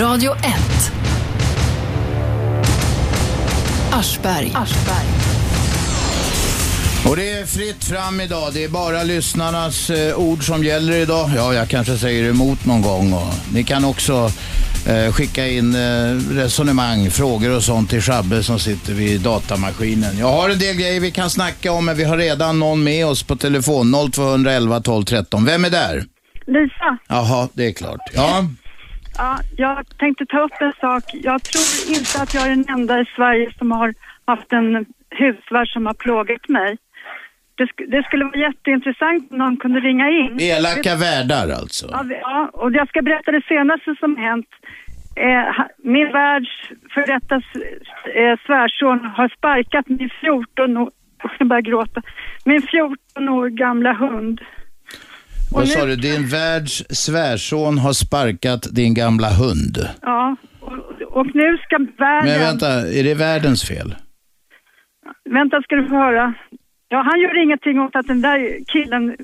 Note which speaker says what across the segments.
Speaker 1: Radio 1. Aschberg.
Speaker 2: Och det är fritt fram idag. Det är bara lyssnarnas eh, ord som gäller idag. Ja, jag kanske säger emot någon gång. Och ni kan också eh, skicka in eh, resonemang, frågor och sånt till Shabbe som sitter vid datamaskinen. Jag har en del grejer vi kan snacka om, men vi har redan någon med oss på telefon. 0211 12 13. Vem är där?
Speaker 3: Lisa,
Speaker 2: Jaha, det är klart. Ja,
Speaker 3: ja, jag tänkte ta upp en sak. Jag tror inte att jag är den enda i Sverige som har haft en husvärd som har plågat mig. Det, sk- det skulle vara jätteintressant om någon kunde ringa in.
Speaker 2: elaka värdar alltså.
Speaker 3: Ja, vi- Ja, och jag ska berätta det senaste som hänt. Eh, ha- min världs före detta s- eh, svärson har sparkat min 14 år, jag börjar gråta, min 14 år gamla hund.
Speaker 2: Vad sa du? Din världs svärson har sparkat din gamla hund.
Speaker 3: Ja, och, och nu ska världen...
Speaker 2: Men vänta, är det världens fel?
Speaker 3: Vänta ska du få höra. Ja, han gör ingenting åt att den där killen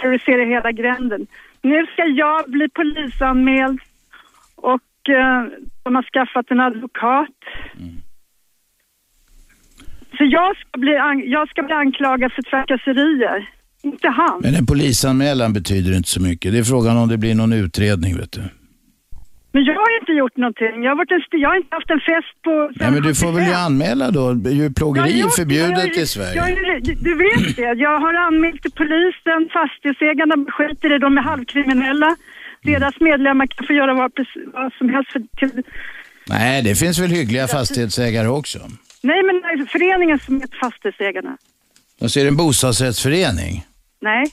Speaker 3: terroriserar hela gränden. Nu ska jag bli polisanmäld och eh, de har skaffat en advokat. Så jag ska, bli an- jag ska bli anklagad för trakasserier, inte han.
Speaker 2: Men en polisanmälan betyder inte så mycket. Det är frågan om det blir någon utredning, vet du.
Speaker 3: Men jag har inte gjort någonting. Jag har, varit en st- jag har inte haft en fest på...
Speaker 2: Nej, men du får väl ju anmäla då. Djurplågeri är förbjudet i
Speaker 3: Jag,
Speaker 2: Sverige.
Speaker 3: är- du vet det. Jag har anmält till polisen, fastighetsägarna skiter i det, de är halvkriminella.
Speaker 2: Mm.
Speaker 3: Deras medlemmar kan få göra vad, precis- vad som helst. För, till,
Speaker 2: Nej, det finns väl hyggliga fastighetsägare också.
Speaker 3: nej, men det är föreningen som heter Fastighetsägarna.
Speaker 2: Och så är det en bostadsrättsförening.
Speaker 3: Nej.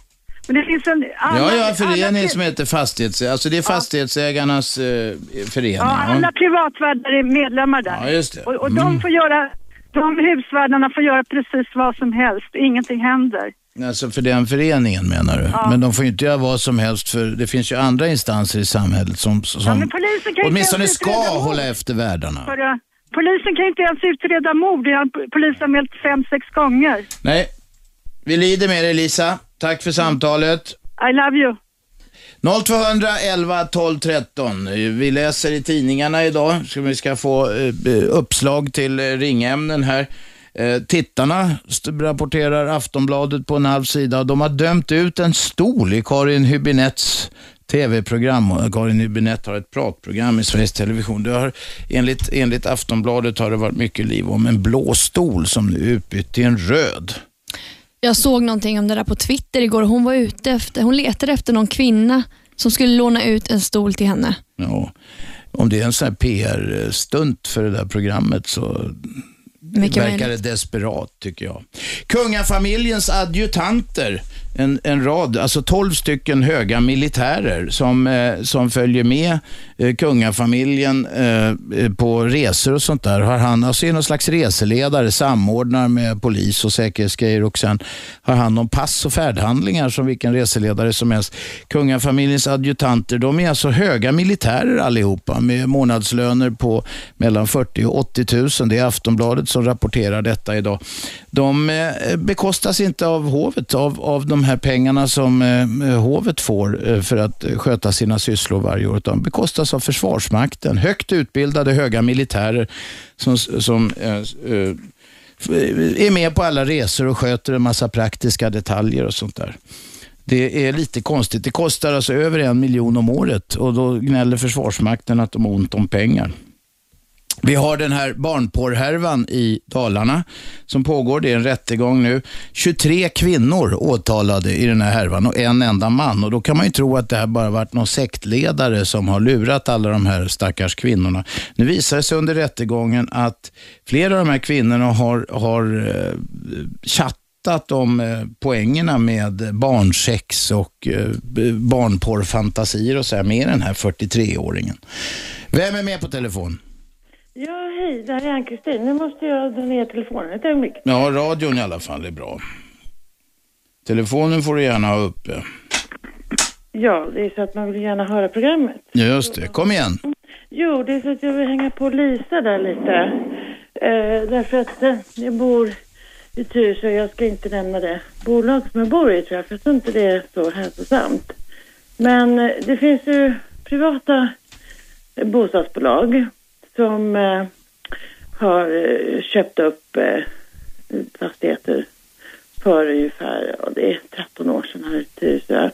Speaker 3: Men det finns en...
Speaker 2: Ja,
Speaker 3: Alla,
Speaker 2: jag har en
Speaker 3: alla,
Speaker 2: förening som heter fastighetsägarna. Alltså det är fastighetsägarnas eh, förening.
Speaker 3: Ja, alla
Speaker 2: Ja,
Speaker 3: privatvärdar är medlemmar där.
Speaker 2: Ja, just det.
Speaker 3: Och, och
Speaker 2: Mm.
Speaker 3: de får göra... De husvärdarna får göra precis vad som helst. Ingenting händer.
Speaker 2: Alltså för den föreningen menar du. Men de får ju inte göra vad som helst för det finns ju andra instanser i samhället som, som
Speaker 3: Ja, men polisen kan ju
Speaker 2: åtminstone
Speaker 3: inte ens utreda
Speaker 2: ska
Speaker 3: mord.
Speaker 2: hålla efter värdarna.
Speaker 3: Bara- Polisen kan ju inte ens utreda mord. Jag har polisanmält fem, sex gånger.
Speaker 2: Nej, vi lider med dig Lisa. Tack för samtalet.
Speaker 3: I love you.
Speaker 2: 0211 12 13. Eh, Vi läser i tidningarna idag, så vi ska få eh, eh, uppslag till eh, ringämnen här. Eh, Tittarna st- rapporterar Aftonbladet på en halv sida. De har dömt ut en stol i Karin Hübinettes tv-program. Och Karin Hübinette har ett pratprogram i Sveriges Television. Det har, enligt, enligt Aftonbladet har det varit mycket liv om en blå stol som nu är utbytt till en röd.
Speaker 4: Jag såg någonting om det där på Twitter igår. Hon var ute efter, hon letade efter någon kvinna som skulle låna ut en stol till henne.
Speaker 2: Ja, om det är en sån här PR-stunt för det där programmet så
Speaker 4: Mycket
Speaker 2: verkar
Speaker 4: möjligt.
Speaker 2: det desperat tycker jag. Kungafamiljens adjutanter, en, en rad, alltså 12 stycken höga militärer som, eh, som följer med eh, kungafamiljen eh, eh, på resor och sånt där. Har han, alltså är någon slags reseledare, samordnar med polis och säkerhetsgrejer och sen har han om pass och färdhandlingar som vilken reseledare som helst. Kungafamiljens adjutanter, de är alltså höga militärer allihopa med månadslöner på mellan 40 och 80 000. Det är Aftonbladet som rapporterar detta idag. De eh, bekostas inte av hovet, av, av de här pengarna som eh, hovet får eh, för att eh, sköta sina sysslor varje år, utan bekostas av Försvarsmakten. Högt utbildade, höga militärer som, som eh, eh, är med på alla resor och sköter en massa praktiska detaljer och sånt där. Det är lite konstigt. Det kostar alltså över en miljon om året och då gnäller Försvarsmakten att de har ont om pengar. Vi har den här barnporrhärvan i Dalarna som pågår. Det är en rättegång nu. 23 kvinnor åtalade i den här härvan och en enda man. Och Då kan man ju tro att det här bara varit någon sektledare som har lurat alla de här stackars kvinnorna. Nu visar det sig under rättegången att flera av de här kvinnorna har, har eh, chattat om eh, poängerna med barnsex och eh, b- barnporrfantasier och så här med den här 43-åringen. Vem är med på telefon?
Speaker 5: Ja, hej, det här är Ann-Kristin. Nu måste jag dra ner telefonen ett ögonblick.
Speaker 2: Ja, radion i alla fall är bra. Telefonen får du gärna ha uppe.
Speaker 5: Ja, det är så att man vill gärna höra programmet.
Speaker 2: Ja, just det. Kom igen.
Speaker 5: Jo, det är så att jag vill hänga på Lisa där lite. Eh, därför att eh, jag bor i ett hus och jag ska inte nämna det bolag som jag bor i tror jag, för jag tror inte det är så hälsosamt. Men eh, det finns ju privata bostadsbolag som eh, har eh, köpt upp eh, fastigheter för ungefär, ja, det är 13 år sedan här i Tyresö.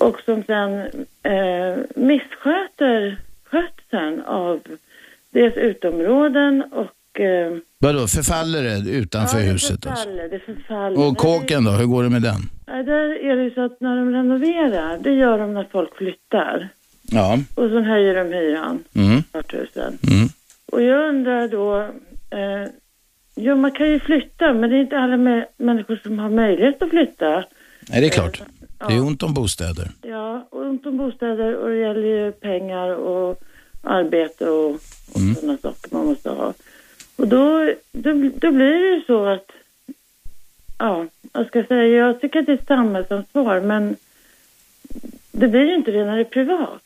Speaker 5: Och som sen eh, missköter skötseln av dels utområden och eh,
Speaker 2: Vadå, förfaller det utanför huset?
Speaker 5: det
Speaker 2: Alltså?
Speaker 5: förfaller, det förfaller.
Speaker 2: Och kåken då, hur går det med den?
Speaker 5: Nej, där är det ju så att när de renoverar, det gör de när folk flyttar.
Speaker 2: Ja.
Speaker 5: Och så höjer de hyran,
Speaker 2: Mm.
Speaker 5: 4000.
Speaker 2: Mm.
Speaker 5: Och jag undrar då, eh, ja man kan ju flytta, men det är inte alla mä- människor som har möjlighet att flytta.
Speaker 2: Nej, det är klart. Det är ont om bostäder.
Speaker 5: Ja, och ont om bostäder och det gäller ju pengar och arbete och, och sådana saker man måste ha. Och då, då, då blir det ju så att, ja, jag ska säga, jag tycker att det är ett samhällsansvar, men det blir ju inte det när det är privat.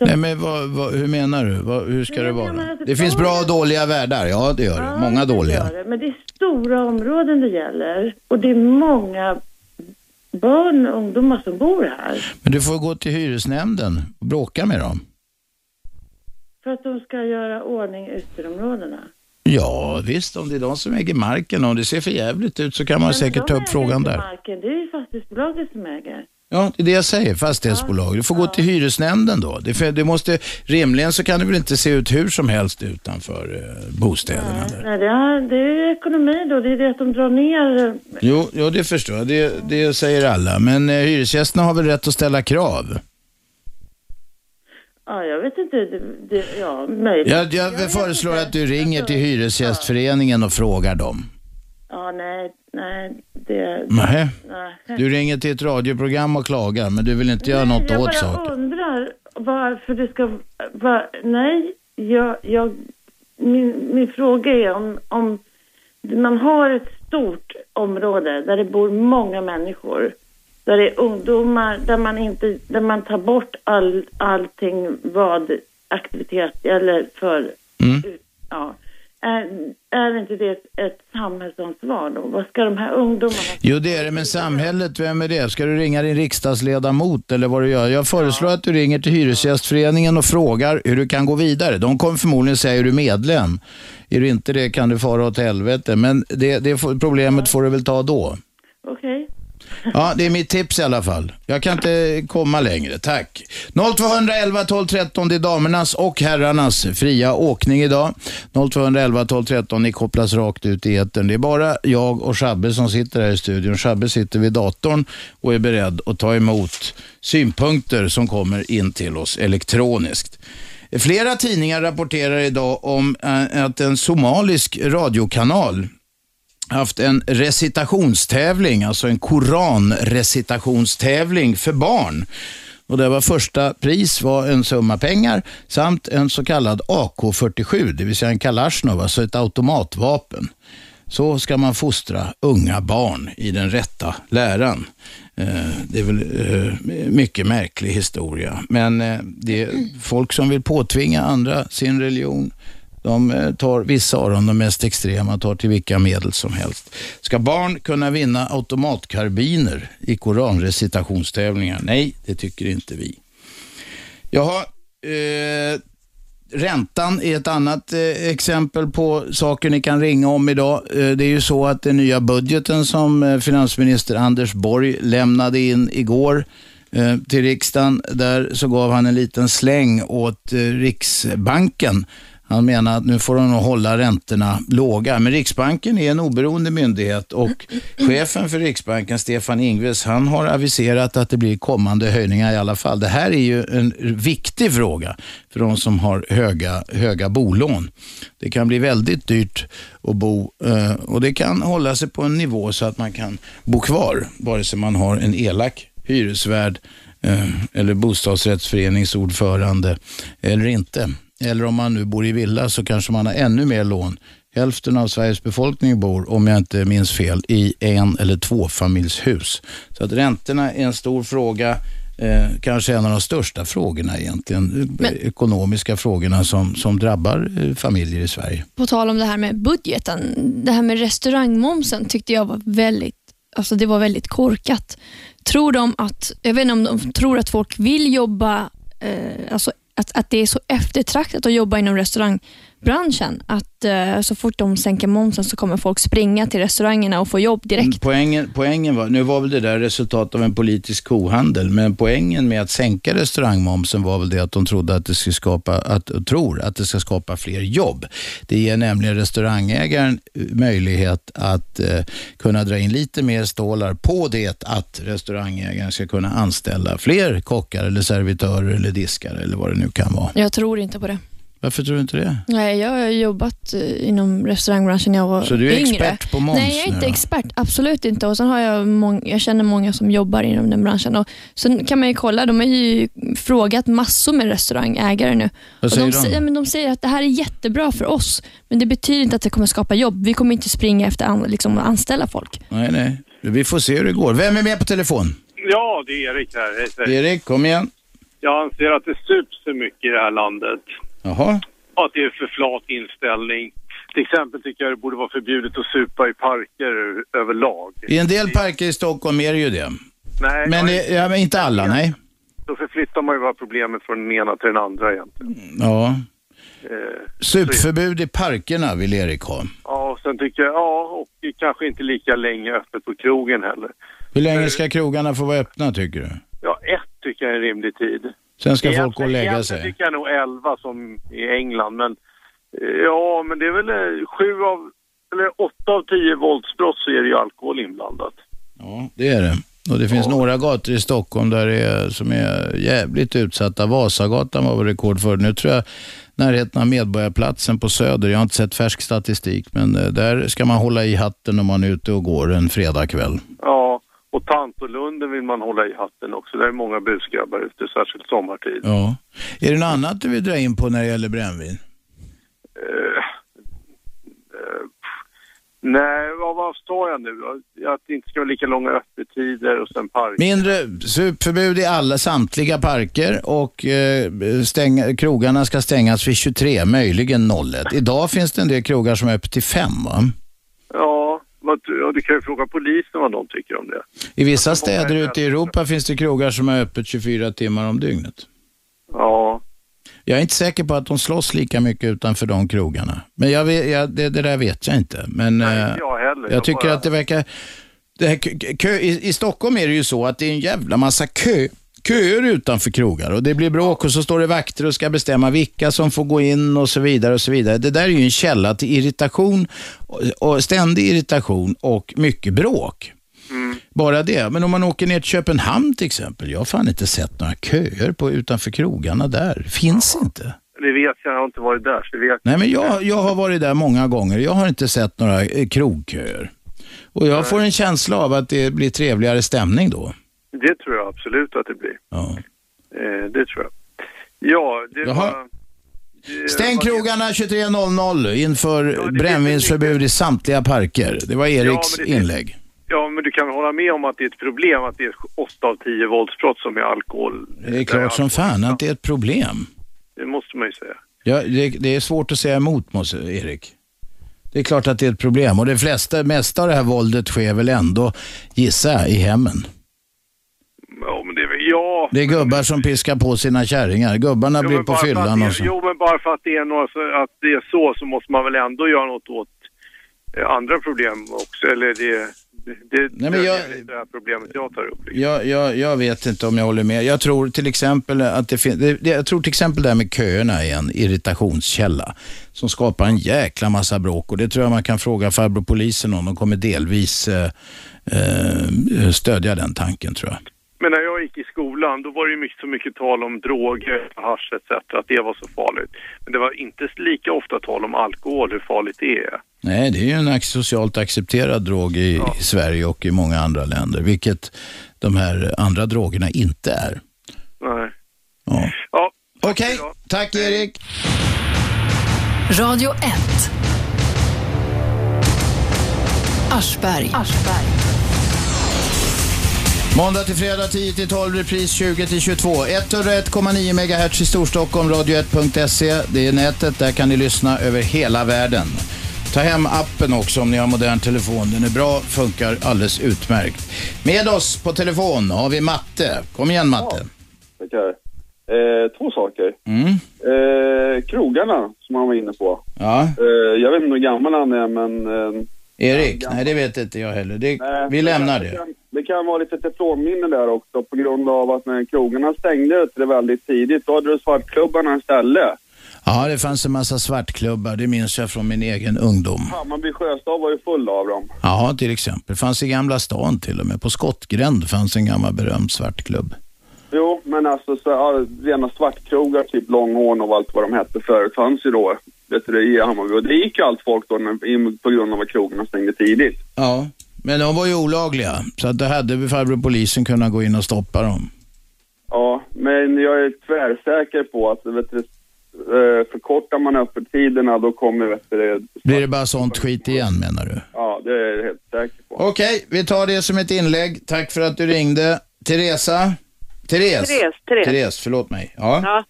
Speaker 2: Nej, men vad, vad, hur menar du? Vad, hur ska det vara? Det finns bra och dåliga världar. Ja, det gör det. Många dåliga.
Speaker 5: gör det, Men det är stora områden det gäller och det är många barn och ungdomar som bor här.
Speaker 2: Men du får gå till hyresnämnden och bråka med dem.
Speaker 5: För att de ska göra ordning i ytterområdena.
Speaker 2: Ja, visst, om det är de som äger marken. Om det ser för jävligt ut så kan man säkert ta upp frågan
Speaker 5: Inte
Speaker 2: där.
Speaker 5: Marken, det är ju fastighetsbolaget som äger.
Speaker 2: Ja, det är det jag säger, fastighetsbolag. Du får gå till hyresnämnden då. Det, för, det måste, rimligen så kan det väl inte se ut hur som helst utanför eh, bostäderna. där.
Speaker 5: Nej, det är, det är ju ekonomi då. Det är det att de drar ner. eh,
Speaker 2: Jo, jo, det förstår jag. Det, det säger alla. Men eh, hyresgästerna har väl rätt att ställa krav?
Speaker 5: Ja, jag vet inte. Det, det, ja, möjligt.
Speaker 2: Jag, jag föreslår att du ringer
Speaker 5: Alltså,
Speaker 2: till Hyresgästföreningen och frågar dem.
Speaker 5: Ja, nej, nej, det...
Speaker 2: Nej.
Speaker 5: nej.
Speaker 2: Du ringer till ett radioprogram och klagar, men du vill inte göra något
Speaker 5: jag
Speaker 2: åt
Speaker 5: bara
Speaker 2: saken.
Speaker 5: undrar varför det ska... Va, nej, jag, jag, min, min fråga är om, om man har ett stort område där det bor många människor, där det är ungdomar, där man, inte, där man tar bort all, allting vad aktivitet eller för...
Speaker 2: Mm.
Speaker 5: Ja, är, är inte det ett, ett samhällsansvar då? Vad ska de här ungdomarna...
Speaker 2: Jo, det är det, men samhället, vem är det? Ska du ringa din riksdagsledamot eller vad du gör? Jag föreslår att du ringer till Hyresgästföreningen och frågar hur du kan gå vidare. De kommer förmodligen säga, är du medlem? Är du inte det kan du fara åt helvete. Men det, det får- problemet får du väl ta då.
Speaker 5: Okej.
Speaker 2: Ja, det är mitt tips i alla fall. Jag kan inte komma längre, tack. 0211 12 13, det är damernas och herrarnas fria åkning idag. 0211 12 13, ni kopplas rakt ut i etern. Det är bara jag och Shabbe som sitter här i studion. Shabbe sitter vid datorn och är beredd att ta emot synpunkter som kommer in till oss elektroniskt. Flera tidningar rapporterar idag om eh, att en somalisk radiokanal haft en recitationstävling, alltså en koranrecitationstävling för barn. Och det var första pris var en summa pengar samt en så kallad AK47, det vill säga en kalasjnov, alltså ett automatvapen. Så ska man fostra unga barn i den rätta läran. Eh, Det är väl eh, mycket märklig historia, men eh, det är folk som vill påtvinga andra sin religion, de eh, tar, vissa av dem, de mest extrema, tar till vilka medel som helst. Ska barn kunna vinna automatkarbiner i koranrecitationstävlingar? Nej, det tycker inte vi. Jaha, eh, räntan är ett annat eh, exempel på saker ni kan ringa om idag. Eh, det är ju så att den nya budgeten som eh, finansminister Anders Borg lämnade in igår eh, till riksdagen, där så gav han en liten släng åt eh, Riksbanken. Han menar att nu får de nog hålla räntorna låga. Men Riksbanken är en oberoende myndighet och chefen för Riksbanken, Stefan Ingves, han har aviserat att det blir kommande höjningar i alla fall. Det här är ju en viktig fråga för de som har höga, höga bolån. Det kan bli väldigt dyrt att bo eh, och det kan hålla sig på en nivå så att man kan bo kvar, vare sig man har en elak hyresvärd eh, eller bostadsrättsföreningsordförande eller inte. Eller om man nu bor i villa så kanske man har ännu mer lån. Hälften av Sveriges befolkning bor, om jag inte minns fel, i en eller tvåfamiljshus. Så att räntorna är en stor fråga, eh, kanske en av de största frågorna egentligen, Eh,
Speaker 4: Men-
Speaker 2: ekonomiska frågorna som, som drabbar eh, familjer i Sverige.
Speaker 4: På tal om det här med budgeten. Det här med restaurangmomsen tyckte jag var väldigt Alltså det var väldigt korkat. Tror de att, jag vet inte om de tror att folk vill jobba, eh, alltså att att det är så eftertraktat att jobba inom restaurangbranschen. Att eh, så fort de sänker momsen så kommer folk springa till restaurangerna och få jobb direkt.
Speaker 2: Mm, Poängen, poängen var, nu var väl det där resultat av en politisk kohandel, men poängen med att sänka restaurangmomsen var väl det att de trodde att det ska skapa, att, och tror att det ska skapa fler jobb. Det ger nämligen restaurangägaren eh, möjlighet att eh, kunna dra in lite mer stålar på det att restaurangägaren ska kunna anställa fler kockar eller servitörer eller diskare eller vad det nu kan vara.
Speaker 4: Jag tror inte på det.
Speaker 2: Varför tror du inte det?
Speaker 4: Nej, jag har jobbat eh, inom restaurangbranschen när jag var
Speaker 2: Så du är
Speaker 4: yngre.
Speaker 2: expert på moms
Speaker 4: Nej, jag är
Speaker 2: nu
Speaker 4: inte
Speaker 2: då?
Speaker 4: expert. Absolut inte. Och sen har jag, mång- jag känner många som jobbar inom den branschen. Och sen kan man ju kolla, de har ju frågat massor med restaurangägare nu.
Speaker 2: Vad säger
Speaker 4: och
Speaker 2: de?
Speaker 4: de, säger- men de säger att det här är jättebra för oss, men det betyder inte att det kommer skapa jobb. Vi kommer inte springa efter an- liksom, att anställa folk.
Speaker 2: Nej, nej. Vi får se hur det går. Vem är med på telefon?
Speaker 6: Ja, det är Erik här. Hej, hej.
Speaker 2: Erik, kom igen.
Speaker 6: Jag anser att det sups för mycket i det här landet.
Speaker 2: Jaha.
Speaker 6: Och Att det är för flat inställning. Till exempel tycker jag det borde vara förbjudet att supa i parker överlag.
Speaker 2: I en del parker i Stockholm är det ju det.
Speaker 6: Nej,
Speaker 2: Men,
Speaker 6: ja,
Speaker 2: eh, ja, men inte alla, nej.
Speaker 6: då förflyttar man ju bara problemet från den ena till den andra egentligen.
Speaker 2: Ja.
Speaker 6: Eh,
Speaker 2: Supförbud i parkerna vill Erik ha.
Speaker 6: ja, och sen tycker jag, ja, och det kanske inte lika länge öppet på krogen heller.
Speaker 2: Hur länge ska krogarna få vara öppna tycker du?
Speaker 6: Ja, ett tycker jag är en rimlig tid.
Speaker 2: Sen ska folk gå och
Speaker 6: Egentligen-
Speaker 2: lägga
Speaker 6: egentligen
Speaker 2: sig.
Speaker 6: tycker jag nog 11 som i England, men eh, ja, men det är väl eh, sju av, eller åtta av tio våldsbrott så är det ju alkohol inblandat.
Speaker 2: Ja, det är det. Och det finns några gator i Stockholm där det är, som är jävligt utsatta. Vasagatan var väl rekord för. Nu tror jag närheten av Medborgarplatsen på Söder, jag har inte sett färsk statistik, men eh, där ska man hålla i hatten om man är ute och går en fredagkväll.
Speaker 6: Ja, och Tantolunden vill man hålla i hatten också. Där är många busgrabbar ute, särskilt sommartid.
Speaker 2: Ja. Är det något annat du vill dra in på när det gäller brännvin?
Speaker 6: Eh, eh, nej, vad, vad tar jag nu då? Att det inte ska vara lika långa öppettider och sen park.
Speaker 2: Mindre supförbud i alla samtliga parker och eh, stäng, krogarna ska stängas vid 23, möjligen 01. Idag finns det en del krogar som är öppet till 5 va?
Speaker 6: Ja, vad, ja, du kan ju fråga polisen vad de tycker om det.
Speaker 2: I vissa städer ute i Europa finns det krogar som är öppet 24 timmar om dygnet.
Speaker 6: Ja,
Speaker 2: Jag är inte säker på att de slåss lika mycket utanför de krogarna. Men jag vet, jag, det, det där vet jag inte. Men,
Speaker 6: Nej,
Speaker 2: eh,
Speaker 6: inte jag heller.
Speaker 2: Jag,
Speaker 6: Jag
Speaker 2: tycker
Speaker 6: bara-
Speaker 2: att det verkar... Det här, kö, kö, i, I Stockholm är det ju så att det är en jävla massa kö, köer utanför krogar och det blir bråk och så står det vakter och ska bestämma vilka som får gå in och så vidare. och så vidare. Det där är ju en källa till irritation, och, och ständig irritation och mycket bråk.
Speaker 7: Mm.
Speaker 2: Bara det. Men om man åker ner till Köpenhamn till exempel. Jag har fan inte sett några köer på, utanför krogarna där. Finns inte.
Speaker 6: det vet jag. Jag har inte varit där, så det vet
Speaker 2: Nej, men jag, jag har varit där många gånger. Jag har inte sett några eh, krogköer. Och jag får en känsla av att det blir trevligare stämning då.
Speaker 6: Det tror jag absolut att det blir.
Speaker 2: Ja.
Speaker 6: Eh, det tror jag. Ja, det
Speaker 2: Jaha.
Speaker 6: var... det-
Speaker 2: Stäng
Speaker 6: vad-
Speaker 2: krogarna 23.00 inför
Speaker 6: det-
Speaker 2: brännvinsförbud i samtliga parker. Det var Eriks
Speaker 6: men det-
Speaker 2: inlägg.
Speaker 6: Ja, men du kan väl hålla med om att det är ett problem att det är åtta av tio våldsbrott som är alkohol.
Speaker 2: Det är klart som fan att det är ett problem.
Speaker 6: Det måste man ju säga.
Speaker 2: Ja, det, det är svårt att säga emot, måste, Erik. Det är klart att det är ett problem och det flesta, mesta av det här våldet sker väl ändå, gissa jag, i hemmen.
Speaker 6: Ja, men det är väl... Ja.
Speaker 2: Det är gubbar som piskar på sina kärringar. Gubbarna
Speaker 6: Jo,
Speaker 2: blir
Speaker 6: men
Speaker 2: på
Speaker 6: bara för att
Speaker 2: fyllan alltså.
Speaker 6: det-
Speaker 2: och så.
Speaker 6: Jo, men bara för att det är, några, så- att det är så så måste man väl ändå göra något åt eh, andra problem också. Eller det... Det,
Speaker 2: Nej, men
Speaker 6: Nej, men
Speaker 2: jag-
Speaker 6: det här problemet jag tar upp.
Speaker 2: Jag, jag, jag vet inte om jag håller med. Jag tror till exempel att det finns, jag tror till exempel det här med köerna är en irritationskälla som skapar en jäkla massa bråk och det tror jag man kan fråga farbror polisen om. De kommer delvis eh, eh, stödja den tanken tror jag.
Speaker 6: Men när jag gick i skolan, då var det ju mycket, så mycket tal om droger, hasch etc. Att det var så farligt. Men det var inte lika ofta tal om alkohol, hur farligt det är.
Speaker 2: Nej, det är ju en ac- socialt accepterad drog i, i Sverige och i många andra länder, vilket de här andra drogerna inte är.
Speaker 6: Nej.
Speaker 2: Ja.
Speaker 6: Ja,
Speaker 2: Okej, tack Erik.
Speaker 1: Radio 1. Aschberg.
Speaker 2: Måndag till fredag 10 till 12, repris 20 till 22. 101,9 MHz i Storstockholm, radio1.se. Det är nätet, där kan ni lyssna över hela världen. Ta hem appen också om ni har modern telefon. Den är bra, funkar alldeles utmärkt. Med oss på telefon har vi Matte. Kom igen Matte.
Speaker 8: Tackar. Eh, två saker.
Speaker 2: Mm.
Speaker 8: Eh, krogarna, som han var inne på.
Speaker 2: Ja.
Speaker 8: Eh, jag vet inte hur gammal han är, men... Eh,
Speaker 2: Erik? Nej, det vet inte jag heller. Det, vi lämnar det.
Speaker 8: kan, det kan vara lite teflonminne där också på grund av att när krogarna stängdes det väldigt tidigt, då hade du svartklubbarna istället.
Speaker 2: Ja, det fanns en massa svartklubbar. Det minns jag från min egen ungdom.
Speaker 8: Hammarby sjöstad var ju full av dem.
Speaker 2: Ja, till exempel. fanns i Gamla stan till och med. På Skottgränd fanns en gammal berömd svartklubb.
Speaker 8: Jo, men alltså så, ja, rena svartkrogar, typ Långhorn och allt vad de hette förut fanns ju då. Vet du, det, i Hammarby. Och det gick ju allt folk då när, i- på grund av att krogarna stängde tidigt.
Speaker 2: Ja, men de var ju olagliga. Så att det hade vi farbror polisen kunnat gå in och stoppa dem.
Speaker 8: Ja, men jag är tvärsäker på att vet du, eh, förkortar man öppettiderna då kommer vet du, det-
Speaker 2: Blir det bara sånt skit igen menar du?
Speaker 8: ja det är jag helt säker på.
Speaker 2: Okej, vi tar det som ett inlägg. Tack för att du ringde. Teresa? Therese?
Speaker 9: Therese, Therese.
Speaker 2: Therese förlåt mig. Ja.
Speaker 9: Ja.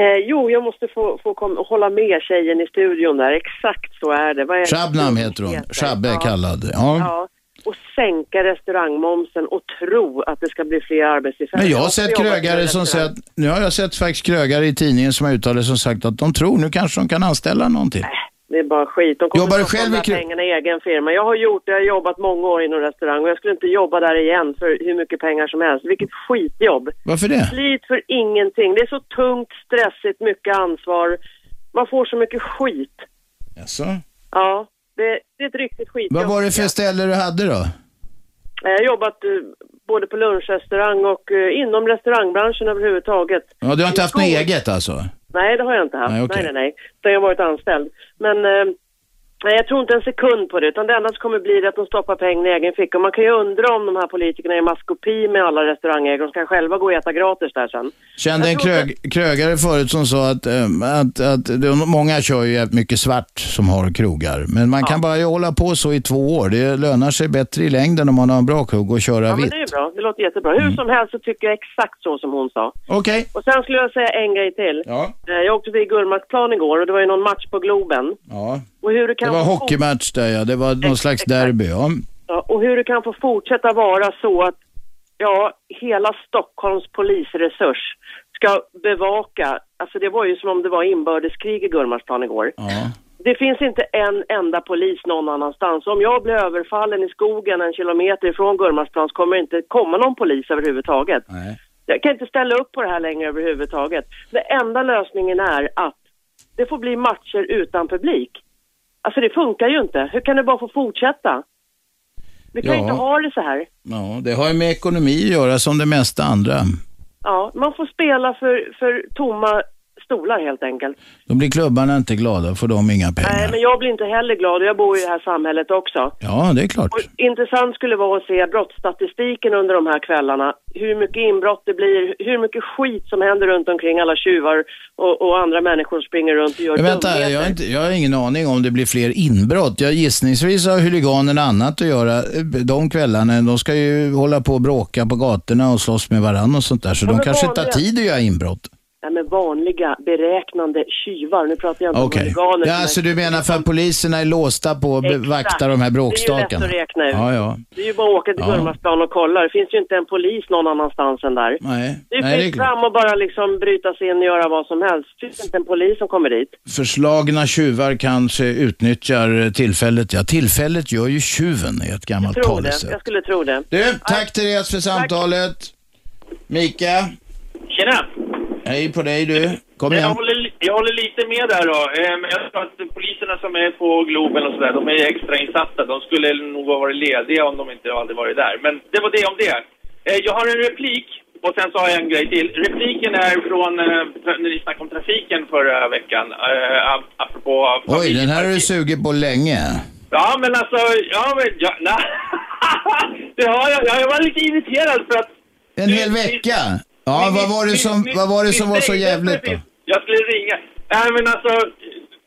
Speaker 9: Eh, jo, jag måste få, få kom, hålla med tjejen i studion där. Exakt så är det. Vad är det?
Speaker 2: Shabnam heter hon. Shabbe är kallad. Ja.
Speaker 9: Ja. Och sänka restaurangmomsen och tro att det ska bli fler arbetstillfällen.
Speaker 2: Men jag har
Speaker 9: också
Speaker 2: sett
Speaker 9: jobbat på en
Speaker 2: krögare som säger
Speaker 9: restaurang.
Speaker 2: att, nu har jag sett faktiskt krögare i tidningen som har uttalat som sagt att de tror nu kanske de kan anställa någon till.
Speaker 9: Det är bara skit. De kommer
Speaker 2: Jobbar du
Speaker 9: stoppa
Speaker 2: själv
Speaker 9: de
Speaker 2: i
Speaker 9: här
Speaker 2: kro-
Speaker 9: pengarna i egen firma. Jag har gjort det. Jag har jobbat många år inom restaurang och jag skulle inte jobba där igen för hur mycket pengar som helst. Vilket skitjobb.
Speaker 2: Varför det?
Speaker 9: Slit för ingenting. Det är så tungt, stressigt, mycket ansvar. Man får så mycket skit.
Speaker 2: Jaså?
Speaker 9: Ja, det, det är ett riktigt skit.
Speaker 2: Vad var det för ställe du hade då?
Speaker 9: Jag har jobbat eh, både på lunchrestaurang och eh, inom restaurangbranschen överhuvudtaget.
Speaker 2: Ja, du har inte haft något eget alltså?
Speaker 9: Nej, det har jag inte haft.
Speaker 2: Nej,
Speaker 9: Nej,
Speaker 2: okej.
Speaker 9: nej, nej. Utan jag har varit anställd. Men eh, nej, jag tror inte en sekund på det, utan det enda som kommer bli det är att de stoppar pengarna i egen ficka. Och Man kan ju undra om de här politikerna är i maskopi med alla restaurangägare. De ska själva gå och äta gratis där sen.
Speaker 2: Kände en krög, krögare förut som sa att, ehm, att, att de, många kör ju jävligt mycket svart som har krogar. Men man kan bara ju hålla på så i två år. Det lönar sig bättre i längden om man har en bra krog och köra
Speaker 9: Ja, men
Speaker 2: vitt.
Speaker 9: det är ju bra. Det låter jättebra.
Speaker 2: Mm.
Speaker 9: Hur som helst så tycker jag exakt så som hon sa.
Speaker 2: Okej.
Speaker 9: Och sen skulle jag säga en grej till.
Speaker 2: Ja.
Speaker 9: Eh, Jag åkte till Gullmarsplan igår och det var ju någon match på Globen.
Speaker 2: Ja.
Speaker 9: Och hur det, kan
Speaker 2: Det var
Speaker 9: få
Speaker 2: hockeymatch där ja. Det var någon slags derby. Ja.
Speaker 9: Ja, och hur det kan få fortsätta vara så att ja, hela Stockholms polisresurs ska bevaka, alltså det var ju som om det var inbördeskrig i Gullmarsplan igår.
Speaker 2: Ja.
Speaker 9: Det finns inte en enda polis någon annanstans. Om jag blir överfallen i skogen en kilometer ifrån Gullmarsplan så kommer det inte komma någon polis överhuvudtaget. Jag kan inte ställa upp på det här längre överhuvudtaget. Den enda lösningen är att det får bli matcher utan publik. Alltså det funkar ju inte. Hur kan det bara få fortsätta? Vi kan
Speaker 2: Ja.
Speaker 9: inte ha det så här.
Speaker 2: ja, det har ju med ekonomi att göra som det mesta andra.
Speaker 9: Ja, man får spela för, för tomma stolar helt enkelt.
Speaker 2: Då blir klubbarna inte glada, får de inga pengar.
Speaker 9: Nej, men jag blir inte heller glad och jag bor i det här samhället också.
Speaker 2: Ja, det är klart.
Speaker 9: Och intressant skulle vara att se brottsstatistiken under de här kvällarna. Hur mycket inbrott det blir, hur mycket skit som händer runt omkring alla tjuvar och, och andra människor springer runt och gör
Speaker 2: Men vänta,
Speaker 9: dumheter.
Speaker 2: jag har, inte, jag har ingen aning om det blir fler inbrott. Jag gissningsvis har huliganerna annat att göra eh, de kvällarna. De ska ju hålla på och bråka på gatorna och slåss med varandra och sånt där. Så
Speaker 9: Ja,
Speaker 2: de
Speaker 9: men
Speaker 2: kanske inte
Speaker 9: vanliga-
Speaker 2: har tid att göra inbrott.
Speaker 9: Nej, men vanliga beräknande tjuvar. Nu pratar jag inte
Speaker 2: Okej.
Speaker 9: om veganer.
Speaker 2: Ja, alltså du menar för att poliserna är låsta på att bevakta de här bråkstakarna?
Speaker 9: Det är ju lätt att räkna ut.
Speaker 2: Ja, ja.
Speaker 9: Det är ju bara att åka till
Speaker 2: Ja.
Speaker 9: Gullmarsplan och kolla. Det finns ju inte en polis någon annanstans än där.
Speaker 2: Nej,
Speaker 9: Det är
Speaker 2: nej, det är
Speaker 9: fritt fram och bara liksom bryta sig in och göra vad som helst. Det finns inte en polis som kommer dit.
Speaker 2: Förslagna tjuvar kanske utnyttjar eh, tillfället. Ja, tillfället gör ju tjuven, är ett gammalt
Speaker 9: Jag tror det.
Speaker 2: talesätt.
Speaker 9: Jag skulle tro det.
Speaker 2: Du, tack Therese för samtalet. Mika,
Speaker 10: Tjena!
Speaker 2: hej på dig du. Kom
Speaker 10: Jag
Speaker 2: igen.
Speaker 10: håller, jag håller lite med där då. Ehm, Jag tror att poliserna som är på Globen och sådär, de är extra insatta. De skulle nog ha varit lediga om de inte hade varit där. Men det var det om det. Eh, Jag har en replik och sen så har jag en grej till. Repliken är från eh, när ni snackade om trafiken förra veckan. eh, ap- Apropå...
Speaker 2: Oj, den här har du sugit på länge.
Speaker 10: Ja, men alltså... Ja, men... Ja, nej. det har jag. Ja, Jag var lite irriterad för att...
Speaker 2: En hel vecka. Ja, vad var det som, vad var, det som var så jävligt då?
Speaker 10: Jag skulle ringa. Nej men alltså,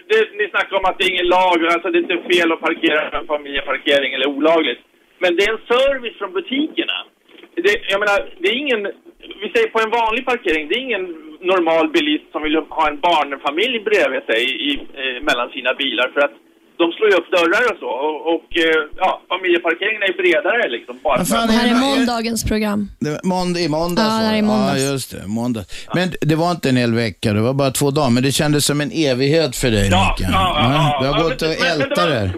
Speaker 10: det, ni snackar om att det är ingen lag, alltså det är inte fel att parkera på en familjeparkering eller olagligt. Men det är en service från butikerna. Det, jag menar, det är ingen, vi säger på en vanlig parkering, det är ingen normal bilist som vill ha en barnfamilj bredvid sig i, i, eh, mellan sina bilar för att de slår ju upp dörrar och så. Och, och eh, ja, familjeparkeringen är ju bredare liksom. Bara
Speaker 2: Vad fan
Speaker 4: Det här
Speaker 2: det-
Speaker 4: är måndagens program.
Speaker 2: Det var månd, I måndags
Speaker 4: Ja,
Speaker 2: var
Speaker 4: det är i måndags.
Speaker 2: Ja, just det. Måndag. Men det var inte en hel vecka, det var bara två dagar. Men det kändes som en evighet för dig,
Speaker 10: Ja,
Speaker 2: Micke.
Speaker 10: ja, ja, ja.
Speaker 2: Du
Speaker 10: Ja,
Speaker 2: har
Speaker 10: men-
Speaker 2: gått och
Speaker 10: men- men det
Speaker 2: ältat
Speaker 10: var-
Speaker 2: det här.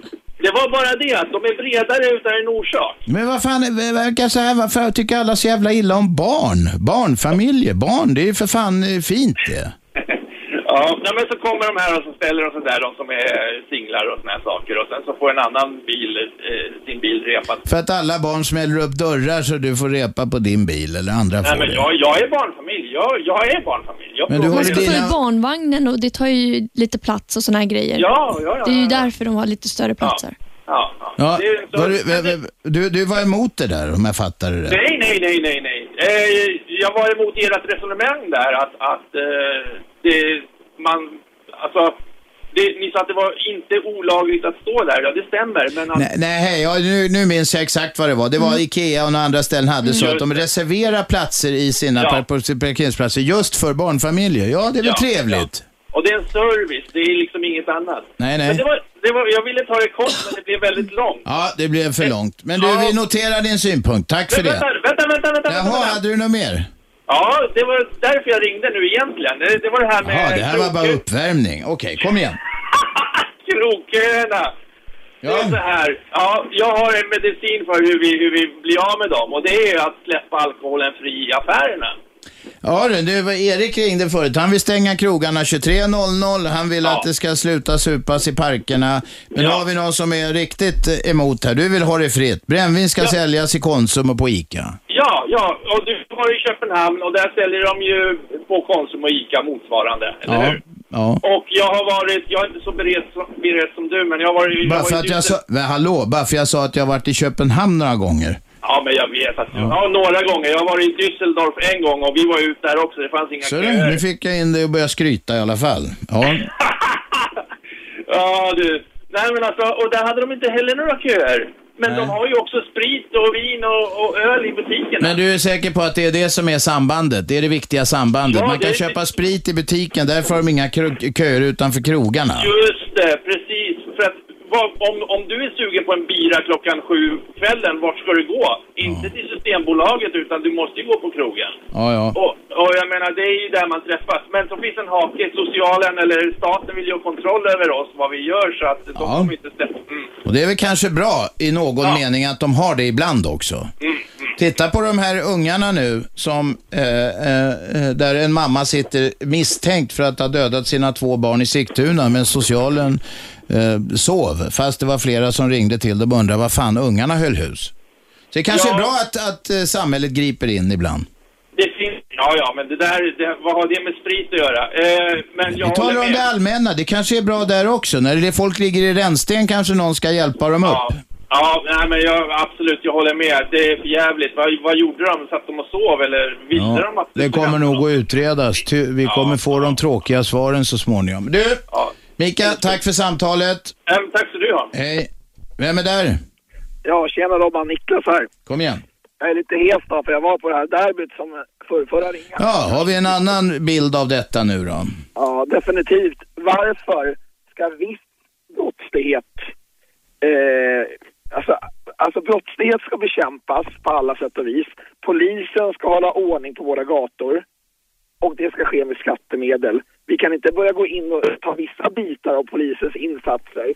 Speaker 10: Det var bara det att de är bredare utan en orsak.
Speaker 2: Men vad fan, det verkar så här, varför tycker alla så jävla illa om barn? Barnfamiljer, barn, det är ju för fan eh, fint det.
Speaker 10: Ja, nej, men så kommer de här och så ställer och sådär, de som är singlar och såna här saker. Och sen så får en annan bil, eh, sin bil repad.
Speaker 2: För att alla barn smäller upp dörrar så du får repa på din bil eller andra
Speaker 10: Nej,
Speaker 2: får
Speaker 10: men
Speaker 2: det.
Speaker 10: jag, jag är barnfamilj. Jag, jag är barnfamilj. Jag
Speaker 2: Men du
Speaker 10: frågar
Speaker 2: har
Speaker 4: Man
Speaker 10: ju-
Speaker 4: ska få i barnvagnen och det tar ju lite plats och såna här grejer.
Speaker 10: Ja, ja, ja,
Speaker 4: det är ju
Speaker 10: ja, ja.
Speaker 4: därför de har lite större platser.
Speaker 10: Ja, ja.
Speaker 2: Ja,
Speaker 10: Det är- så-
Speaker 2: var du, du, du var emot det där om jag fattar det rätt.
Speaker 10: Nej, nej, nej, nej, nej. Eh, jag var emot ert resonemang där att, att eh, det, man, alltså, det, ni sa att det var inte olagligt att stå där. Ja, det stämmer, men att...
Speaker 2: Nej, nej hej, ja, nu, nu minns jag exakt vad det var. Det
Speaker 10: Mm.
Speaker 2: var Ikea och några andra ställen hade så att de reserverar platser i sina
Speaker 10: Ja.
Speaker 2: par- par- parkeringsplatser just för barnfamiljer. Ja, det är väl
Speaker 10: Ja,
Speaker 2: trevligt.
Speaker 10: Och det är en service, det är liksom inget annat.
Speaker 2: Nej, nej.
Speaker 10: Men det var, det var, jag ville ta det kort, men det blev väldigt långt.
Speaker 2: Ja. det blev för långt. Men du,
Speaker 10: Ja.
Speaker 2: vi noterar din synpunkt. Tack för
Speaker 10: Vänta,
Speaker 2: det.
Speaker 10: vänta, vänta, vänta, vänta,
Speaker 2: Jaha,
Speaker 10: vänta.
Speaker 2: hade du något mer?
Speaker 10: Ja, det var därför jag ringde nu egentligen. Det, det var det här med
Speaker 2: Jaha, det här var bara
Speaker 10: krokö-
Speaker 2: uppvärmning. Okej, kom igen.
Speaker 10: krokköerna. Det är så
Speaker 2: Ja.
Speaker 10: här, ja, jag har en medicin för hur vi, hur vi blir av med dem och det är ju att släppa alkoholen fri i affärerna.
Speaker 2: Ja du, det var Erik ringde förut. Han vill stänga krogarna 23.00. Han vill
Speaker 10: Ja.
Speaker 2: att det ska sluta supas i parkerna. Men
Speaker 10: Ja.
Speaker 2: har vi någon som är riktigt eh, emot här? Du vill ha det fritt. Brännvin ska säljas i Konsum och på Ica.
Speaker 10: Ja, ja, och du var i Köpenhamn och där säljer de ju på Konsum och ICA motsvarande, eller
Speaker 2: Ja.
Speaker 10: hur?
Speaker 2: ja.
Speaker 10: Och jag har varit, jag är inte så beredd som, beredd som du, men jag har varit...
Speaker 2: Bara
Speaker 10: var
Speaker 2: för att jag sa, men hallå, bara för jag sa att jag varit i Köpenhamn några gånger.
Speaker 10: Ja, men jag vet att... Ja. några gånger. Jag har varit i Düsseldorf en gång och vi var ju ute där också. Det fanns inga
Speaker 2: Så du, nu fick jag in dig och började skryta i alla fall. Ja,
Speaker 10: Ja, du. Nej, men alltså, och där hade de inte heller några köer. Men de har ju också sprit och vin och, och öl i butikerna.
Speaker 2: men du är säker på att det är det som är sambandet? Det är det viktiga sambandet.
Speaker 10: Ja,
Speaker 2: Man
Speaker 10: det
Speaker 2: kan
Speaker 10: är-
Speaker 2: köpa sprit i butiken, därför har de inga kro- köer utanför krogarna.
Speaker 10: Just det, precis. För att vad, om, om du är sugen på en bira klockan sju kvällen, vart ska du gå? Inte till Systembolaget, utan du måste ju gå på krogen.
Speaker 2: Ja, ja.
Speaker 10: Och, och jag menar, det är ju där man träffas. Men så finns en hake. Socialen eller staten vill ju ha kontroll över oss, vad vi gör, så att de
Speaker 2: Ja.
Speaker 10: kommer inte släppa... Mm.
Speaker 2: Och det är väl kanske bra i någon mening att de har det ibland också.
Speaker 10: Mm,
Speaker 2: Titta på de här ungarna nu, som, eh, eh, eh, där en mamma sitter misstänkt för att ha dödat sina två barn i Sigtuna, men socialen eh, sov. Fast det var flera som ringde till dem och undrade vad fan ungarna höll hus. Så det kanske
Speaker 10: Ja.
Speaker 2: är bra att, att eh, samhället griper in ibland.
Speaker 10: Det finns... Ja, ja, men det där, det, vad har det med sprit att göra? Eh, men jag
Speaker 2: Vi
Speaker 10: håller
Speaker 2: talar om
Speaker 10: med.
Speaker 2: det allmänna, det kanske är bra där också. När det är folk ligger i rännsten kanske någon ska hjälpa dem
Speaker 10: Ja,
Speaker 2: upp.
Speaker 10: ja nej, men jag, absolut, jag håller med. Det är för jävligt. Vad, vad gjorde de? Satt de och sov eller visste de
Speaker 2: Ja,
Speaker 10: att...
Speaker 2: det kommer nog att utredas. Ty- Vi kommer få de tråkiga svaren så småningom. Du,
Speaker 10: Ja.
Speaker 2: Mika, tack för samtalet.
Speaker 10: Ehm, tack så du ha.
Speaker 2: Hej. Vem är där?
Speaker 11: Ja, tjena Robban, Niklas här.
Speaker 2: Kom igen.
Speaker 11: Jag är lite hes då, för jag var på det här derbyt som för, förra ringen.
Speaker 2: Ja, har vi en annan bild av detta nu då?
Speaker 11: Ja, definitivt. Varför ska viss brottslighet, eh, alltså, alltså brottslighet ska bekämpas på alla sätt och vis. Polisen ska hålla ordning på våra gator och det ska ske med skattemedel. Vi kan inte börja gå in och ta vissa bitar av polisens insatser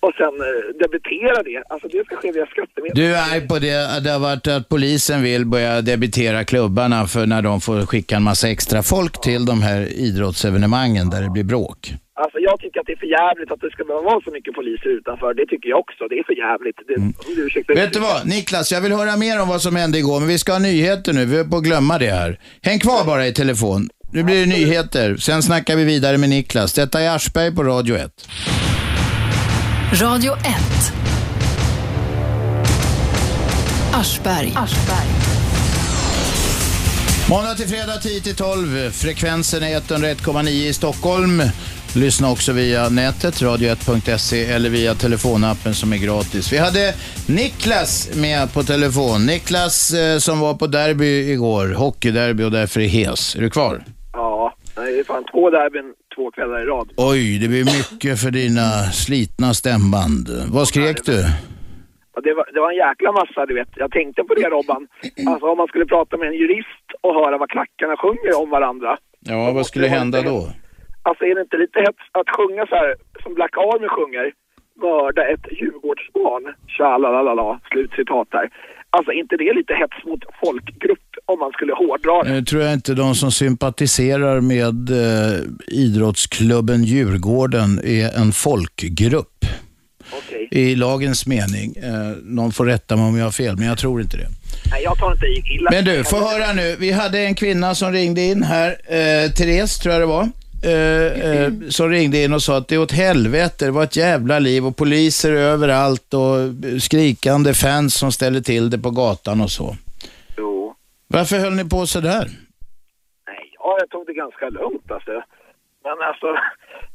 Speaker 11: och sen eh, debitera det. Alltså det ska ske via skattemedel.
Speaker 2: Du är på det, det har varit att polisen vill börja debitera klubbarna för när de får skicka en massa extra folk till de här idrottsevenemangen där det blir bråk.
Speaker 11: Alltså jag tycker att det är för jävligt att det ska behöva vara så mycket poliser utanför. Det tycker jag också. Det är för jävligt. Det, om du ursäktar.
Speaker 2: Mm. Vet du vad, Niklas, jag vill höra mer om vad som hände igår, men vi ska ha nyheter nu. Vi är på att glömma det här. Häng kvar bara i telefon. Nu blir det nyheter. Sen snackar vi vidare med Niklas. Detta är Aschberg på Radio 1.
Speaker 1: Radio 1. Aschberg.
Speaker 2: Måndag till fredag 10 till 12. Frekvensen är 101,9 i Stockholm. Lyssna också via nätet, radio1.se eller via telefonappen som är gratis. Vi hade Niklas med på telefon. Niklas eh, som var på derby igår, hockeyderby och därför är hes. Är du kvar?
Speaker 11: Ja, nej, det är fan två derbyn, två kvällar i rad.
Speaker 2: Oj, det blir mycket för dina slitna stämband. Vad skrek du?
Speaker 11: Och det, var, det var en jäkla massa, du vet. Jag tänkte på det Robban. Alltså om man skulle prata med en jurist och höra vad klackarna sjunger om varandra.
Speaker 2: Ja, vad skulle hända då?
Speaker 11: Alltså är det inte lite hett att sjunga så här som Black Army sjunger? Mörda ett Djurgårdsbarn, tja la la la la, slutcitat där. Alltså inte det är lite hets mot folkgrupp om man skulle hårdra det?
Speaker 2: Nu Eh, tror jag inte de som sympatiserar med eh, idrottsklubben Djurgården är en folkgrupp. I lagens mening. Eh, någon får rätta mig om jag har fel, men jag tror inte det.
Speaker 11: Nej, jag tar inte i illa.
Speaker 2: Men du, få höra nu. Vi hade en kvinna som ringde in här, eh, Therese tror jag det var, eh, eh, som ringde in och sa att det är åt helvete, det var ett jävla liv och poliser överallt och skrikande fans som ställer till det på gatan och så.
Speaker 11: Jo.
Speaker 2: Varför höll ni på sådär?
Speaker 11: Ja, jag tog det ganska lugnt alltså. Men alltså,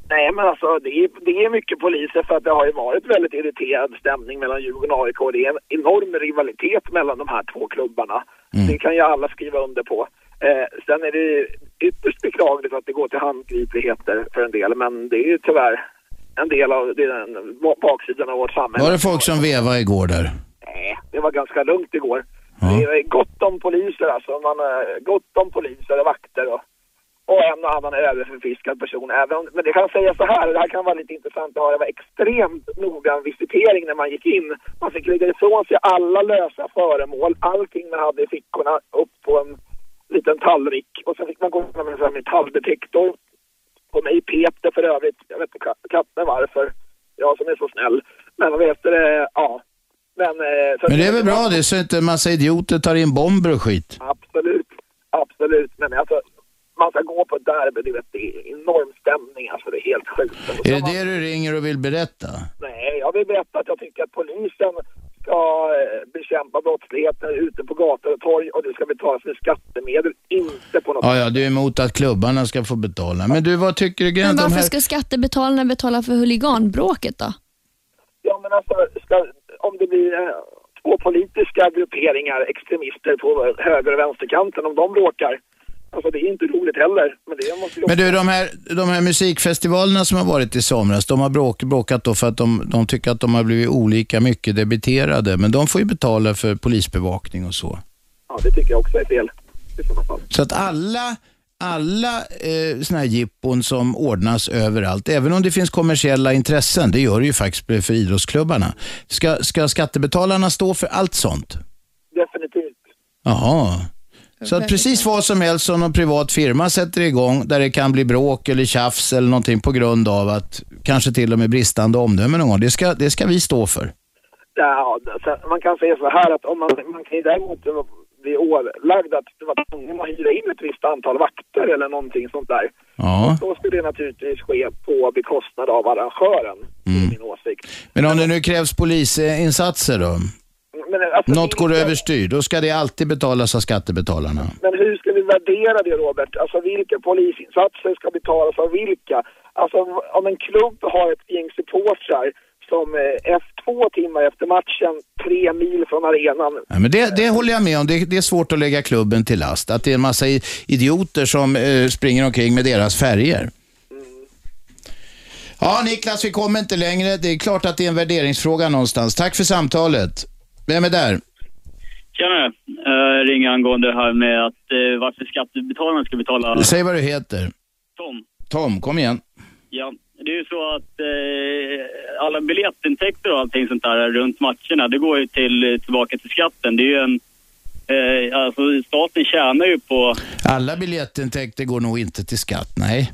Speaker 11: nej men alltså det är, det är mycket poliser för att det har ju varit väldigt irriterad stämning mellan Djurgården och AIK. Det är en enorm rivalitet mellan de här två klubbarna. Det kan ju alla skriva under på. Eh, sen är det ju ytterst beklagligt att det går till handgripligheter för en del, men det är ju tyvärr en del av det är den baksidan av vårt samhälle.
Speaker 2: Var det folk som vevade igår där?
Speaker 11: Nej, det var ganska lugnt igår. Det är gott om poliser alltså. Man, eh, gott om poliser och vakter och, och en och annan överförfiskad person. Även om, men det kan säga så här, och det här kan vara lite intressant att höra. Det var extremt noggrann visitering när man gick in. Man fick lägga ifrån sig alla lösa föremål, allting man hade i fickorna upp på en liten tallrik. Och sen fick man gå med en sån här metalldetektor. På mig pep det för övrigt. Jag vet inte ka- katten varför. Jag som är så snäll. Men vad heter det, ja. Men, eh, så-
Speaker 2: Men det är väl bra det, så inte en massa idioter tar in bomber och skit.
Speaker 11: Absolut, absolut. Men alltså, man ska gå på ett derby, du vet, det är enorm stämning, alltså det är helt sjukt.
Speaker 2: Är det det du ringer och vill berätta?
Speaker 11: Nej, jag vill berätta att jag tycker att polisen ska eh, bekämpa brottsligheten ute på gator och torg och det ska betalas med skattemedel, inte på något
Speaker 2: Ja, ja, du är emot att klubbarna ska få betala. Men du, vad tycker du?
Speaker 4: Men
Speaker 2: de
Speaker 4: varför
Speaker 2: här-
Speaker 4: ska skattebetalarna betala för huliganbråket då?
Speaker 11: Ja, men alltså, ska, om det blir eh, två politiska grupperingar, extremister på höger och vänsterkanten, om de bråkar, alltså det är inte roligt heller. Men det måste ju
Speaker 2: Men du, de här, de här musikfestivalerna som har varit i somras, de har bråk, bråkat då för att de, de tycker att de har blivit olika mycket debiterade. Men de får ju betala för polisbevakning och så.
Speaker 11: Ja, det tycker jag också är fel. I sådana fall.
Speaker 2: Så att alla, alla eh, såna här jippon som ordnas överallt, även om det finns kommersiella intressen, det gör det ju faktiskt för idrottsklubbarna, ska, ska skattebetalarna stå för allt sånt?
Speaker 11: Definitivt.
Speaker 2: Jaha. Så att precis vad som helst som någon privat firma sätter igång där det kan bli bråk eller tjafs eller någonting på grund av att kanske till och med bristande omdöme någon gång, det ska, det ska vi stå för.
Speaker 11: Ja, så man kan säga så här att om man, man kan ju däremot bli ålagd att du var tvungen att hyra in ett visst antal vakter eller någonting sånt där.
Speaker 2: Ja.
Speaker 11: Då skulle det naturligtvis ske på bekostnad av arrangören,
Speaker 2: Mm.
Speaker 11: det är min åsikt.
Speaker 2: Men om det nu krävs polisinsatser då?
Speaker 11: Men, alltså,
Speaker 2: Något går överstyr, då ska det alltid betalas av skattebetalarna.
Speaker 11: men hur ska vi värdera det Robert? Alltså vilka polisinsatser ska betalas av vilka? Alltså om en klubb har ett gäng supportrar som eh, efter två timmar efter matchen, tre mil från arenan,
Speaker 2: Ja, men det, det håller jag med om. Det, det är svårt att lägga klubben till last. Att det är en massa i- idioter som eh, springer omkring med deras färger. Ja, Niklas, vi kommer inte längre. Det är klart att det är en värderingsfråga någonstans. Tack för samtalet. Vem är där?
Speaker 12: Tjena, uh, ring angående det här med att eh, varför skattebetalarna ska betala.
Speaker 2: Säg vad du heter.
Speaker 12: Tom.
Speaker 2: Tom, kom igen.
Speaker 12: Ja, det är ju så att eh, alla biljettintäkter och allting sånt där runt matcherna, det går ju till, eh, tillbaka till skatten. Det är ju en... Eh, alltså staten tjänar ju på...
Speaker 2: Alla biljettintäkter går nog inte till skatt, nej.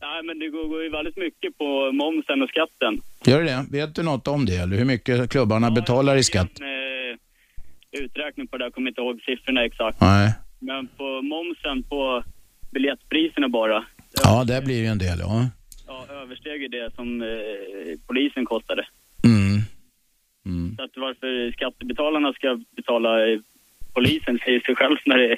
Speaker 12: Nej, men det går, går ju väldigt mycket på momsen och skatten.
Speaker 2: Gör det det? Vet du något om det? Eller hur mycket klubbarna betalar i skatt?
Speaker 12: Eh, uträkning på det, jag kommer inte ihåg siffrorna exakt.
Speaker 2: Nej.
Speaker 12: Men på momsen på biljettpriserna bara,
Speaker 2: Ja, där blir ju en del, ja.
Speaker 12: ja, översteg ju det som eh, polisen kostade.
Speaker 2: Mm.
Speaker 12: Så att varför skattebetalarna ska betala eh, polisen säger sig själv när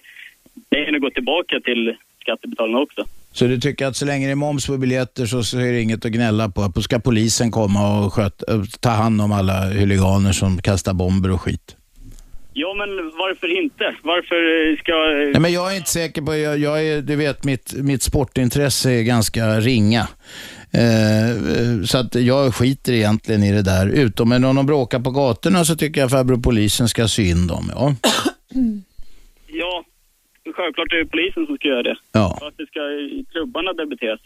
Speaker 12: det är att gå tillbaka till skattebetalarna också.
Speaker 2: Så du tycker att så länge det är moms på biljetter så, så är det inget att gnälla på? Då ska eh, polisen komma och sköta, ta hand om alla huliganer som kastar bomber och skit?
Speaker 12: Ja, men varför inte? Varför eh, ska...
Speaker 2: Nej, men jag är inte säker på, jag, jag är, du vet mitt, mitt sportintresse är ganska ringa. Eh, eh, så att jag skiter egentligen i det där. Utom men om de bråkar på gatorna så tycker jag farbror polisen ska sy in dem. Ja.
Speaker 12: Ja, självklart är det polisen som ska göra det.
Speaker 2: Ja.
Speaker 12: Varför ska eh, klubbarna debiteras?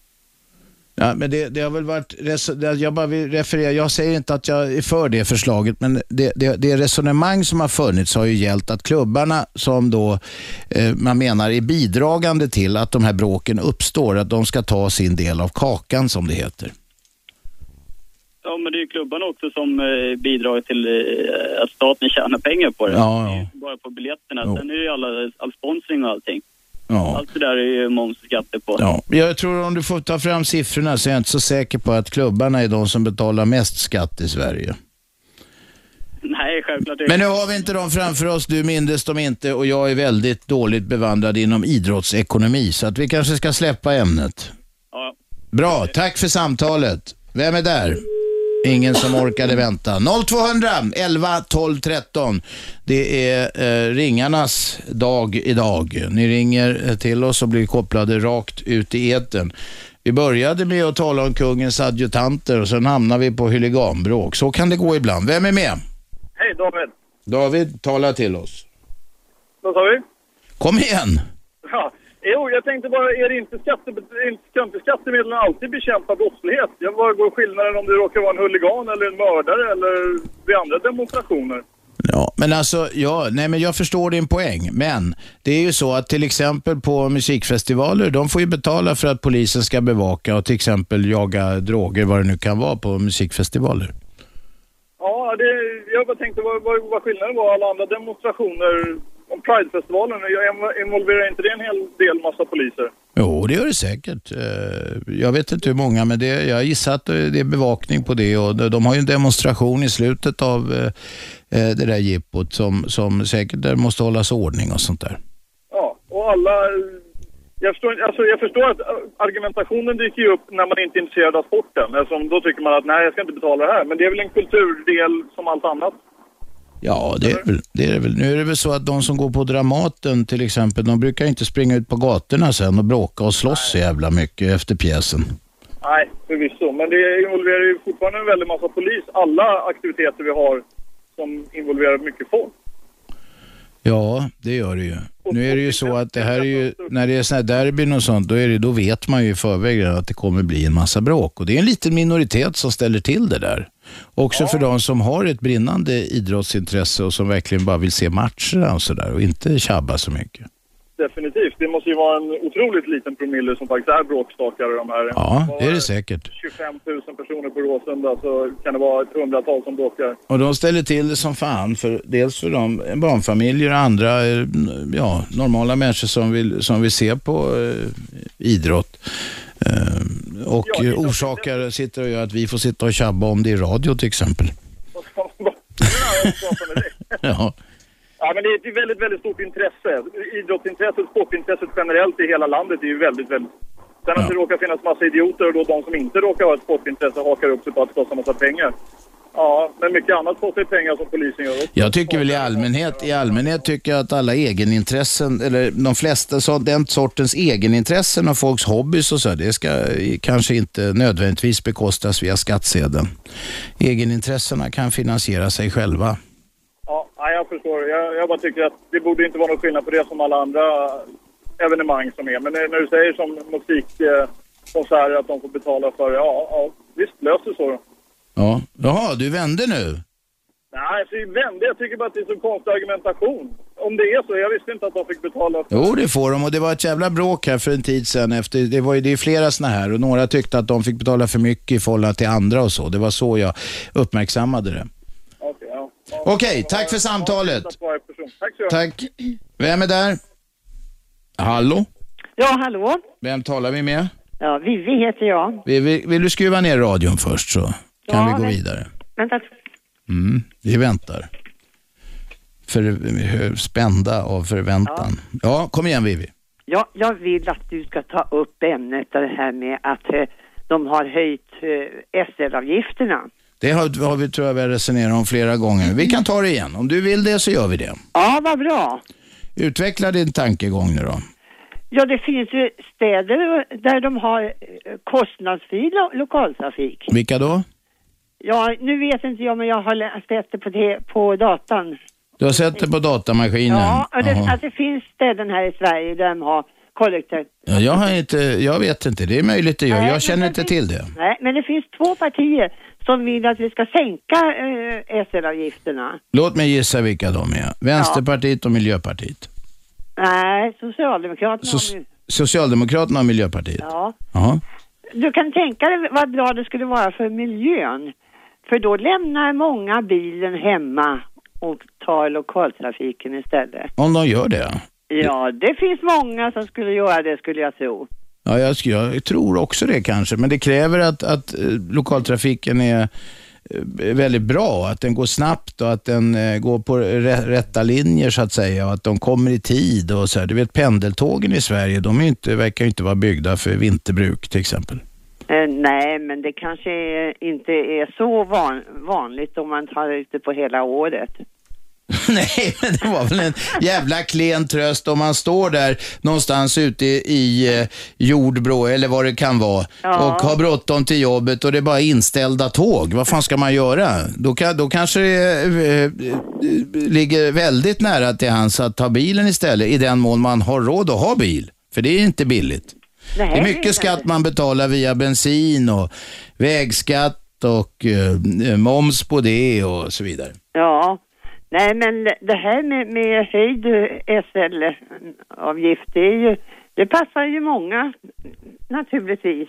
Speaker 2: Ja, men det, det har väl varit, res- det- jag bara vill referera, jag säger inte att jag är för det förslaget, men det, det, det resonemang som har funnits har ju gällt att klubbarna som då eh, man menar är bidragande till att de här bråken uppstår, att de ska ta sin del av kakan som det heter.
Speaker 12: Ja, men det är ju klubbarna också som eh, bidrar till eh, att staten tjänar pengar på det.
Speaker 2: Ja, ja.
Speaker 12: Det är ju inte bara på biljetterna.
Speaker 2: Jo.
Speaker 12: Sen är det ju alla, all sponsring och allting.
Speaker 2: Ja.
Speaker 12: Allt det där är ju moms och skatter på.
Speaker 2: Ja, jag tror om du får ta fram siffrorna så är jag inte så säker på att klubbarna är de som betalar mest skatt i Sverige.
Speaker 12: Nej, självklart.
Speaker 2: Men nu har vi inte dem framför oss, du mindes dem inte och jag är väldigt dåligt bevandrad inom idrottsekonomi så att vi kanske ska släppa ämnet. Bra, tack för samtalet. Vem är där? Ingen som orkade vänta. 0200 11 12 13. Det är eh, ringarnas dag idag. Ni ringer eh, till oss och blir kopplade rakt ut i etern. Vi började med att tala om kungens adjutanter och sen hamnar vi på huliganbråk. Så kan det gå ibland. Vem är med?
Speaker 13: Hej David!
Speaker 2: David, tala till oss.
Speaker 13: Vad sa vi?
Speaker 2: Kom igen!
Speaker 13: Ja, jo, jag tänkte bara, är det inte, skatte, är inte ska inte skattemedlen alltid bekämpa brottslighet? Jag bara går skillnaden om du råkar vara en huligan eller en mördare eller vid andra demonstrationer.
Speaker 2: Ja, men alltså, ja, nej, men jag förstår din poäng, men det är ju så att till exempel på musikfestivaler, de får ju betala för att polisen ska bevaka och till exempel jaga droger, vad det nu kan vara på musikfestivaler.
Speaker 13: Ja, det, jag bara tänkte vad, vad, vad skillnaden var alla andra demonstrationer om Pridefestivalen. Jag inv- involverar inte det en hel del massa poliser?
Speaker 2: Jo, det gör det säkert. Eh, Jag vet inte hur många, men det, jag gissar att det är bevakning på det. Och de de har ju en demonstration i slutet av eh, eh, det där jippot som, som säkert där måste hållas ordning och sånt där.
Speaker 13: Ja, och alla... Jag förstår, inte- alltså jag förstår att äh, argumentationen dyker ju upp när man inte är intresserad av sporten. Eftersom då tycker man att nej, jag ska inte betala det här. Men det är väl en kulturdel som allt annat.
Speaker 2: Ja, det är, väl, det är det väl. Nu är det väl så att de som går på Dramaten till exempel, de brukar inte springa ut på gatorna sen och bråka och slåss så jävla mycket efter pjäsen.
Speaker 13: Nej, förvisso. Men det involverar ju fortfarande en väldig massa polis. Alla aktiviteter vi har som involverar mycket folk.
Speaker 2: Ja, det gör det ju. Nu är det ju så att det här är ju, när det är sådana här derbyn och sånt, då, är det, då vet man ju i förväg redan att det kommer bli en massa bråk. Och det är en liten minoritet som ställer till det där. Också för de som har ett brinnande idrottsintresse och som verkligen bara vill se matcherna och sådär och inte tjabba så mycket.
Speaker 13: Definitivt. Det måste ju vara en otroligt liten promille som faktiskt är bråkstakare de här.
Speaker 2: Ja, det är det säkert.
Speaker 13: 25 000 personer på Råsunda så kan det vara ett hundratal som bråkar.
Speaker 2: Och de ställer till det som fan, för, dels för de barnfamiljer och andra eh, ja, normala människor som vill, som vill se på eh, idrott. Eh, och eh, orsakar sitter och gör att vi får sitta och tjabba om det i radio till exempel. ja.
Speaker 13: Ja, men det är ett väldigt, väldigt stort intresse. Idrottsintresset, sportintresset generellt i hela landet är ju väldigt, väldigt... Sen att det råkar finnas massa idioter och då de som inte råkar ha ett sportintresse hakar upp sig på att kosta massa pengar. Ja, men mycket annat kostar ju pengar som polisen gör också.
Speaker 2: Jag tycker väl i allmänhet, i allmänhet tycker jag att alla egenintressen, eller de flesta så, den sortens egenintressen och folks hobbys och så, det ska eh, kanske inte nödvändigtvis bekostas via skattsedeln. Egenintressena kan finansiera sig själva.
Speaker 13: Ja, nej, jag förstår. Jag, jag bara tycker att det borde inte vara någon skillnad på det som alla andra evenemang som är. Men när när du säger som musikkonserter att de får betala för det, ja, ja visst, lös det så då.
Speaker 2: Ja, jaha, du vände nu?
Speaker 13: Nej, så vände. Jag tycker bara att det är så konstig argumentation. Om det är så, jag visste inte att de fick betala för
Speaker 2: Jo, det får de och det var ett jävla bråk här för en tid sedan. Efter, det, var ju, det är flera sådana här och några tyckte att de fick betala för mycket i förhållande till andra och så. Det var så jag uppmärksammade det.
Speaker 13: Okej, ja.
Speaker 2: Okej, tack för samtalet.
Speaker 13: Tack så mycket.
Speaker 2: Tack. Vem är där? Hallå?
Speaker 14: Ja, hallå?
Speaker 2: Vem talar vi med?
Speaker 14: Ja, Vivi heter jag.
Speaker 2: Vill, vill, vill du skruva ner radion först så kan vi gå vidare?
Speaker 14: Vänta.
Speaker 2: Mm, vi väntar. För, spända av förväntan. Ja, kom igen Vivi.
Speaker 14: Ja, jag vill att du ska ta upp ämnet det här med att eh, de har höjt eh, SL-avgifterna.
Speaker 2: Det har, har vi, tror jag vi har resonerat om flera gånger. Vi kan ta det igen. Om du vill det så gör vi det.
Speaker 14: Ja, vad bra.
Speaker 2: Utveckla din tankegång nu då.
Speaker 14: Ja, det finns ju städer där de har eh, kostnadsfri lo- lokaltrafik.
Speaker 2: Vilka då?
Speaker 14: Ja, nu vet inte jag, men jag har lä- sett det på, te- på datan.
Speaker 2: Du har sett det på datamaskinen?
Speaker 14: Ja, och det,
Speaker 2: Jaha.
Speaker 14: att det finns ställen här i Sverige där de har kollektiv.
Speaker 2: Ja, jag, har inte, jag vet inte, det är möjligt det gör. Jag känner inte till det.
Speaker 14: Nej, men det finns två partier som vill att vi ska sänka eh, SL-avgifterna.
Speaker 2: Låt mig gissa vilka de är. Vänsterpartiet och Miljöpartiet.
Speaker 14: Nej, Socialdemokraterna har ju-
Speaker 2: Socialdemokraterna och Miljöpartiet.
Speaker 14: Ja.
Speaker 2: Jaha.
Speaker 14: Du kan tänka dig vad bra det skulle vara för miljön. För då lämnar många bilen hemma och tar lokaltrafiken istället.
Speaker 2: Om de gör det.
Speaker 14: Ja, det finns många som skulle göra det skulle jag tro.
Speaker 2: Ja, jag, sk- jag tror också det kanske, men det kräver att, att eh, lokaltrafiken är eh, väldigt bra, att den går snabbt och att den eh, går på rä- rätta linjer så att säga och att de kommer i tid och så här. Du vet pendeltågen i Sverige, de är ju inte, verkar ju inte vara byggda för vinterbruk till exempel.
Speaker 14: Eh, nej, men det kanske är, inte är så van, vanligt om man tar ut det på hela året.
Speaker 2: Nej, men det var väl en jävla klen tröst om man står där någonstans ute i eh, Jordbro eller vad det kan vara och har bråttom till jobbet och det är bara inställda tåg. Vad fan ska man göra? Då, kan, då kanske det eh, eh, ligger väldigt nära till hans att ta bilen istället i den mån man har råd att ha bil. För det är inte billigt.
Speaker 14: Nej,
Speaker 2: det är mycket skatt man betalar via bensin och vägskatt och eh, moms på det och så vidare.
Speaker 14: Ja, nej men det här med, med höjd SL-avgift, det, är ju, det passar ju många naturligtvis.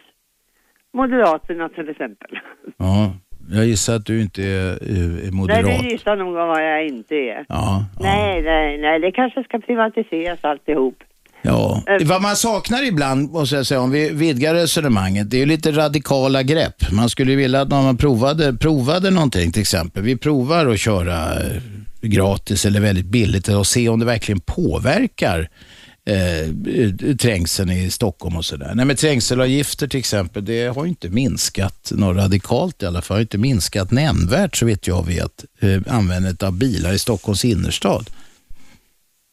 Speaker 14: Moderaterna till exempel.
Speaker 2: Ja, jag gissar att du inte är, eh, är moderat.
Speaker 14: Nej, du gissar nog vad jag inte är.
Speaker 2: Ja,
Speaker 14: Nej, nej, nej, det kanske ska privatiseras alltihop.
Speaker 2: ja. Vad man saknar ibland, måste jag säga, om vi vidgar resonemanget, det är ju lite radikala grepp. Man skulle ju vilja att man provade, provade någonting till exempel. Vi provar att köra eh, gratis eller väldigt billigt och se om det verkligen påverkar eh, trängseln i Stockholm och sådär. Nej men trängselavgifter till exempel, det har ju inte minskat något radikalt i alla fall. Det har inte minskat nämnvärt så vitt jag vet, eh, användandet av bilar i Stockholms innerstad.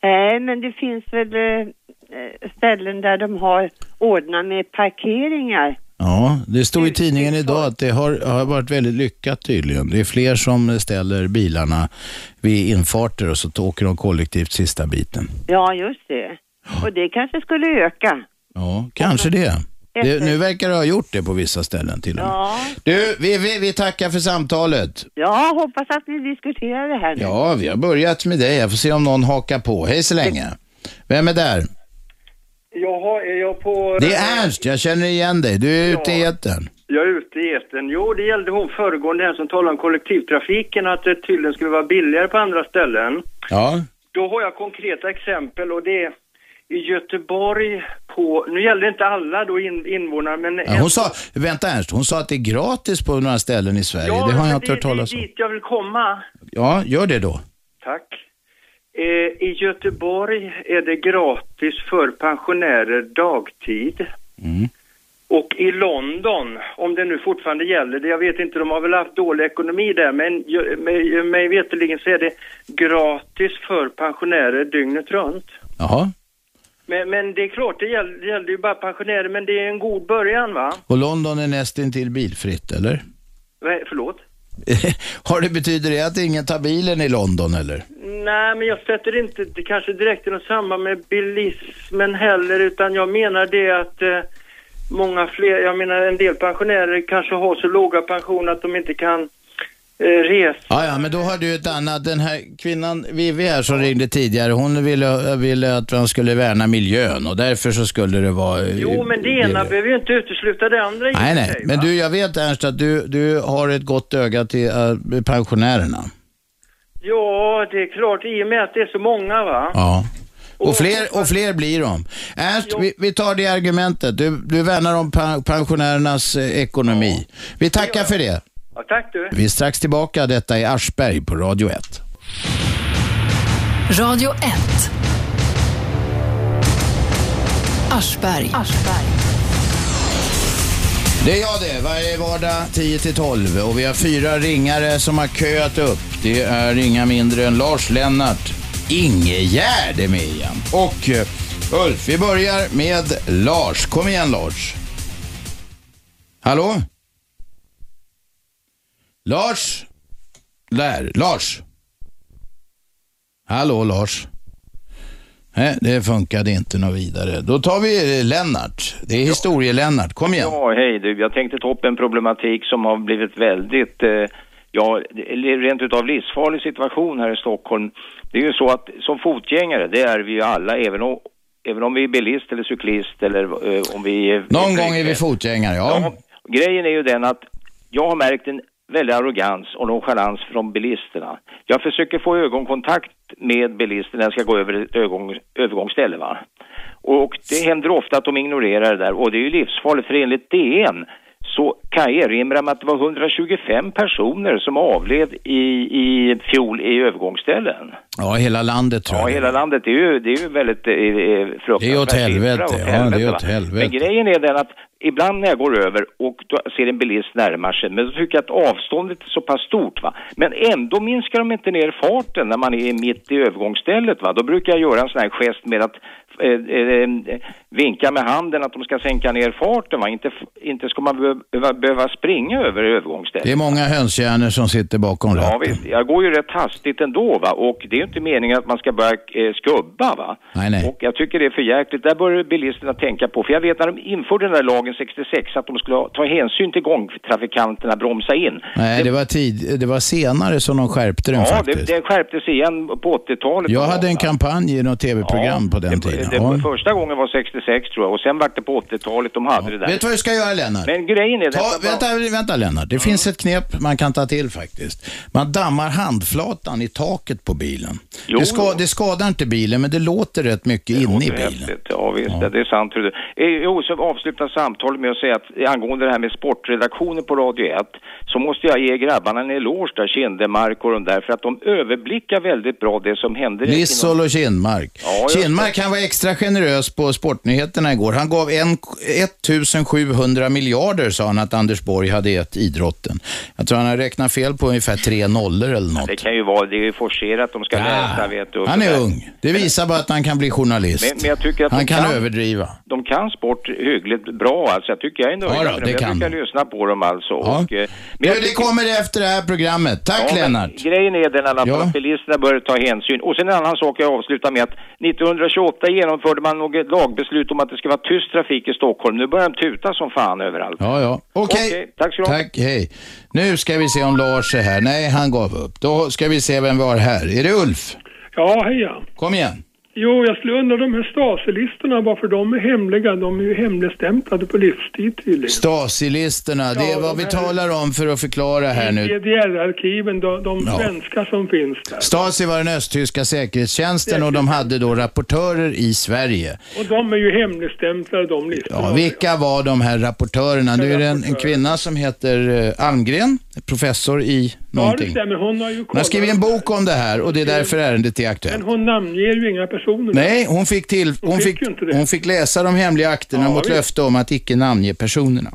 Speaker 14: Nej, men det finns väl eh, eh, ställen där de har ordnat med parkeringar.
Speaker 2: Ja, det stod i tidningen idag att det har, har varit väldigt lyckat tydligen. Det är fler som ställer bilarna vid infarter och så åker de kollektivt sista biten.
Speaker 14: Ja, just det. Och det kanske skulle öka.
Speaker 2: Ja, kanske det. det nu verkar det ha gjort det på vissa ställen till och med.
Speaker 14: Ja,
Speaker 2: Du, vi, vi, vi tackar för samtalet.
Speaker 14: jag hoppas att ni diskuterar det här nu.
Speaker 2: Ja, vi har börjat med dig. Jag får se om någon hakar på. Hej så länge. Vem är där?
Speaker 15: Jaha, är jag på...
Speaker 2: Det är Ernst, jag känner igen dig. Du är ute i etern.
Speaker 15: Jag är ute i etern. Jo, det gällde hon föregående här som talade om kollektivtrafiken, att det tydligen skulle vara billigare på andra ställen.
Speaker 2: Ja.
Speaker 15: Då har jag konkreta exempel och det är i Göteborg på, nu gällde inte alla då in, invånare, men...
Speaker 2: Ja, Hon sa, vänta Ernst, hon sa att det är gratis på några ställen i Sverige. det har
Speaker 15: men
Speaker 2: jag inte hört talas
Speaker 15: Det är
Speaker 2: om.
Speaker 15: dit jag vill komma.
Speaker 2: Ja, gör det då.
Speaker 15: Tack. Eh, I Göteborg är det gratis för pensionärer dagtid. Och i London, om det nu fortfarande gäller, det jag vet inte, de har väl haft dålig ekonomi där, men ju- mig- mig veterligen så är det gratis för pensionärer dygnet runt.
Speaker 2: Jaha.
Speaker 15: Men, men det är klart, det gällde, det gällde ju bara pensionärer, men det är en god början va?
Speaker 2: Och London är nästintill bilfritt, eller?
Speaker 15: Nej, Förlåt?
Speaker 2: Har det betyder det att ingen tar bilen i London, eller?
Speaker 15: Nej, men jag sätter inte det kanske direkt i något samband med bilismen heller, utan jag menar det att eh, många fler, jag menar en del pensionärer kanske har så låga pensioner att de inte kan eh, resa.
Speaker 2: Ja, ja, men då har du ett annat. Den här kvinnan, Vivi här, som ringde tidigare, hon ville, ville att man skulle värna miljön och därför så skulle det vara... eh,
Speaker 15: Jo, men det ena behöver ju inte utesluta det andra. i och
Speaker 2: Nej,
Speaker 15: för
Speaker 2: nej.
Speaker 15: sig,
Speaker 2: Men
Speaker 15: va?
Speaker 2: du, jag vet Ernst att du, du har ett gott öga till eh, pensionärerna.
Speaker 15: Ja, det är klart, i och med att det är så många va.
Speaker 2: Ja. Och fler, och fler blir de. Ernst, vi, vi tar det argumentet. Du, du värnar om pe- pensionärernas eh, ekonomi. Vi tackar för det.
Speaker 15: Ja, tack du.
Speaker 2: Vi är strax tillbaka. Detta är Aschberg på Radio 1.
Speaker 1: Radio 1. Aschberg. Aschberg.
Speaker 2: Det är jag det, varje vardag 10 till 12 och vi har fyra ringare som har köat upp. Det är inga mindre än Lars Lennart, Ingegärd är med igen och eh, Ulf. Vi börjar med Lars. Kom igen Lars. Hallå? Lars? Där, Lars. Hallå Lars. Nej, det funkade inte något vidare. Då tar vi eh, Lennart. Det är historie-Lennart. Kom igen.
Speaker 16: Ja, hej du. Jag tänkte ta upp en problematik som har blivit väldigt, eh, ja, eller rent utav livsfarlig situation här i Stockholm. Det är ju så att som fotgängare, det är vi ju alla, även om, även om vi är bilist eller cyklist eller eh, om vi... är-
Speaker 2: Någon gång är vi fotgängare, ja.
Speaker 16: Grejen är ju den att jag har märkt en väldig arrogans och nonchalans från bilisterna. Jag försöker få ögonkontakt med bilisterna när jag ska gå över ett övergång, övergångsställe. Va? Och det händer ofta att de ignorerar det där och det är ju livsfarligt för enligt DN så kan jag erinra mig att det var 125 personer som avled i, i fjol i övergångsställen.
Speaker 2: Ja, hela landet tror
Speaker 16: Ja,
Speaker 2: jag.
Speaker 16: hela landet. Det är ju, det är ju väldigt eh, eh, fruktansvärt.
Speaker 2: Det är åt helvete,
Speaker 16: Siffra, åt
Speaker 2: ja, det är åt
Speaker 16: va.
Speaker 2: helvete.
Speaker 16: Men grejen är den att ibland när jag går över och då ser en bilist närma sig, men då tycker jag att avståndet är så pass stort va. Men ändå minskar de inte ner farten när man är mitt i övergångsstället va. Då brukar jag göra en sån här gest med att eh, eh, vinka med handen att de ska sänka ner farten va. Inte, f- inte ska man behöva, behöva springa över övergångsstället.
Speaker 2: Det är många hönshjärnor som sitter bakom
Speaker 16: Ja,
Speaker 2: ratten.
Speaker 16: visst. Jag går ju rätt hastigt ändå va och det är ju inte meningen att man ska börja eh, skubba va.
Speaker 2: Nej, nej.
Speaker 16: Och jag tycker det är för jäkligt. Där bör bilisterna tänka på. För jag vet när de införde den där lagen 66 att de skulle ha- ta hänsyn till gångtrafikanterna, bromsa in.
Speaker 2: Nej, det var, tid, det var senare som de skärpte den
Speaker 16: Ja,
Speaker 2: faktiskt.
Speaker 16: det, det skärptes igen på 80-talet.
Speaker 2: Jag hade en kampanj i något tv-program på den tiden.
Speaker 16: Det,
Speaker 2: Ja.
Speaker 16: Första gången var 66 tror jag och sen var det på 80-talet de hade det där.
Speaker 2: Vet du vad du ska göra Lennart?
Speaker 16: Men grejen är...
Speaker 2: Ta, vänta, vänta Lennart, det
Speaker 16: Mm.
Speaker 2: finns ett knep man kan ta till faktiskt. Man dammar handflatan i taket på bilen.
Speaker 16: Jo,
Speaker 2: det, ska, det skadar inte bilen, men det låter rätt mycket inne i bilen.
Speaker 16: Häftigt. Ja, visst. Det är sant. Tror du. Eh, Jo, så avsluta samtalet med att säga att eh, angående det här med sportredaktionen på Radio 1 så måste jag ge grabbarna en eloge där, Kindemark och de där, för att de överblickar väldigt bra det som hände.
Speaker 2: Lissol och Kinmark.
Speaker 16: just det.
Speaker 2: Kinmark han var extra generös på Sportnyheterna igår. Han gav en, 1700 miljarder sa han att Anders Borg hade gett idrotten. Jag tror han har räknat fel på ungefär tre nollor eller något.
Speaker 16: Det kan ju vara, det är ju forcerat, de ska läsa, vet du. och
Speaker 2: Han är
Speaker 16: sådär.
Speaker 2: ung. Det visar bara att han kan bli journalist.
Speaker 16: Men- men jag tycker att
Speaker 2: han
Speaker 16: de
Speaker 2: kan,
Speaker 16: kan-
Speaker 2: överdriva.
Speaker 16: De kan sport hyggligt bra, alltså. Jag tycker jag är nöjd.
Speaker 2: Ja då,
Speaker 16: med dem.
Speaker 2: det
Speaker 16: jag
Speaker 2: kan
Speaker 16: brukar lyssna på dem alltså. Och, eh, men
Speaker 2: Du,
Speaker 16: jag
Speaker 2: det
Speaker 16: tycker-
Speaker 2: kommer efter det här programmet. Tack
Speaker 16: Ja, men
Speaker 2: Lennart.
Speaker 16: Grejen är den i alla fall
Speaker 2: Ja.
Speaker 16: att bilisterna bör ta hänsyn. Och sen en annan sak jag avslutar med att 1928 genomförde man något lagbeslut om att det ska vara tyst trafik i Stockholm. Nu börjar de tuta som fan överallt.
Speaker 2: Ja, ja. Okej.
Speaker 16: tack ska du ha.
Speaker 2: Tack, hej. Nu ska vi se om Lars är här. Nej, han gav upp. Då ska vi se vem vi har här. Är det Ulf?
Speaker 17: Ja, hej ja.
Speaker 2: Kom igen.
Speaker 17: Jo, jag skulle undra de här Stasi-listorna, varför de är hemliga. De är ju hemligstämplade på livstid tydligen.
Speaker 2: Stasi-listorna, det är
Speaker 17: Ja,
Speaker 2: vad
Speaker 17: de
Speaker 2: vi
Speaker 17: här-
Speaker 2: talarna om för att förklara här nu.
Speaker 17: DDR-arkiven, de, de
Speaker 2: Ja.
Speaker 17: svenska som finns där.
Speaker 2: Stasi var den östtyska säkerhetstjänsten och de hade då rapportörer i Sverige.
Speaker 17: Och de är ju hemligstämplade de listorna.
Speaker 2: Ja, vilka var de här rapportörerna? Nu är det en, en kvinna som heter eh, Almgren, professor i
Speaker 17: Ja, det
Speaker 2: någonting.
Speaker 17: stämmer. Hon har ju
Speaker 2: Hon har
Speaker 17: kollat.
Speaker 2: skrivit en bok om det här och det är därför ärendet är aktuellt.
Speaker 17: Men hon namnger ju inga personer.
Speaker 2: Nej, hon fick, till, hon
Speaker 17: fick
Speaker 2: fick,
Speaker 17: ju inte det.
Speaker 2: hon fick läsa de hemliga akterna
Speaker 17: Ja,
Speaker 2: mot
Speaker 17: visst.
Speaker 2: löfte om att icke namnge personerna.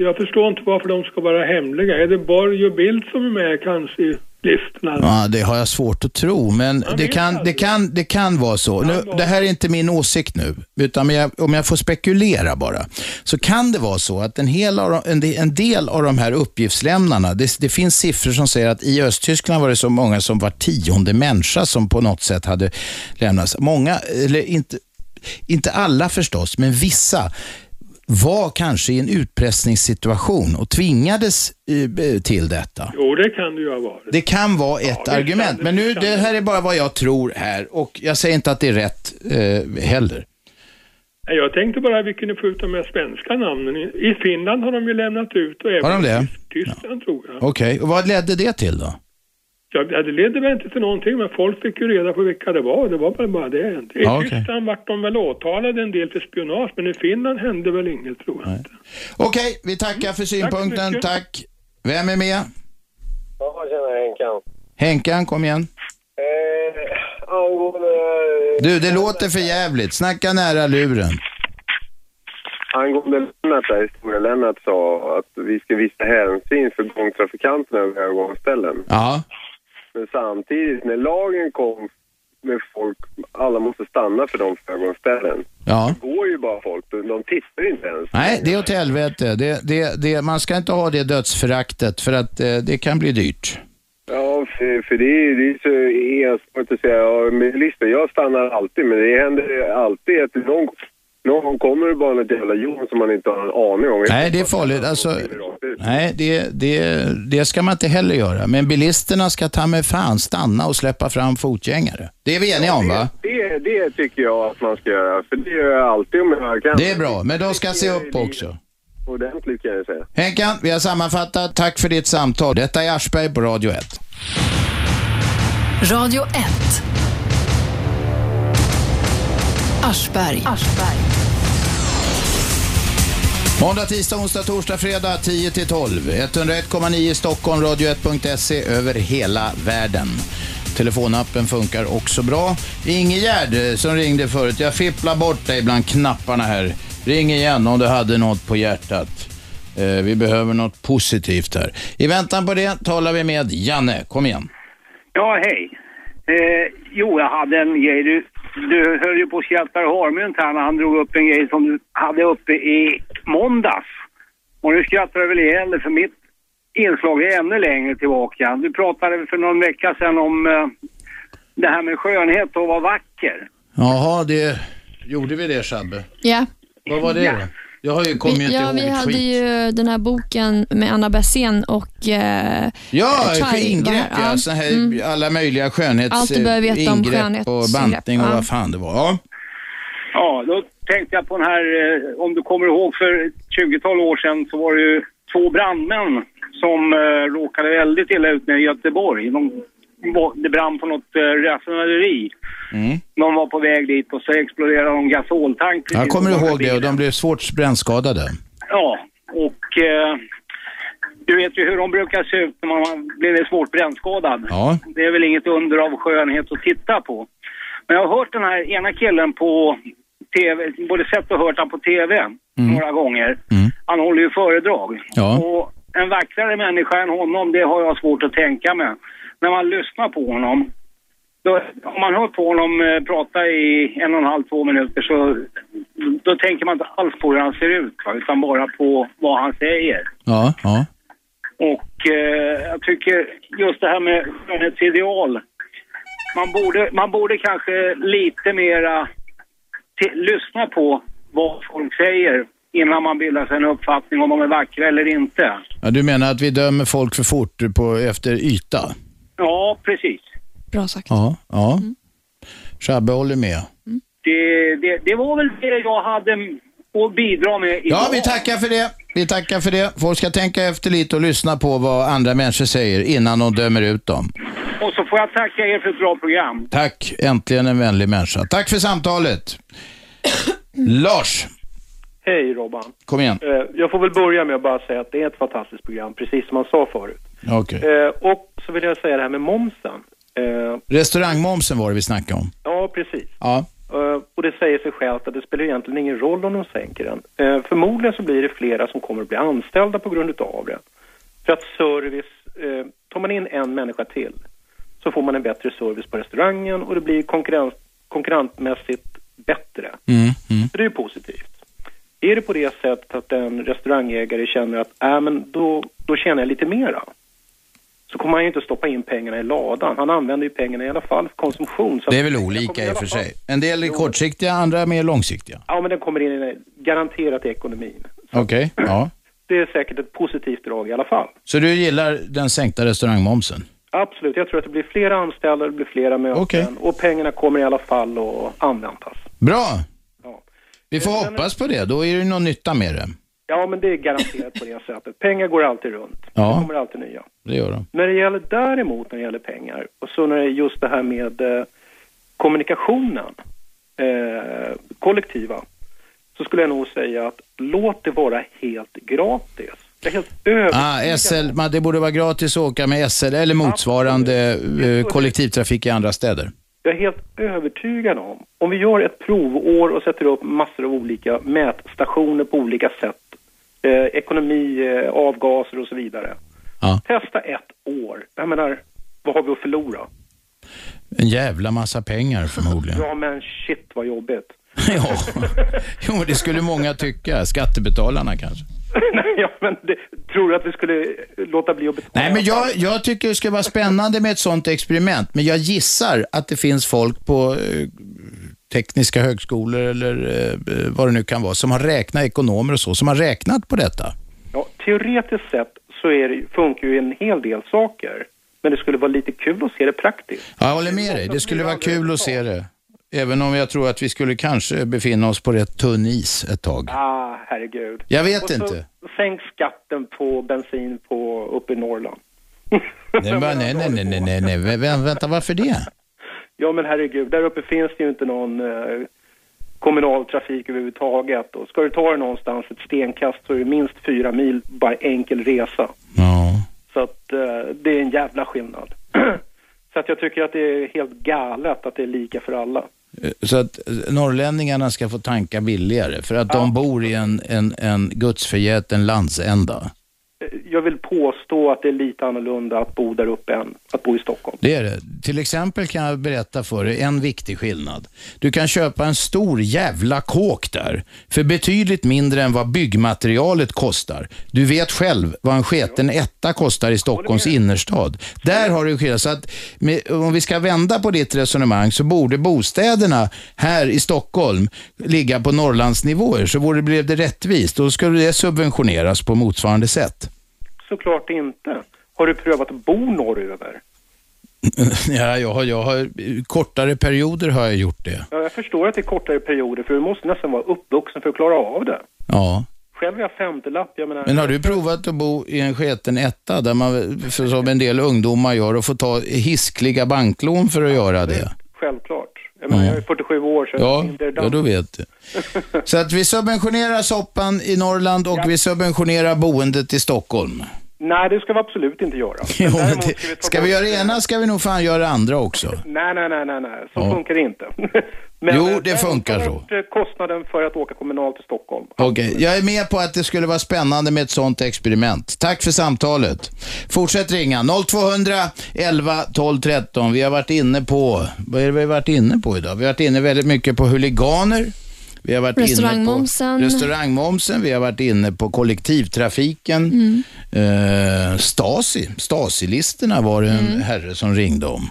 Speaker 17: Jag förstår inte varför de ska vara hemliga. Är det Borg och Bildt som är med kanske i listorna?
Speaker 2: Ja, det har jag svårt att tro, men det kan, det, kan, det kan vara så. Nu, det här är inte min åsikt nu, utan om jag, om jag får spekulera bara, så kan det vara så att en, hel av, de- en, de- en del av de här uppgiftslämnarna, det, det finns siffror som säger att i Östtyskland var det så många som var tionde människa som på något sätt hade lämnats. Många, eller inte, inte alla förstås, men vissa var kanske i en utpressningssituation och tvingades eh, till detta.
Speaker 17: Jo, det kan det ju ha varit.
Speaker 2: Det kan vara ett argument, men nu, det här är bara vad jag tror här och jag säger inte att det är rätt eh, heller.
Speaker 17: Nej, Jag tänkte bara vi kunde få ut de här svenska namnen. I- I Finland har de ju lämnat ut och även
Speaker 2: Har de det?
Speaker 17: i Tyskland tror jag.
Speaker 2: Okej, och vad ledde det till då?
Speaker 17: Ja, det ledde väl inte till någonting, men folk fick ju reda på vilka det var. Det var bara, bara det. I
Speaker 2: Ja, okej.
Speaker 17: Tyskland vart de väl åtalade en del för spionage, men i Finland hände väl inget tror jag. inte. Mm.
Speaker 2: Okej, vi tackar för synpunkten, tack.
Speaker 17: mycket.
Speaker 2: Vem är med?
Speaker 18: Ja, tjena Henkan.
Speaker 2: Henkan, kom igen.
Speaker 18: Eh, angående,
Speaker 2: Du, det låter för jävligt. Snacka nära luren.
Speaker 18: angående Lennart Lennart där, stora Lennart, sa att vi ska visa hänsyn för gångtrafikanterna vid övergångsställen.
Speaker 2: Ja.
Speaker 18: Men samtidigt, när lagen kom med folk, alla måste stanna för de övergångsställen.
Speaker 2: Ja.
Speaker 18: Det går ju bara folk, de de tittar inte ens.
Speaker 2: Nej, det är åt helvete. Det, det, det, man ska inte ha det dödsföraktet för att eh, det kan bli dyrt.
Speaker 18: Ja, för, för det är det är så ensvårt att säga. Ja, men lyssna, jag stannar alltid, men det händer alltid att någon, någon kommer bara något jävla jon som man inte har en aning om.
Speaker 2: Nej, det är farligt. Alltså, nej, det, det, det ska man inte heller göra. Men bilisterna ska ta med fan stanna och släppa fram fotgängare. Det är vi eniga om va?
Speaker 18: Det, det tycker jag att man ska göra, för det gör jag alltid om jag kan.
Speaker 2: Det är bra, men de ska se upp också.
Speaker 18: Ordentligt kan jag säga.
Speaker 2: Henkan, vi har sammanfattat. Tack för ditt samtal. Detta är Aschberg på Radio 1.
Speaker 1: Radio 1. Aschberg.
Speaker 2: Måndag, tisdag, onsdag, torsdag, fredag 10 till 12. 101,9 i Stockholm, radio1.se över hela världen. Telefonappen funkar också bra. Ingegärd eh, som ringde förut, jag fipplar bort dig bland knapparna här. Ring igen om du hade något på hjärtat. Eh, vi behöver något positivt här. I väntan på det talar vi med Janne. Kom igen.
Speaker 19: Ja, hej. Eh, jo, jag hade en grej. Du, du höll ju på att skratta och harmynt här när han drog upp en grej som du hade uppe i måndags. Och nu skrattar du väl ihjäl dig, för mitt inslag är ännu längre tillbaka. Du pratade för någon vecka sedan om eh, det här med skönhet och att vara vacker.
Speaker 2: Jaha, det... Gjorde vi det, Shabbe?
Speaker 4: Ja.
Speaker 2: Vad var det
Speaker 4: Ja.
Speaker 2: då? Jag har ju kommit inte
Speaker 4: ja,
Speaker 2: ihåg
Speaker 4: vi
Speaker 2: ett
Speaker 4: hade
Speaker 2: skit.
Speaker 4: ju den här boken med Anna Bessén och... Eh,
Speaker 2: Ja,
Speaker 4: Chai var här.
Speaker 2: ingrepp ja.
Speaker 4: Ja. Mm.
Speaker 2: Såna här, Alla möjliga skönhets...
Speaker 4: Allt du behöver veta om
Speaker 2: ingrepp och
Speaker 4: skönhetsingrepp,
Speaker 2: bantning och
Speaker 4: ja.
Speaker 2: vad fan det var. Ja.
Speaker 19: Ja, då tänkte jag på den här, eh, om du kommer ihåg för ett 20-tal år sedan så var det ju två brandmän som eh, råkade väldigt illa ut nere i Göteborg. De, var- det brann på något eh, raffinaderi.
Speaker 2: Mm.
Speaker 19: De var på väg dit och så exploderade de gasoltank. precis
Speaker 2: Jag kommer
Speaker 19: som
Speaker 2: ihåg det och de blev svårt brännskadade.
Speaker 19: Ja, och eh, du vet ju hur de brukar se ut när man blir svårt brännskadad.
Speaker 2: Ja.
Speaker 19: Det är väl inget under av skönhet att titta på. Men jag har hört den här ena killen på TV, både sett och hört han på TV
Speaker 20: Mm.
Speaker 19: några gånger. Han håller ju föredrag.
Speaker 2: Mm. Ja.
Speaker 19: Och en vackrare människa än honom, det har jag svårt att tänka mig. När man lyssnar på honom, då, om man hör på honom eh, prata i en och en halv, två minuter så då tänker man inte alls på hur han ser ut, va, utan bara på vad han säger.
Speaker 2: Ja, ja.
Speaker 19: Och eh, jag tycker just det här med skönhetsideal. Man borde, man borde kanske lite mera ti- lyssna på vad folk säger innan man bildar sig en uppfattning om de är vackra eller inte.
Speaker 2: ja. Du menar att vi dömer folk för fort på, efter yta?
Speaker 19: Ja, precis.
Speaker 4: Bra sagt.
Speaker 2: Ja, ja.
Speaker 4: Mm.
Speaker 2: Shabbe håller med.
Speaker 19: Det, det, det var väl det jag hade m- att bidra med idag.
Speaker 2: Ja, vi tackar för det. Vi tackar för det. Folk ska tänka efter lite och lyssna på vad andra människor säger innan de dömer ut dem.
Speaker 19: Och så får jag tacka er för ett bra program.
Speaker 2: Tack, äntligen en vänlig människa. Tack för samtalet. Lars,
Speaker 21: Hej Robban.
Speaker 2: kom igen.
Speaker 21: Eh, Jag får väl börja med att bara säga att det är ett fantastiskt program, precis som man sa förut.
Speaker 2: Okej.
Speaker 21: Eh, Och så vill jag säga det här med momsen. Eh,
Speaker 2: Restaurangmomsen var det vi snackade om.
Speaker 21: Ja, precis.
Speaker 2: Ja.
Speaker 21: Eh, Och det säger sig självt att det spelar egentligen ingen roll om de sänker den. Eh, Förmodligen så blir det flera som kommer att bli anställda på grund utav det. För att service, eh, tar man in en människa till så får man en bättre service på restaurangen och det blir konkurrens, konkurrensmässigt bättre.
Speaker 2: Mm,
Speaker 21: Så det är ju positivt. Är det på det sättet att en restaurangägare känner att äh, men då, då tjänar jag lite mera så kommer han ju inte stoppa in pengarna i ladan. Han använder ju pengarna i alla fall för konsumtion. Så
Speaker 2: Det är väl
Speaker 21: att-
Speaker 2: olika i och för sig. En del är kortsiktiga, andra är mer långsiktiga.
Speaker 21: Ja, men den kommer in i- garanterat i ekonomin.
Speaker 2: Okej, ja.
Speaker 21: Det är säkert ett positivt drag i alla fall.
Speaker 2: Så du gillar den sänkta restaurangmomsen?
Speaker 21: Absolut, jag tror att det blir flera anställda, det blir flera möten och pengarna kommer i alla fall att användas.
Speaker 2: Bra! Vi
Speaker 21: Eh,
Speaker 2: får hoppas på det, då är det någon nytta med det.
Speaker 21: Ja, men det är garanterat på det sättet. Pengar går alltid runt. Det
Speaker 2: Ja,
Speaker 21: kommer alltid nya.
Speaker 2: det gör de.
Speaker 21: När det gäller däremot när det gäller pengar och så när det är just det här med eh, kommunikationen, eh, kollektiva, så skulle jag nog säga att låt det vara helt gratis. Jag är helt övertygad
Speaker 2: Ah, SL, man, det borde vara gratis att åka med SL eller motsvarande eh, kollektivtrafik i andra städer.
Speaker 21: Jag är helt övertygad om, om vi gör ett provår och sätter upp massor av olika mätstationer på olika sätt eh, ekonomi, eh, avgaser och så vidare. Testa ett år. Jag menar, vad har vi att förlora?
Speaker 2: En jävla massa pengar förmodligen.
Speaker 21: Ja, men shit vad jobbigt.
Speaker 2: ja. Jo, men det skulle många tycka. Skattebetalarna kanske.
Speaker 21: Nej, ja, men det, tror du att vi skulle låta bli att betala?
Speaker 2: Nej, men jag, jag tycker det skulle vara spännande med ett sånt experiment, men jag gissar att det finns folk på eh, tekniska högskolor eller eh, vad det nu kan vara, som har räknat, ekonomer och så, som har räknat på detta.
Speaker 21: Ja, teoretiskt sett så är det, funkar ju en hel del saker. Men det skulle vara lite kul att se det praktiskt.
Speaker 2: Ja, jag håller med dig. Det skulle vara kul att se det. Även om jag tror att vi skulle kanske befinna oss på rätt tunn is ett tag.
Speaker 21: Ah, herregud.
Speaker 2: Jag vet
Speaker 21: och så
Speaker 2: inte.
Speaker 21: Sänk skatten på bensin på, uppe i Norrland.
Speaker 2: Nej, men, nej, nej, nej, nej, nej, nej. Vä- vä- vänta, varför det?
Speaker 21: Ja, men herregud, där uppe finns det ju inte någon eh, kommunal trafik överhuvudtaget. Och ska du ta dig någonstans ett stenkast så är det minst fyra mil bara enkel resa. Så att eh, det är en jävla skillnad. så att jag tycker att det är helt galet att det är lika för alla.
Speaker 2: Eh, Så att eh, norrlänningarna ska få tanka billigare, för att de bor i en, en, en gudsförgäten landsända.
Speaker 21: Eh, Jag vill påstå att det är lite annorlunda att bo där uppe än att bo i Stockholm.
Speaker 2: Det är det. Till exempel kan jag berätta för dig en viktig skillnad. Du kan köpa en stor jävla kåk där, för betydligt mindre än vad byggmaterialet kostar. Du vet själv vad en sketen etta kostar i Stockholms innerstad. Där har du skillnad. Så att, med, om vi ska vända på ditt resonemang så borde bostäderna här i Stockholm ligga på Norrlandsnivåer, så vore, blev det rättvist. Då skulle det subventioneras på motsvarande sätt.
Speaker 21: Såklart inte. Har du prövat att bo norröver?
Speaker 2: Ja, jag har, jag har, kortare perioder har jag gjort det.
Speaker 21: Ja, jag förstår att det är kortare perioder för du måste nästan vara uppvuxen för att klara av det.
Speaker 2: Ja.
Speaker 21: Själv är jag femtelapp, jag menar...
Speaker 2: Men har du provat att bo i en sketen etta, där man, för som en del ungdomar gör, och får ta hiskliga banklån för att göra det?
Speaker 21: Självklart. Jag menar,
Speaker 2: Ja.
Speaker 21: jag är 47 år så
Speaker 2: Mm. Ja,
Speaker 21: jag är
Speaker 2: ja, då vet du. Så att vi subventionerar soppan i Norrland och vi subventionerar boendet i Stockholm.
Speaker 21: Nej, det ska vi absolut inte göra.
Speaker 2: Jo, men det, ska vi göra det ena ska vi nog fan göra det andra också.
Speaker 21: Nej, nej, nej, nej, nej. så
Speaker 2: Ja.
Speaker 21: funkar det inte.
Speaker 2: Jo, det funkar så.
Speaker 21: Det är Kostnaden för att åka kommunalt till Stockholm.
Speaker 2: Okej, jag är med på att det skulle vara spännande med ett sånt experiment. Tack för samtalet. Fortsätt ringa 0200 11 12 13. Vi har varit inne på, vad är det vi har varit inne på idag? Vi har varit inne väldigt mycket på huliganer. Vi har varit
Speaker 4: Restaurangmomsen.
Speaker 2: Inne på restaurangmomsen. Vi har varit inne på kollektivtrafiken.
Speaker 4: Mm.
Speaker 2: Eh, Stasi, Stasi-listorna var det en
Speaker 4: Mm.
Speaker 2: herre som ringde om.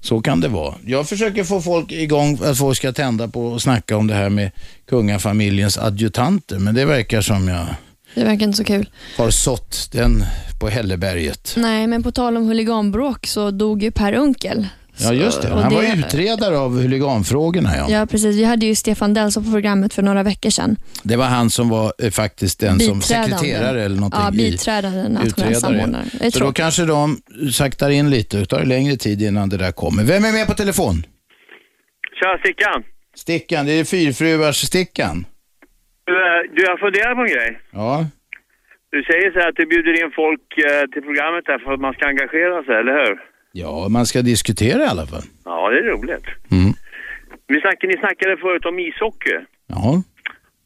Speaker 2: Så kan det vara. Jag försöker få folk igång, att folk ska tända på och snacka om det här med kungafamiljens adjutanter, men det verkar som jag
Speaker 4: Det verkar inte så kul.
Speaker 2: har sått den på hälleberget.
Speaker 4: Nej, men på tal om huliganbråk så dog ju Per Unkel.
Speaker 2: Ja, just det.
Speaker 4: och
Speaker 2: Han var
Speaker 4: det-
Speaker 2: utredare av huliganfrågorna. Ja.
Speaker 4: Ja, precis. Vi hade ju Stefan Delsson på programmet för några veckor sedan.
Speaker 2: Det var han som var eh, faktiskt den som
Speaker 4: Biträdande.
Speaker 2: sekreterare eller någonting
Speaker 4: Ja, biträdande
Speaker 2: i
Speaker 4: nationell
Speaker 2: utredare.
Speaker 4: samordnare. Det är
Speaker 2: Så då
Speaker 4: tråkigt.
Speaker 2: kanske de saktar in lite, det tar längre tid innan det där kommer. Vem är med på telefon?
Speaker 22: Tja, Stickan.
Speaker 2: Stickan, det är fyrfruars-Stickan.
Speaker 22: Du, eh, Du, jag funderar på en grej.
Speaker 2: Ja.
Speaker 22: Du säger så här att du bjuder in folk eh, till programmet där för att man ska engagera sig, eller hur?
Speaker 2: ja, man ska diskutera i alla fall.
Speaker 22: Ja, det är roligt.
Speaker 2: Mm.
Speaker 22: Vi snack, ni snackade förut om ishockey.
Speaker 2: Ja.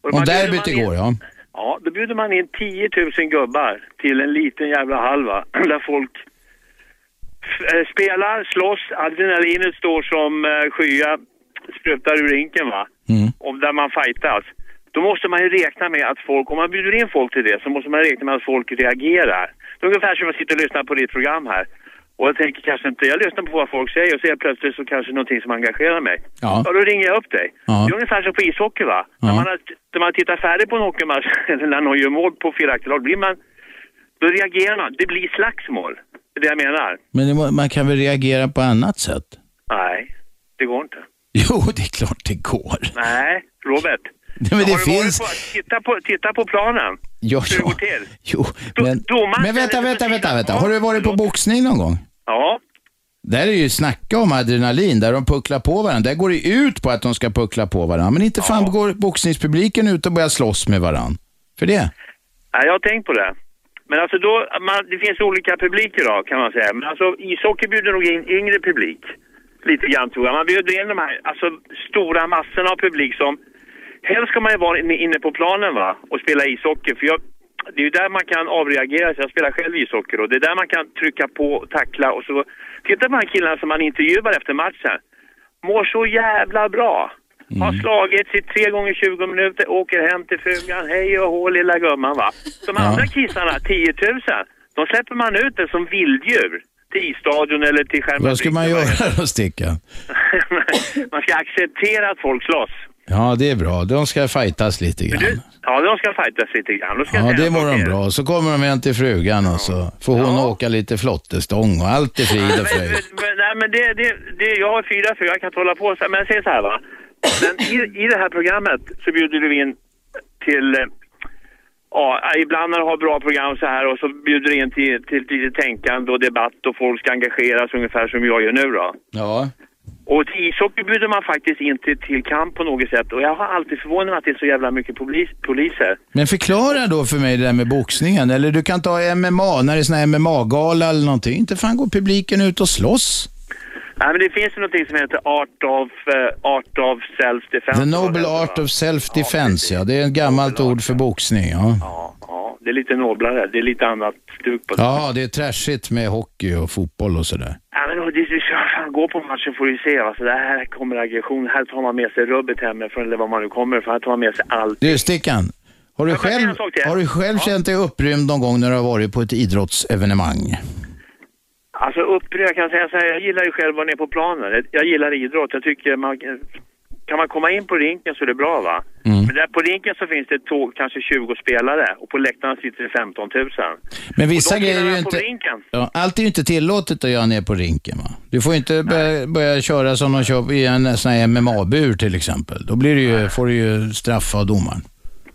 Speaker 22: Och
Speaker 2: Om
Speaker 22: man bjuder
Speaker 2: derbyt
Speaker 22: man in-
Speaker 2: igår, ja.
Speaker 22: Ja, då bjuder man in 10 000 gubbar till en liten jävla halva där folk f- eh, spelar, slåss, adrenalinet står som eh, skya, sprutar ur rinken va.
Speaker 2: Mm.
Speaker 22: Om där man fightas. Då måste man ju räkna med att folk, om man bjuder in folk till det, så måste man räkna med att folk reagerar. Det är ungefär som jag sitter och lyssnar på ditt program här. Och jag tänker kanske inte, jag lyssnar på vad folk säger och så helt plötsligt så kanske någonting som engagerar mig.
Speaker 2: Ja.
Speaker 22: då ringer jag upp dig.
Speaker 2: Ja.
Speaker 22: Det är ungefär som på ishockey va? När, man har, när man tittar färdigt på en hockeymatch, eller när någon gör mål på felaktigt lag, blir man, då reagerar man. Det blir slagsmål. Det är det jag menar.
Speaker 2: Men det må- man kan väl reagera på annat sätt?
Speaker 22: Nej, det går inte.
Speaker 2: Jo, det är klart det går.
Speaker 22: Nej, Robert.
Speaker 2: Nej, men det
Speaker 22: Har du varit
Speaker 2: finns-
Speaker 22: På, titta, på, titta på planen.
Speaker 2: Ja,
Speaker 22: Hur det
Speaker 2: ja.
Speaker 22: går till.
Speaker 2: Jo, men, men vänta, vänta, vänta, vänta. Har du varit på boxning någon gång?
Speaker 22: Ja.
Speaker 2: Där är ju snacka om adrenalin, där de pucklar på varandra. Där går det ut på att de ska puckla på varandra. Men inte fan går boxningspubliken ut och börjar slåss med varandra. För det?
Speaker 22: Nej, jag har tänkt på det. Men alltså då, man, det finns olika publiker då kan man säga. Men alltså ishockey bjuder nog in yngre publik. Lite grann tror jag. Man bjuder in de här alltså, stora massorna av publik som... Helst ska man ju vara inne inne på planen va och spela ishockey. För jag, det är ju där man kan avreagera sig. Jag spelar själv ishockey och det är där man kan trycka på och tackla och så... Titta på de här killarna som man intervjuar efter matchen. Mår så jävla bra.
Speaker 2: Mm.
Speaker 22: Har slagit sig tre gånger 20 minuter, åker hem till frugan. Hej och hå lilla gumman va. De andra kissarna, 10 000, de släpper man ut det som vilddjur. Till isstadion eller till skärmen.
Speaker 2: Vad ska man göra då, Stickan?
Speaker 22: man ska acceptera att folk slåss.
Speaker 2: Ja, det är bra. De ska fightas lite
Speaker 22: Men
Speaker 2: grann.
Speaker 22: du, ja, de ska fightas lite grann. Då ska jag
Speaker 2: Ja,
Speaker 22: säga
Speaker 2: det
Speaker 22: en
Speaker 2: mår
Speaker 22: sak
Speaker 2: de
Speaker 22: till.
Speaker 2: bra. Så kommer de hem till frugan och så får hon åka lite flottestång och allt är frid och fröjd.
Speaker 22: Men, nej, men det, det, det, jag har fyra fruar, jag kan inte hålla på så här. Men jag säger så här va. Men i, i det här programmet så bjuder du in till, eh, ja, ibland när du har bra program så här och så bjuder du in till, till, till tänkande och debatt och folk ska engageras ungefär som jag gör nu då.
Speaker 2: Ja.
Speaker 22: Och till ishockey bjuder man faktiskt in till, till kamp på något sätt. Och jag har alltid förvånat mig att det är så jävla mycket polis, poliser.
Speaker 2: Men förklara då för mig det där med boxningen. Eller du kan ta MMA, när det är sån här MMA-gala eller någonting. Inte fan går publiken ut och slåss.
Speaker 22: Nej, men det finns ju någonting som heter art of, eh, art of self-defense.
Speaker 2: The noble art of self-defense, ja. Det är ett gammalt ord för boxning, ja.
Speaker 22: Ja, det är lite noblare. Det är lite annat stuk på det.
Speaker 2: Ja, det är trashigt med hockey och fotboll och sådär.
Speaker 22: Ja, men det är så, fan, gå på matchen får du se. Alltså, det här kommer aggression. Här tar man med sig rubbet hemifrån eller var man nu kommer ifrån. Här tar man med sig allt.
Speaker 2: Du, Stickan. Har du
Speaker 22: Jag kan säga
Speaker 2: själv,
Speaker 22: en sak till.
Speaker 2: har du själv känt dig upprymd någon gång när du har varit på ett idrottsevenemang?
Speaker 22: Alltså upprörd, jag kan säga så här. Jag gillar ju själv att vara nere på planen. Jag gillar idrott. Jag tycker man... Kan man komma in på rinken så är det bra va? Men där på rinken så finns det ett tåg, kanske 20 spelare och på läktarna sitter det 15 000.
Speaker 2: Men vissa grejer är ju
Speaker 22: killarna
Speaker 2: inte...
Speaker 22: på rinken.
Speaker 2: Ja, allt är ju inte tillåtet att göra ner på rinken. Va? Du får inte börja, börja köra som de kör i en sån här MMA-bur till exempel. Då blir det ju, får du ju straffa av domaren.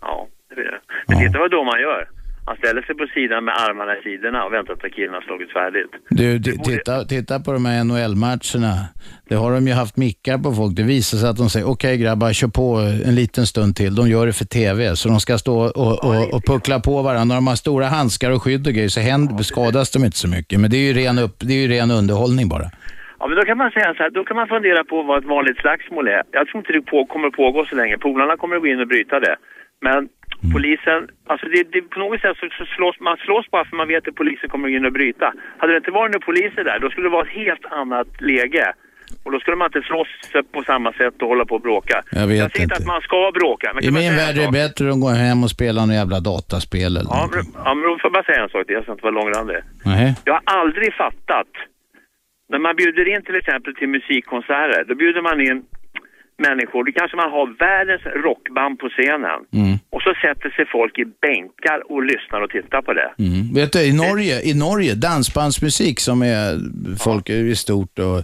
Speaker 22: Ja, det är det. Men titta vad domaren gör. Han ställer sig på sidan med armarna i sidorna och väntar tills killen har slagit färdigt.
Speaker 2: Du, t- titta, titta på de här NHL-matcherna. Det har de ju haft mickar på folk. Det visar sig att de säger, okej grabbar, kör på en liten stund till. De gör det för TV, så de ska stå och, och, och puckla på varandra. De har stora handskar och skydd och grejer, så händer, skadas de inte så mycket. Men det är ju ren, upp, det är ju ren underhållning bara.
Speaker 22: Ja, men då kan man säga så här, då kan man fundera på vad ett vanligt slagsmål är. Jag tror inte det på, kommer pågå så länge. Polarna kommer att gå in och bryta det. Men
Speaker 2: Mm.
Speaker 22: polisen, alltså det, det, på något sätt så, så slås man slås bara för man vet att polisen kommer att gå in och bryta. Hade det inte varit några poliser där, då skulle det vara ett helt annat läge. Och då skulle man inte slåss på samma sätt och hålla på och bråka.
Speaker 2: Jag vet
Speaker 22: säger inte
Speaker 2: inte.
Speaker 22: att man ska bråka. Men
Speaker 2: I
Speaker 22: kan man
Speaker 2: min
Speaker 22: säga
Speaker 2: värld är det bättre att gå hem och spela några jävla dataspel eller
Speaker 22: Ja,
Speaker 2: något.
Speaker 22: men, ja, men då får jag bara säga en sak till, jag ska inte vara långrandig.
Speaker 2: Nej.
Speaker 22: Jag har aldrig fattat, när man bjuder in till exempel till musikkonserter, då bjuder man in människor, då kanske man har världens rockband på scenen. Och så sätter sig folk i bänkar och lyssnar och tittar på det.
Speaker 2: Mm. Vet du, i Norge, i Norge, dansbandsmusik som är folk i stort och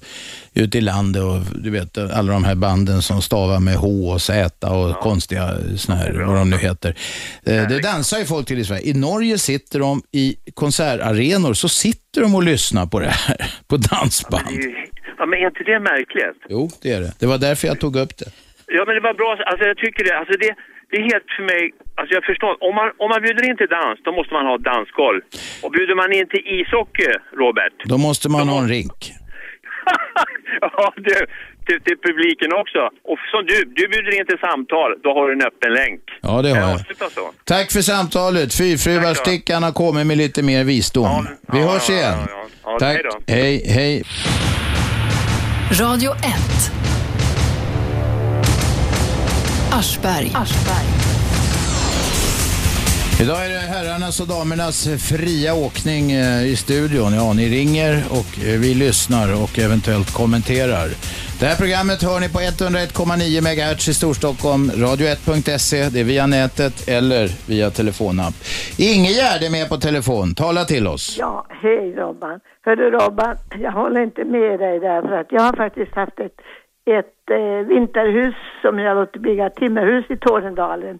Speaker 2: ute i landet och du vet alla de här banden som stavar med H och Z och konstiga såna här, vad de nu heter. Eh, Det dansar ju folk till i Sverige. I Norge sitter de i konsertarenor, så sitter de och lyssnar på det här, på
Speaker 22: Det
Speaker 2: dansband.
Speaker 22: är ju- Ja, men är inte det märkligt?
Speaker 2: Jo, det är det. Det var därför jag tog upp det.
Speaker 22: Ja, men det var bra. Alltså, jag tycker det. Alltså, det, det är helt för mig... Alltså, jag förstår. Om man, om man bjuder in till dans, då måste man ha ett dansgolv. Och bjuder man in till ishockey, Robert,
Speaker 2: Då måste man ha en rink.
Speaker 22: Ja, du, till, till publiken också. Och som du, du bjuder in till samtal, då har du en öppen länk.
Speaker 2: Ja, det har jag.
Speaker 22: Sluta så.
Speaker 2: Tack för samtalet. Fyrfruvarstickan har kommit med lite mer visdom. Vi hörs igen.
Speaker 22: ja.
Speaker 2: Tack.
Speaker 22: Hej då.
Speaker 2: Hej, hej.
Speaker 1: Radio 1. Aschberg.
Speaker 2: Idag är det herrarnas och damernas fria åkning eh, i studion. Ja, ni ringer och eh, vi lyssnar och eventuellt kommenterar. Det här programmet hör ni på 101,9 MHz i Storstockholm, radio1.se, det är via nätet eller via telefonapp. Ingegärd är med på telefon. Tala till oss.
Speaker 23: Ja, hej Robban. Hörru Robban, jag håller inte med dig där för att jag har faktiskt haft ett, ett eh, vinterhus som jag låtit bygga, ett timmerhus i Tornedalen.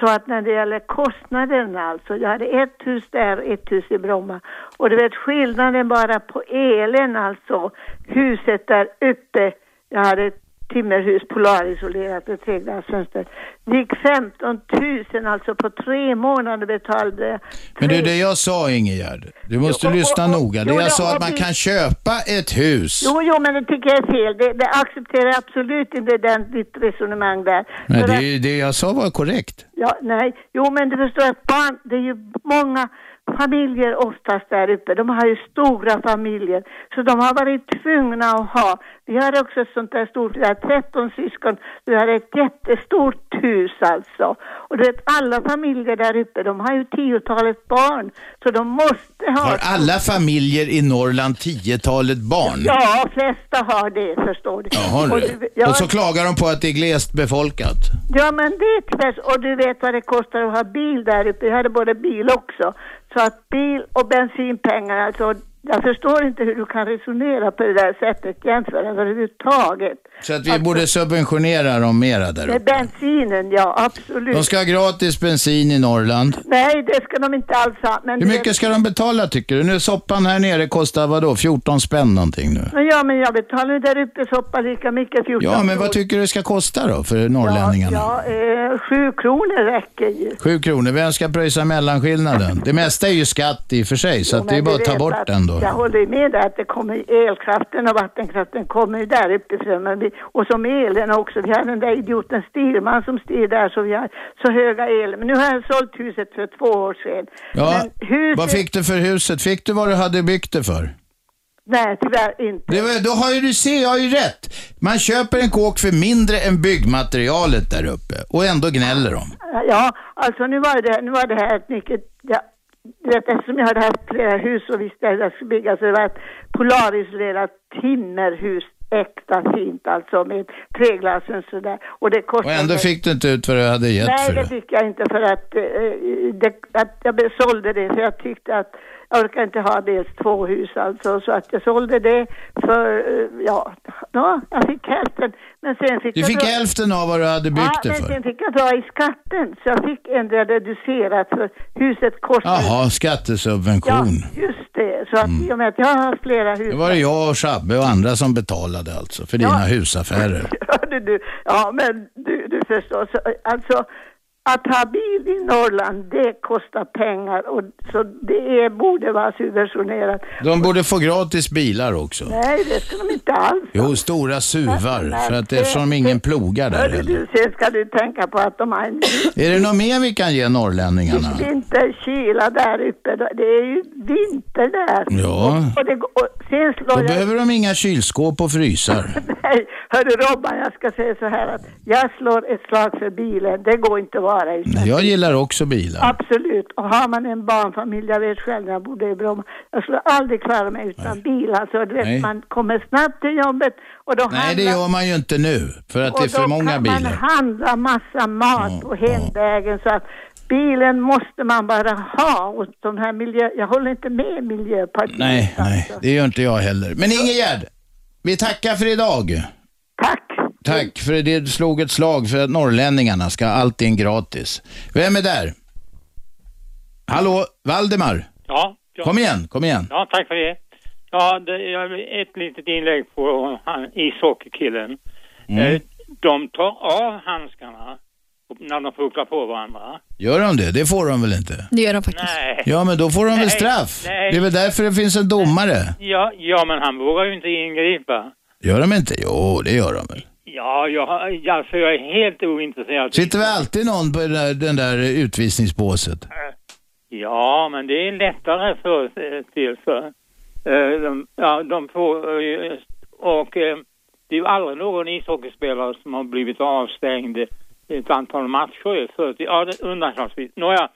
Speaker 23: Så att när det gäller kostnaden alltså, jag hade ett hus där och ett hus i Bromma. Och du vet skillnaden bara på elen alltså, huset där uppe, jag hade timmerhus polarisolerat och treglasfönster. Det gick 15 000 alltså på tre månader betalade
Speaker 2: Men det är det jag sa Ingegärd. Du måste lyssna noga. Det
Speaker 23: jo,
Speaker 2: jag
Speaker 23: jag
Speaker 2: sa
Speaker 23: har
Speaker 2: att man
Speaker 23: blivit-
Speaker 2: kan köpa ett hus.
Speaker 23: Jo, jo, men det tycker jag är fel. Det, det accepterar jag absolut inte den, ditt resonemang där.
Speaker 2: Nej,
Speaker 23: För
Speaker 2: det,
Speaker 23: att-
Speaker 2: är ju- det jag sa var korrekt.
Speaker 23: Ja, nej. Jo, men du förstår att barn, det är ju många familjer oftast där uppe. De har ju stora familjer. Så de har varit tvungna att ha. Vi har också ett sånt där stort, vi har 13 syskon. Vi har ett jättestort hus alltså. Och du vet, alla familjer där uppe, de har ju tiotalet barn. Så de måste ha...
Speaker 2: Har alla familjer i Norrland tiotalet barn?
Speaker 23: Ja, flesta har det, förstår du.
Speaker 2: Jaha,
Speaker 23: Och
Speaker 2: du.
Speaker 23: ja,
Speaker 2: Och så klagar de på att det är glest befolkat.
Speaker 23: Ja, men det är tvärs. Och du vet vad det kostar att ha bil där uppe. Jag hade både bil också. Så att bil och bensinpengar, alltså. Jag förstår inte hur du kan resonera på det där sättet, jämföra överhuvudtaget.
Speaker 2: Så att vi
Speaker 23: Alltså-
Speaker 2: borde subventionera dem mera där
Speaker 23: Med
Speaker 2: uppe.
Speaker 23: bensinen, ja, absolut.
Speaker 2: De ska ha gratis bensin i Norrland.
Speaker 23: Nej, det ska de inte alls ha. Men
Speaker 2: Hur
Speaker 23: det-
Speaker 2: mycket ska de betala tycker du? Nu soppan här nere kostar vadå, 14 spänn någonting nu?
Speaker 23: Men ja, men jag betalar ju där uppe soppa lika mycket, 14
Speaker 2: Ja, men vad tycker du det ska kosta då för norrlänningarna?
Speaker 23: Ja, eh, sju kronor räcker ju.
Speaker 2: Sju kronor, vem ska pröjsa mellanskillnaden? Det mesta är ju skatt i och för sig, så att det är
Speaker 23: Men
Speaker 2: bara
Speaker 23: du
Speaker 2: att ta
Speaker 23: vet
Speaker 2: bort
Speaker 23: att
Speaker 2: den då.
Speaker 23: Jag håller ju med där att det kommer ju elkraften och vattenkraften kommer ju där uppifrån. Men vi, och som elen också. Vi har den där idioten styrman som styr där så vi har så höga el. Men nu har jag sålt huset för två år sedan.
Speaker 2: Ja,
Speaker 23: Men huset,
Speaker 2: vad fick du för huset? Fick du vad du hade byggt det för?
Speaker 23: Nej, tyvärr inte.
Speaker 2: Det var, då har ju du se, jag har ju rätt. Man köper en kåk för mindre än byggmaterialet där uppe och ändå gnäller de.
Speaker 23: Ja, alltså nu var det, nu var det här ett mycket... Ja, du vet, eftersom jag hade haft flera hus och visste att jag skulle bygga så det var ett polarisolerat timmerhus. Äkta fint alltså med treglasen sådär. Och det
Speaker 2: Och
Speaker 23: kostade...
Speaker 2: ändå fick du inte ut vad du hade gett
Speaker 23: Nej,
Speaker 2: för
Speaker 23: det
Speaker 2: det.
Speaker 23: fick jag inte för att, eh, det, att jag be- sålde det för jag tyckte att jag orkar inte ha dels två hus alltså så att jag sålde det för, eh, ja, ja jag fick hälften. Men sen fick
Speaker 2: Du
Speaker 23: jag
Speaker 2: fick
Speaker 23: dra-
Speaker 2: hälften av vad du hade byggt
Speaker 23: ja,
Speaker 2: det
Speaker 23: men
Speaker 2: för.
Speaker 23: sen fick jag dra i skatten så jag fick ändra reducerat för huset kostade.
Speaker 2: Jaha, skattesubvention.
Speaker 23: Ja, just det. Så att i och med att jag har haft flera hus.
Speaker 2: Det var det jag och Shabbe och andra som betalade alltså för dina husaffärer.
Speaker 23: Hörde du? Ja, men du, du förstår. Så, alltså, att ha bil i Norrland, det kostar pengar. Och, så det är, borde vara subventionerat.
Speaker 2: De borde få gratis bilar också.
Speaker 23: Nej, det ska de inte alls.
Speaker 2: Jo, stora suvar, för att eftersom ingen plogar där
Speaker 23: Hörde
Speaker 2: heller.
Speaker 23: du, sen ska du tänka på att de har en
Speaker 2: Är det något mer vi kan ge norrlänningarna?
Speaker 23: vinterkyla där uppe. Det är ju vinter där.
Speaker 2: Ja,
Speaker 23: Och, det, och sen slår
Speaker 2: då
Speaker 23: jag...
Speaker 2: behöver de inga kylskåp och frysar.
Speaker 23: Nej, hörru Robban, jag ska säga så här att jag slår ett slag för bilen. Det går inte att vara utan.
Speaker 2: Jag gillar också bilar.
Speaker 23: Absolut. Och har man en barnfamilj, jag vet själv när jag bodde i Bromma, jag skulle aldrig klara mig utan bil. Alltså, du vet,
Speaker 2: Nej.
Speaker 23: man kommer snabbt till jobbet och då
Speaker 2: Nej, det gör man ju inte nu, för att det är för många
Speaker 23: Och då
Speaker 2: bilar.
Speaker 23: kan man handla massa mat på hemvägen så att bilen måste man bara ha. Och de här miljö... Jag håller inte med Miljöpartiet.
Speaker 2: Nej, nej, det gör inte jag heller. Men Ingegärd, vi tackar för idag.
Speaker 23: Tack.
Speaker 2: Tack, för det slog ett slag för att norrlänningarna ska ha allting gratis. Vem är där? Hallå, Valdemar?
Speaker 20: Ja, ja.
Speaker 2: Kom igen, kom igen.
Speaker 20: Ja, tack för det. Ja, det jag- ett litet inlägg på han, ishockeykillen.
Speaker 2: Mm.
Speaker 20: Eh, De tar av handskarna när de pucklar på varandra.
Speaker 2: Gör de det? Det får de väl inte?
Speaker 20: Det gör de faktiskt. Nej.
Speaker 2: Ja, men då får de väl
Speaker 20: Nej,
Speaker 2: straff?
Speaker 20: nej.
Speaker 2: Det är väl därför det finns en domare?
Speaker 20: Ja, ja, men han vågar ju inte ingripa.
Speaker 2: Gör de inte? Jo, det gör de väl.
Speaker 20: Ja, jag, har- alltså, jag är helt ointresserad.
Speaker 2: Sitter väl alltid någon på den där, den där utvisningsbåset?
Speaker 20: Ja, men det är lättare för eh, till för. eh, De, ja, de får, eh, och eh, det är ju aldrig någon ishockeyspelare som har blivit avstängd ett antal matcher. För, ja, det- undantagsvis. Nåja,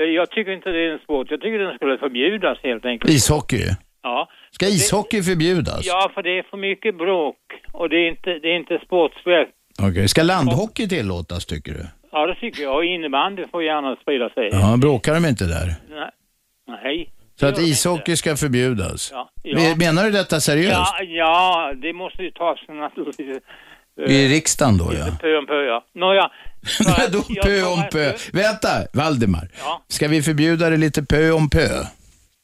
Speaker 20: eh, jag tycker inte det är en sport. Jag tycker den skulle förbjudas helt enkelt.
Speaker 2: Ishockey?
Speaker 20: Ja,
Speaker 2: Ska ishockey förbjudas?
Speaker 20: ja för det är för mycket bråk och det är inte, det är inte sportsligt.
Speaker 2: Okej, ska landhockey tillåtas tycker du?
Speaker 20: Ja, det tycker jag. Och innebandy får gärna sprida sig.
Speaker 2: Ja, bråkar de inte där?
Speaker 20: Nej. Nej.
Speaker 2: Så att ishockey ska förbjudas?
Speaker 20: Ja, ja.
Speaker 2: Alltså. Men- Menar du detta seriöst?
Speaker 20: Ja, ja, det måste ju tas naturligtvis. eh,
Speaker 2: I riksdagen då ja.
Speaker 20: Pö om pö, ja. Nåja. så-
Speaker 2: Då
Speaker 20: jag-
Speaker 2: pö om pö. Vänta, Valdemar.
Speaker 20: Ja.
Speaker 2: Ska vi förbjuda det lite pö om pö?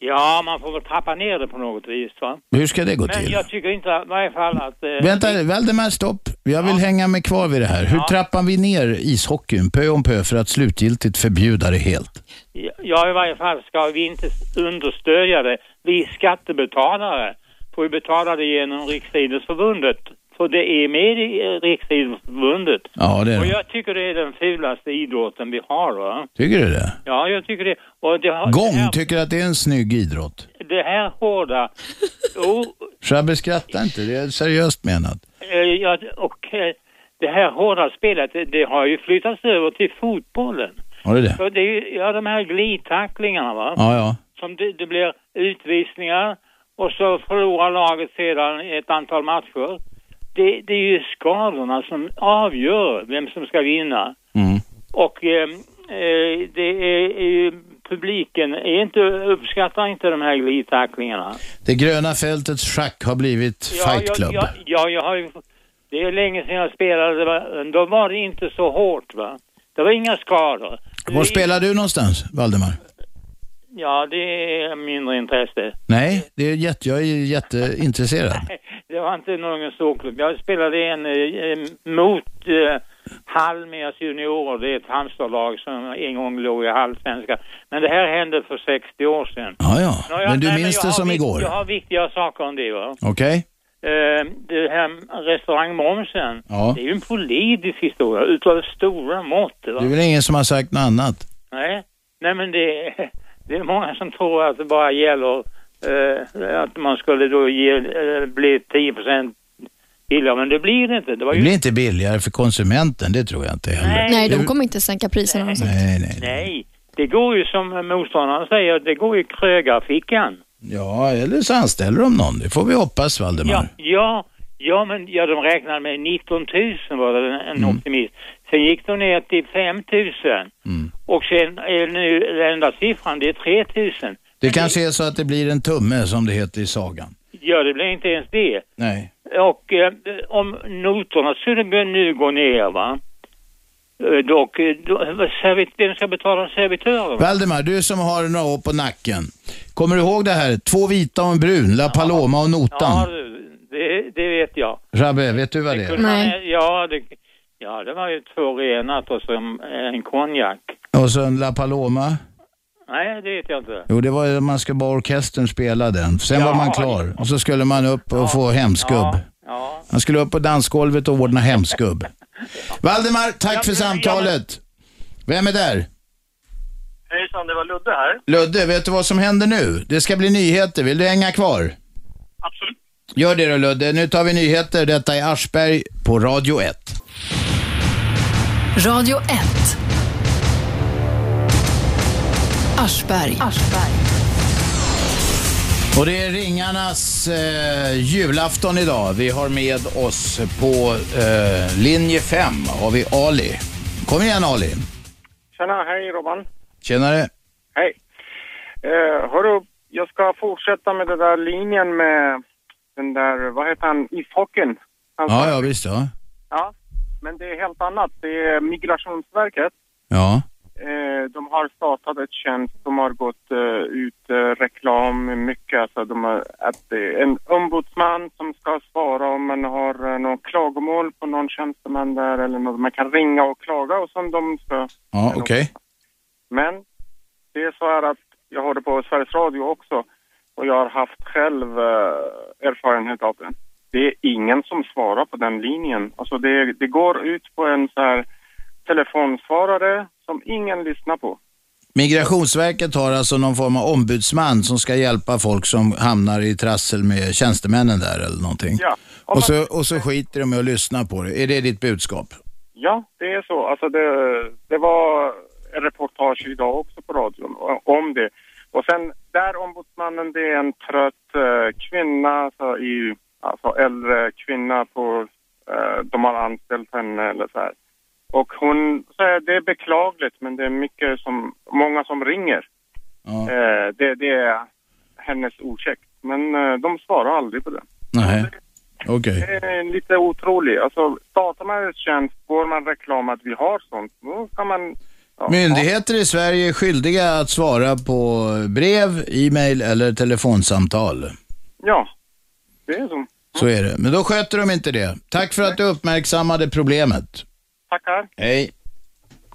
Speaker 20: Ja, man får väl trappa ner det på något vis. Va?
Speaker 2: Hur ska det gå
Speaker 20: Men
Speaker 2: till?
Speaker 20: jag tycker inte i varje fall att... eh,
Speaker 2: Vänta, Valdemar stopp. Jag vill hänga mig kvar vid det här. Hur trappar vi ner ishockeyn pö om pö för att slutgiltigt förbjuda det helt?
Speaker 20: Ja, i varje fall ska vi inte understödja det. Vi skattebetalare får ju betala det genom Riksidrottsförbundet. För det är med i eh, Riksidrottsförbundet.
Speaker 2: Ja, det är
Speaker 20: Och
Speaker 2: det.
Speaker 20: jag tycker det är den fulaste idrotten vi har. Va?
Speaker 2: Tycker du det?
Speaker 20: Ja, jag tycker det. Och det har, Det
Speaker 2: Gång
Speaker 20: här,
Speaker 2: tycker att det är en snygg idrott.
Speaker 20: det här hårda... Oh,
Speaker 2: Shabbe, skratta inte. Det är seriöst menat.
Speaker 20: Eh, Ja, och eh, det här hårda spelet, det, det har ju flyttats över till fotbollen.
Speaker 2: Har du det?
Speaker 20: Så det är ju, ja, de här glidtacklingarna va?
Speaker 2: Ja, ja.
Speaker 20: Som det, det blir utvisningar och så förlorar laget sedan ett antal matcher. Det, det är ju skadorna som avgör vem som ska vinna. Och eh, eh, det är, är ju, publiken är inte, uppskattar inte de här glidtacklingarna.
Speaker 2: Det gröna fältets schack har blivit fight club.
Speaker 20: Ja, ja, jag har ju... Det är länge sedan jag spelade, va? då var det inte så hårt va. Det var inga skador.
Speaker 2: Var spelar du någonstans, Valdemar?
Speaker 20: Ja, det är mindre intresse.
Speaker 2: Nej, det är jätte, jag är jätteintresserad.
Speaker 20: Det var inte någon storklubb. Jag spelade i en eh, mot eh, Halmias juniorer. Det är ett Halmstadlag som en gång låg i halvsvenska. Men det här hände för 60 år sedan.
Speaker 2: Ja, ja.
Speaker 20: Nå,
Speaker 2: Men du
Speaker 20: nej,
Speaker 2: minns
Speaker 20: jag
Speaker 2: det
Speaker 20: har
Speaker 2: som
Speaker 20: vik-
Speaker 2: igår.
Speaker 20: Jag har viktiga saker om det va.
Speaker 2: Okej?
Speaker 20: Eh, det här restaurangmomsen,
Speaker 2: Ja.
Speaker 20: det är ju en politisk historia utav stora mått. Va?
Speaker 2: Det är väl ingen som har sagt något annat?
Speaker 20: Nej. Nej, men det, det är många som tror att det bara gäller eh, att man skulle då ge, eh, bli 10 billigare, men det blir det inte. Det var
Speaker 2: Det
Speaker 20: ju...
Speaker 2: blir inte billigare för konsumenten, det tror jag inte heller.
Speaker 4: Nej,
Speaker 2: Det-
Speaker 4: de kommer inte sänka priserna. Nej,
Speaker 2: nej, nej.
Speaker 20: Nej, det går ju som motståndaren säger, det går i krögarfickan.
Speaker 2: Ja, eller så anställer de någon. Det får vi hoppas, Valdemar.
Speaker 20: Ja, ja, ja, men ja, de räknade med 19 000 var det en, en optimist. Sen gick de ner till 5 000 och sen är nu den enda siffran, det är 3 000.
Speaker 2: Det kanske är så att det blir en tumme, som det heter i sagan.
Speaker 20: Ja, det blir inte ens det.
Speaker 2: Nej.
Speaker 20: Och eh, om noterna skulle börja nu gå ner, va? Eh, Dock, eh, då, vad servit, vem ska betala servitören?
Speaker 2: Valdemar, du som har några år på nacken. Kommer du ihåg det här? Två vita och en brun, La Paloma och
Speaker 20: Ja,
Speaker 2: notan.
Speaker 20: du, det, det vet jag.
Speaker 2: Rabbe, vet du vad det är?
Speaker 20: Kunde man- Ja, det, ja, det var ju två renat och så en- en konjak.
Speaker 2: Och så en La Paloma.
Speaker 20: Nej, det vet jag inte.
Speaker 2: Jo, det var ju- man ska bara orkestern spela den. Sen var man klar. Och så skulle man upp och få hemskubb. Man skulle upp på dansgolvet och ordna hemskubb. Valdemar, tack för samtalet. Vem är där?
Speaker 24: Hejsan, det var Ludde här.
Speaker 2: Ludde, vet du vad som händer nu? Det ska bli nyheter. Vill du hänga kvar? Absolut. Gör det då Ludde. Nu tar vi nyheter. Detta är Aschberg på Radio 1.
Speaker 1: Radio 1. Aschberg.
Speaker 2: Och det är ringarnas eh, julafton idag. Vi har med oss på eh, linje 5 har vi Ali. Kom igen Ali.
Speaker 24: Tjena, hej Robban.
Speaker 2: Tjenare.
Speaker 24: Hej. Eh, hörru, jag ska fortsätta med den där linjen med den där, vad heter han, ishockeyn.
Speaker 2: Ja, ja visst ja.
Speaker 24: Ja, men det är helt annat. Det är Migrationsverket.
Speaker 2: Ja.
Speaker 24: Eh, de har startat ett tjänst, de har gått eh, ut eh, reklam mycket. Alltså de har, att det är en ombudsman som ska svara om man har eh, någon klagomål på någon tjänsteman där eller något. Man kan ringa och klaga och som de ska.
Speaker 2: Ja, okej.
Speaker 24: Men det är så här att jag har det på Sveriges Radio också och jag har haft själv eh, erfarenhet av den. Det är ingen som svarar på den linjen. Alltså det, det går ut på en så här telefonsvarare som ingen lyssnar på.
Speaker 2: Migrationsverket har alltså någon form av ombudsman som ska hjälpa folk som hamnar i trassel med tjänstemännen där eller någonting.
Speaker 24: Ja, om
Speaker 2: Och så, och så skiter de i att lyssna på det. Är det ditt budskap?
Speaker 24: Ja, det är så. Alltså det, det var en reportage idag också på radion om det. Och sen där ombudsmannen, det är en trött eh, kvinna, alltså, i, alltså äldre kvinna på, eh, de har anställt henne eller så här. Och hon säger det är beklagligt men det är mycket som, många som ringer. Eh, det, det är hennes ursäkt. Men eh, de svarar aldrig på det.
Speaker 2: Nej. Okej.
Speaker 24: Det är lite otroligt. Alltså, startar man en tjänst, får man reklam att vi har sånt, då ska man...
Speaker 2: Myndigheter i Sverige är skyldiga att svara på brev, e-mail eller telefonsamtal.
Speaker 24: Ja, det är så.
Speaker 2: Så är det. Men då sköter de inte det. Tack för att du uppmärksammade problemet.
Speaker 7: Tackar.
Speaker 2: Hej.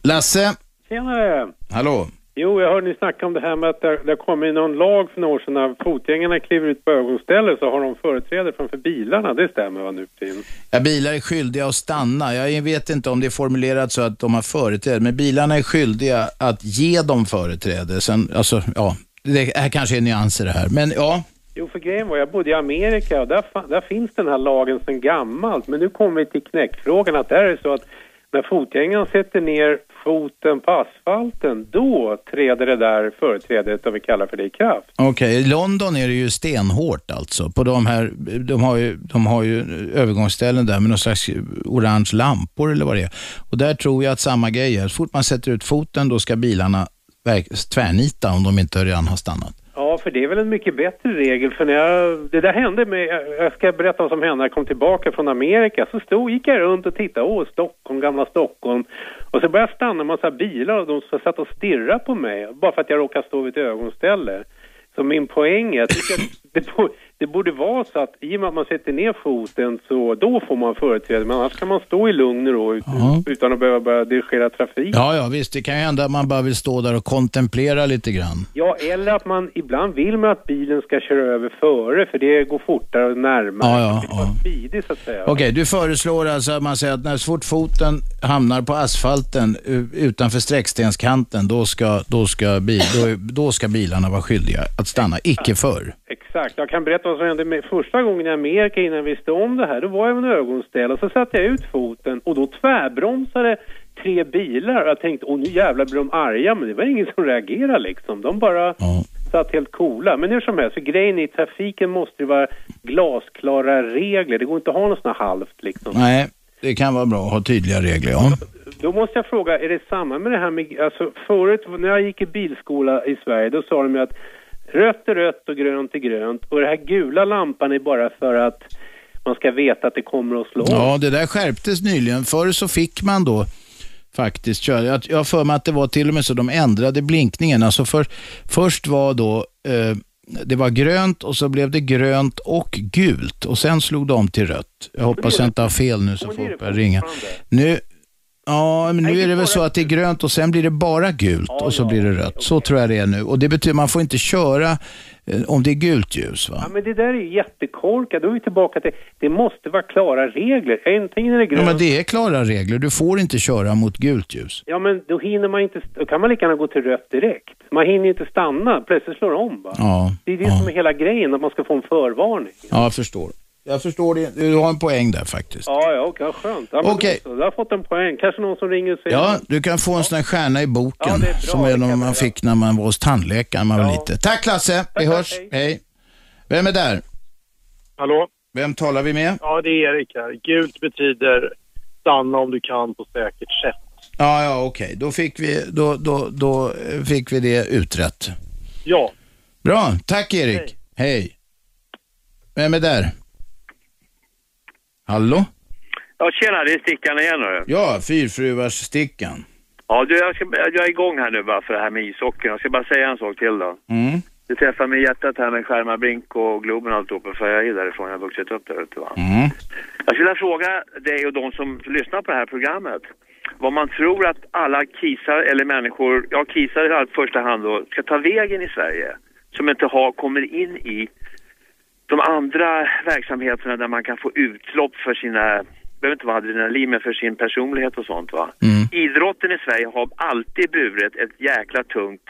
Speaker 2: Lasse,
Speaker 7: Tjenare!
Speaker 2: hallå.
Speaker 7: eh, Jo, jag hörde ni snacka om det här med att det, det kom in någon lag för några år sedan när fotgängarna kliver ut på övergångsställen så har de företräde framför bilarna. Det stämmer va nu för tiden?
Speaker 2: Ja, bilar är skyldiga att stanna. Jag vet inte om det är formulerat så att de har företräde, men bilarna är skyldiga att ge dem företräde. Sen, alltså, ja, det här kanske är nyanser det här, men ja.
Speaker 7: Jo, för grejen var jag bodde i Amerika och där, fa- där finns den här lagen sedan gammalt. Men nu kommer vi till knäckfrågan att där är det så att när fotgängaren sätter ner foten på asfalten, då träder det där företrädet, om vi kallar för det, i kraft.
Speaker 2: Okej, i London är det ju stenhårt alltså. På de här, de har ju, de har ju övergångsställen där med någon slags orange lampor eller vad det är. Och där tror jag att samma grej är. Så fort man sätter ut foten då ska bilarna verk- tvärnita om de inte redan har stannat.
Speaker 7: Ja, för det är väl en mycket bättre regel. För när jag, det där hände med, jag- jag ska berätta vad som hände när jag kom tillbaka från Amerika. Så stod, gick jag runt och tittade, åh Stockholm, gamla Stockholm. Och så började jag stanna en massa bilar och de som satt och stirrade på mig. Bara för att jag råkade stå vid ett ögonställe. Så min poäng är, jag tycker att det, bo- det borde vara så att i och med att man sätter ner foten så då får man företräde. Men annars kan man stå i lugn och ro ut,
Speaker 2: Ja.
Speaker 7: utan att behöva börja dirigera trafik.
Speaker 2: Ja, ja visst. Det kan ju hända att man bara vill stå där och kontemplera lite grann.
Speaker 7: Ja, eller att man ibland vill man att bilen ska köra över före för det går fortare och närmare.
Speaker 2: Ja, ja, ja.
Speaker 7: Tidigt så att säga.
Speaker 2: Okej, du föreslår alltså att man säger att när så fort foten hamnar på asfalten u- utanför sträckstenskanten, då ska, då ska, bil, då, då ska bilarna vara skyldiga att stanna, icke förr.
Speaker 7: Exakt. Jag kan berätta vad som hände med första gången i Amerika innan jag visste om det här. Då var jag vid en ögonställ och så satte jag ut foten och då tvärbromsade tre bilar. Och jag tänkte, åh nu jävlar blir de arga. Men det var ingen som reagerade liksom. De bara satt helt coola. Men hur som helst, för grejen är i trafiken måste det vara glasklara regler. Det går inte att ha något sånt här halvt liksom.
Speaker 2: Nej, det kan vara bra att ha tydliga regler, ja.
Speaker 7: Då måste jag fråga, är det samma med det här med, alltså förut när jag gick i bilskola i Sverige, då sa de ju att rött är rött och grönt är grönt och det här gula lampan är bara för att man ska veta att det kommer att slå om.
Speaker 2: Ja, det där skärptes nyligen. Förr så fick man då faktiskt köra. Jag, jag har för mig att det var till och med så de ändrade blinkningen. Alltså för, först var då, eh, det var grönt och så blev det grönt och gult och sen slog de till rött. Jag hoppas jag inte har fel nu så folk börjar ringa. Nu, ja, men nu är det väl så att det är grönt och sen blir det bara gult och så blir det rött. Så tror jag det är nu. Och det betyder man får inte köra eh, om det är gult ljus va?
Speaker 7: Ja, men det där är ju jättekorkat. Då är vi tillbaka till, det måste vara klara regler. Antingen är det grönt,
Speaker 2: Ja, men det är klara regler. Du får inte köra mot gult ljus.
Speaker 7: ja men då hinner man inte, då kan man lika gärna gå till rött direkt. Man hinner inte stanna, plötsligt slår det om va.
Speaker 2: Ja.
Speaker 7: Det är det som är hela grejen, att man ska få en förvarning.
Speaker 2: Ja, jag förstår. Jag förstår det. Du har en poäng där faktiskt.
Speaker 7: Ja, ja, okej, skönt. Ja, men
Speaker 2: Okej.
Speaker 7: då så. Du har fått en poäng. Kanske någon som ringer och säger
Speaker 2: Ja, du kan få en sån här stjärna i boken som är de man fick när man var hos tandläkaren man var lite. Tack Lasse, vi hörs. Hej. Vem är där?
Speaker 6: Hallå?
Speaker 2: Vem talar vi med?
Speaker 6: Ja, det är Erik här. Gult betyder stanna om du kan på säkert sätt.
Speaker 2: Ja, ja, okej. Då, fick vi, då, då, då eh, fick vi det utrett.
Speaker 6: Ja,
Speaker 2: Bra, tack Erik. Hej. Vem är där? Hallå?
Speaker 22: Ja, tjena, det är Stickan igen nu.
Speaker 2: Ja, fyrfruars-stickan.
Speaker 22: Ja, du, jag, ska, jag är igång här nu bara för det här med ishockeyn. Jag ska bara säga en sak till då.
Speaker 2: Mm.
Speaker 22: Det träffar mig i hjärtat här med Skärmarbrink och Globen och alltihopa, för jag är därifrån. Jag har vuxit upp där ute va.
Speaker 2: Mm.
Speaker 22: Jag skulle vilja fråga dig och de som lyssnar på det här programmet vad man tror att alla kisar eller människor, ja kisar i all- första hand då, ska ta vägen i Sverige som inte har, kommer in i de andra verksamheterna där man kan få utlopp för sina, behöver inte vara adrenalin, men för sin personlighet och sånt va.
Speaker 2: Mm.
Speaker 22: Idrotten i Sverige har alltid burit ett jäkla tungt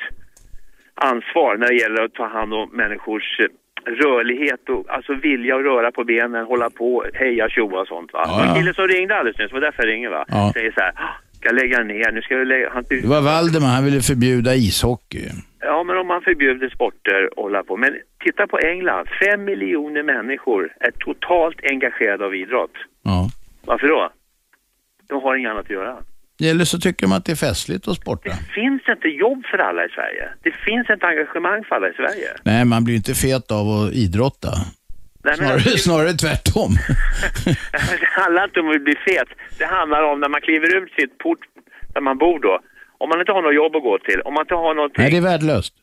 Speaker 22: ansvar när det gäller att ta hand om människors eh, rörlighet och alltså vilja att röra på benen, hålla på, heja tjoa och sånt va.
Speaker 2: Ja, ja.
Speaker 22: En kille som ringde alldeles nyss, det var därför jag ringer va,
Speaker 2: Ja.
Speaker 22: säger så här, "Ah, ska jag lägga ner, nu ska jag lägga, han,
Speaker 2: Det var Valdemar, han ville förbjuda ishockey.
Speaker 22: Ja, men om man förbjuder sporter och hålla på. Men titta på England. Fem miljoner människor är totalt engagerade av idrott.
Speaker 2: Ja.
Speaker 22: Varför då? De har inget annat att göra.
Speaker 2: Eller så tycker man att det är festligt att sporta.
Speaker 22: Finns det inte jobb för alla i Sverige? Det finns inte engagemang för alla i Sverige.
Speaker 2: Nej, man blir ju inte fet av att idrotta.
Speaker 22: Nej, men-
Speaker 2: Snarare, snarare tvärtom.
Speaker 22: Det handlar inte om att bli fet. Det handlar om när man kliver ut sitt port där man bor då. Om man inte har något jobb att gå till, om man inte har någonting
Speaker 2: Nej, det är värdelöst.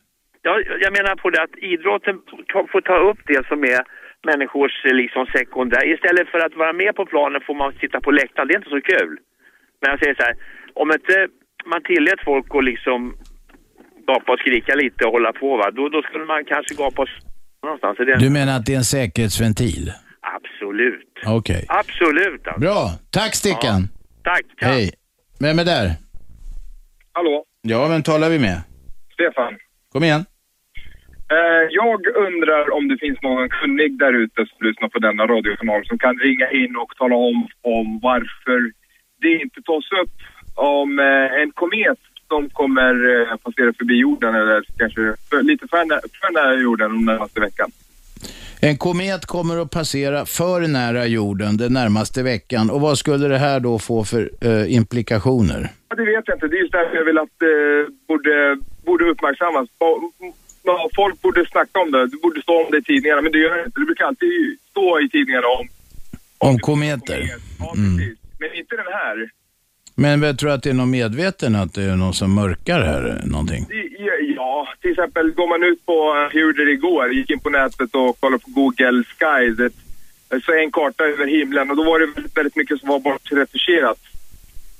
Speaker 22: Ja, jag menar på det att idrotten ta- får ta upp det som är människors eh, liksom, sekundär. Istället för att vara med på planen får man sitta på läktaren. Det är inte så kul. Men jag säger så här, om inte man tillät folk att liksom gapa och skrika lite och hålla på, va? Då, då skulle man kanske gapa och s- någonstans. Är det
Speaker 2: Du menar att det är en säkerhetsventil?
Speaker 22: Absolut.
Speaker 2: Okej.
Speaker 22: Absolut alltså.
Speaker 2: Bra. Tack Stickan.
Speaker 22: Tack.
Speaker 2: Hej. Vem är där?
Speaker 25: Hallå,
Speaker 2: Ja, vem talar vi med?
Speaker 25: Stefan.
Speaker 2: Kom igen.
Speaker 25: Eh, jag undrar om det finns någon kunnig där ute som lyssnar på denna radiokanal som kan ringa in och tala om, om varför det inte tas upp om eh, en komet som kommer eh, passera förbi jorden eller kanske för, lite för, nä- för nära jorden den närmaste veckan.
Speaker 2: En komet kommer att passera för nära jorden den närmaste veckan. Och vad skulle det här då få för eh, implikationer?
Speaker 25: Ja, Det vet jag inte. Det är just därför jag vill att det borde, borde uppmärksammas. Ba- Ja, folk borde snacka om det. Det borde stå om det i tidningarna, men det gör det inte. Det brukar alltid stå i tidningarna om,
Speaker 2: Om kometer? Mm.
Speaker 25: men inte den här.
Speaker 2: Men jag tror att det är någon medveten att det är någon som mörkar här eh, någonting?
Speaker 25: Det- Ja, till exempel går man ut på, eh, jag gjorde det igår, gick in på nätet och kollade på Google Sky. Det, så en karta över himlen och då var det väldigt, väldigt mycket som var bortretuscherat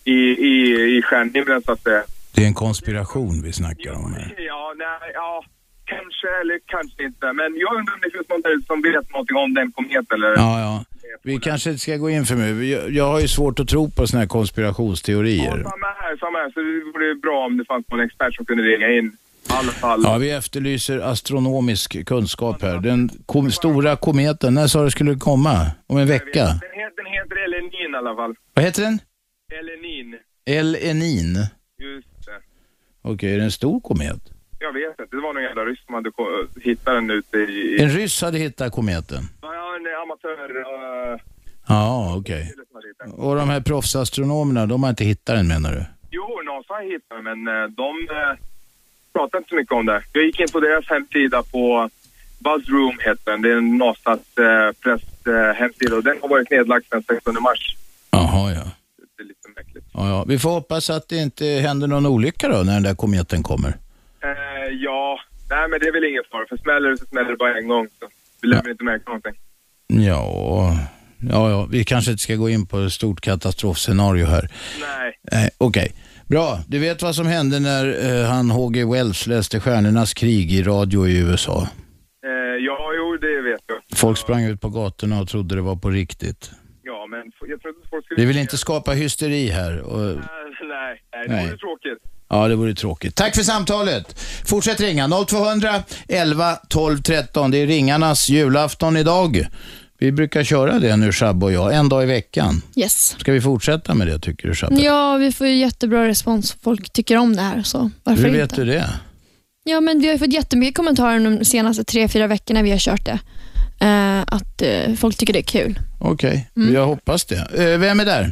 Speaker 25: i, i, i stjärnhimlen så att säga.
Speaker 2: Det är en konspiration vi snackar om här.
Speaker 25: Ja, nej, ja, kanske eller kanske inte. Men jag undrar om det finns någon där ute som vet någonting om den komet eller?
Speaker 2: Ja, ja. Vi kanske inte ska gå in för mycket. Jag- Jag har ju svårt att tro på såna här konspirationsteorier.
Speaker 25: Samma här, samma här. Så det vore bra om det fanns någon expert som kunde ringa in. I alla fall.
Speaker 2: Ja, vi efterlyser astronomisk kunskap här. Den kom, stora kometen, när sa du skulle den komma? Om en vecka?
Speaker 25: Den, he- den heter Elenin i alla fall.
Speaker 2: Vad heter den?
Speaker 25: Elenin.
Speaker 2: El Enin.
Speaker 25: Just det.
Speaker 2: Okej, är det en stor komet?
Speaker 25: Jag vet inte. Det var någon jävla ryss som hade ko- hittat den ute i... i-
Speaker 2: En ryss hade hittat kometen.
Speaker 25: Ja, en amatör. eh,
Speaker 2: Ja, okej. Och de här proffsastronomerna, de har inte hittat den menar du?
Speaker 25: jo, NASA hittade den, men eh, de eh, pratade inte så mycket om det. Jag gick in på deras hemsida på Buzzroom heter den. Det är NASAs eh, press eh, hemsida och den har varit nedlagd sedan 16 mars.
Speaker 2: Jaha, ja. Ja, ja. Vi får hoppas att det inte händer någon olycka då när den där kometen kommer.
Speaker 25: Eh, ja, nej men det är väl ingen fara. För smäller det så smäller det bara en gång. Så vi lär väl inte märka någonting.
Speaker 2: Ja, ja, ja. vi kanske inte ska gå in på ett stort katastrofscenario här.
Speaker 25: Nej.
Speaker 2: Nej, Okej, bra. Du vet vad som hände när eh, han H.G. Wells läste Stjärnornas krig i radio i USA?
Speaker 25: Eh, ja, jo, det vet jag.
Speaker 2: Folk sprang ut på gatorna och trodde det var på riktigt.
Speaker 25: Ja, men f- jag trodde folk skulle...
Speaker 2: Vi vill inte skapa hysteri här. Och...
Speaker 25: Nej, nej, det
Speaker 2: Nej.
Speaker 25: vore tråkigt.
Speaker 2: Ja, det vore tråkigt. Tack för samtalet. Fortsätt ringa. 0200 11 12 13. Det är ringarnas julafton idag. Vi brukar köra det nu, Shabbe och jag, en dag i veckan.
Speaker 4: Yes.
Speaker 2: Ska vi fortsätta med det, tycker du, Shabbe?
Speaker 4: Ja, vi får ju jättebra respons. Folk tycker om det här, så varför
Speaker 2: Hur
Speaker 4: inte?
Speaker 2: vet du det?
Speaker 4: Ja, men vi har ju fått jättemycket kommentarer de senaste tre, fyra veckorna vi har kört det. Eh, att eh, folk tycker det är kul.
Speaker 2: Okej,
Speaker 4: Mm.
Speaker 2: jag hoppas det. Eh, Vem är där?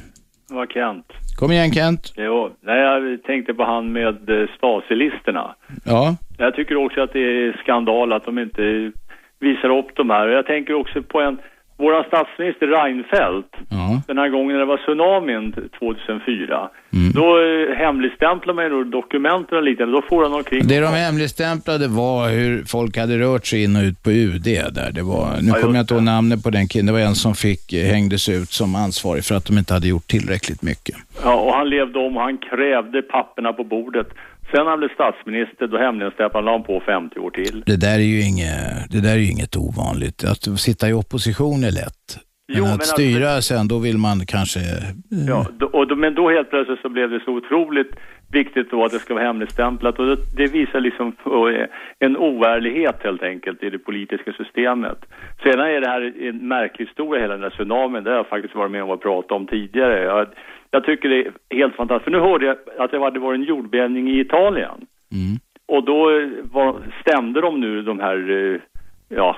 Speaker 26: Det var Kent.
Speaker 2: Kom igen, Kent.
Speaker 26: Jo, nej, jag tänkte på han med eh, Stasi-listerna.
Speaker 2: Ja.
Speaker 26: Jag tycker också att det är skandal att de inte visar upp de här. Och Jag tänker också på en, våran statsminister Reinfeldt, den här gången när det var tsunamin 2004. Då eh, hemligstämplade man ju då dokumenten och liknande, då får han omkring...
Speaker 2: Det de hemligstämplade var hur folk hade rört sig in och ut på UD. Där. Det var, nu kommer jag inte ihåg namnet på den killen. Det var en som fick, eh, hängdes ut som ansvarig för att de inte hade gjort tillräckligt mycket.
Speaker 26: Ja, och han levde om och han krävde papperna på bordet. Sen när han blev statsminister, då hemligstämplade han på 50 år till.
Speaker 2: Det där är ju inget, det där är ju inget ovanligt. Att sitta i opposition är lätt. Men
Speaker 26: Jo,
Speaker 2: att
Speaker 26: men alltså-
Speaker 2: styra sen, då vill man kanske... eh,
Speaker 26: Ja, då, och då, men då helt plötsligt så blev det så otroligt viktigt då att det ska vara hemligstämplat och det, det visar liksom på eh, en oärlighet helt enkelt i det politiska systemet. Sedan är det här en märklig historia, hela den där tsunamin, det har jag faktiskt varit med om att prata om tidigare. Jag, jag tycker det är helt fantastiskt, för nu hörde jag att det hade varit en jordbävning i Italien. Och då eh, var, stämde de nu de här, eh, ja,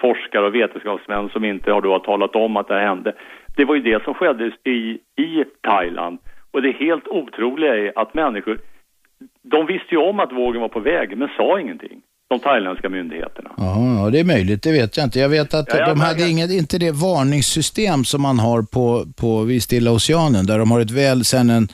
Speaker 26: forskare och vetenskapsmän som inte har då har talat om att det här hände. Det var ju det som skedde i, i Thailand. Och det helt otroliga är att människor, de visste ju om att vågen var på väg, men sa ingenting. De thailändska myndigheterna.
Speaker 2: Ja, ja, det är möjligt. Det vet jag inte. Jag vet att
Speaker 26: Ja, jag
Speaker 2: de hade inget, inte det varningssystem som man har på, på vid Stilla Oceanen, där de har ett väl sen en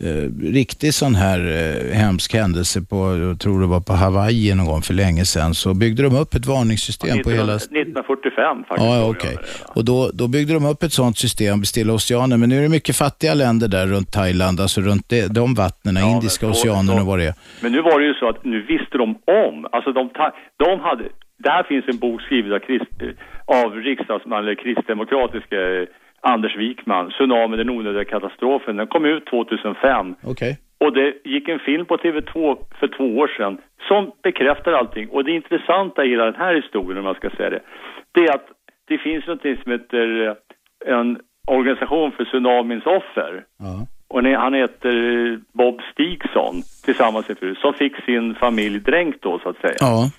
Speaker 2: eh, riktig sån här eh, hemsk händelse på, jag tror det var på Hawaii någon gång för länge sedan, så byggde de upp ett varningssystem på hela...
Speaker 26: 1945 faktiskt.
Speaker 2: Ja, ja okej. Och då, då byggde de upp ett sånt system i Stilla oceanen, men nu är det mycket fattiga länder där runt Thailand, alltså runt de, de vattnen, Indiska
Speaker 26: så-
Speaker 2: oceanen och vad det är.
Speaker 26: Men nu var det ju så att nu visste de om, alltså de, ta- de hade, där finns en bok skriven av, krist, av riksdagsman, eller kristdemokratiske eh, Anders Wikman, Tsunamin, den onödiga katastrofen. Den kom ut 2005
Speaker 2: Okej.
Speaker 26: och det gick en film på TV2 för två år sedan som bekräftar allting. Och det intressanta i hela den här historien, om jag ska säga det, det är att det finns något som heter eh, en organisation för tsunamins offer. Och ni- han heter eh, Bob Stigson tillsammans med fru, som fick sin familj dränkt då så att säga.
Speaker 2: Ja.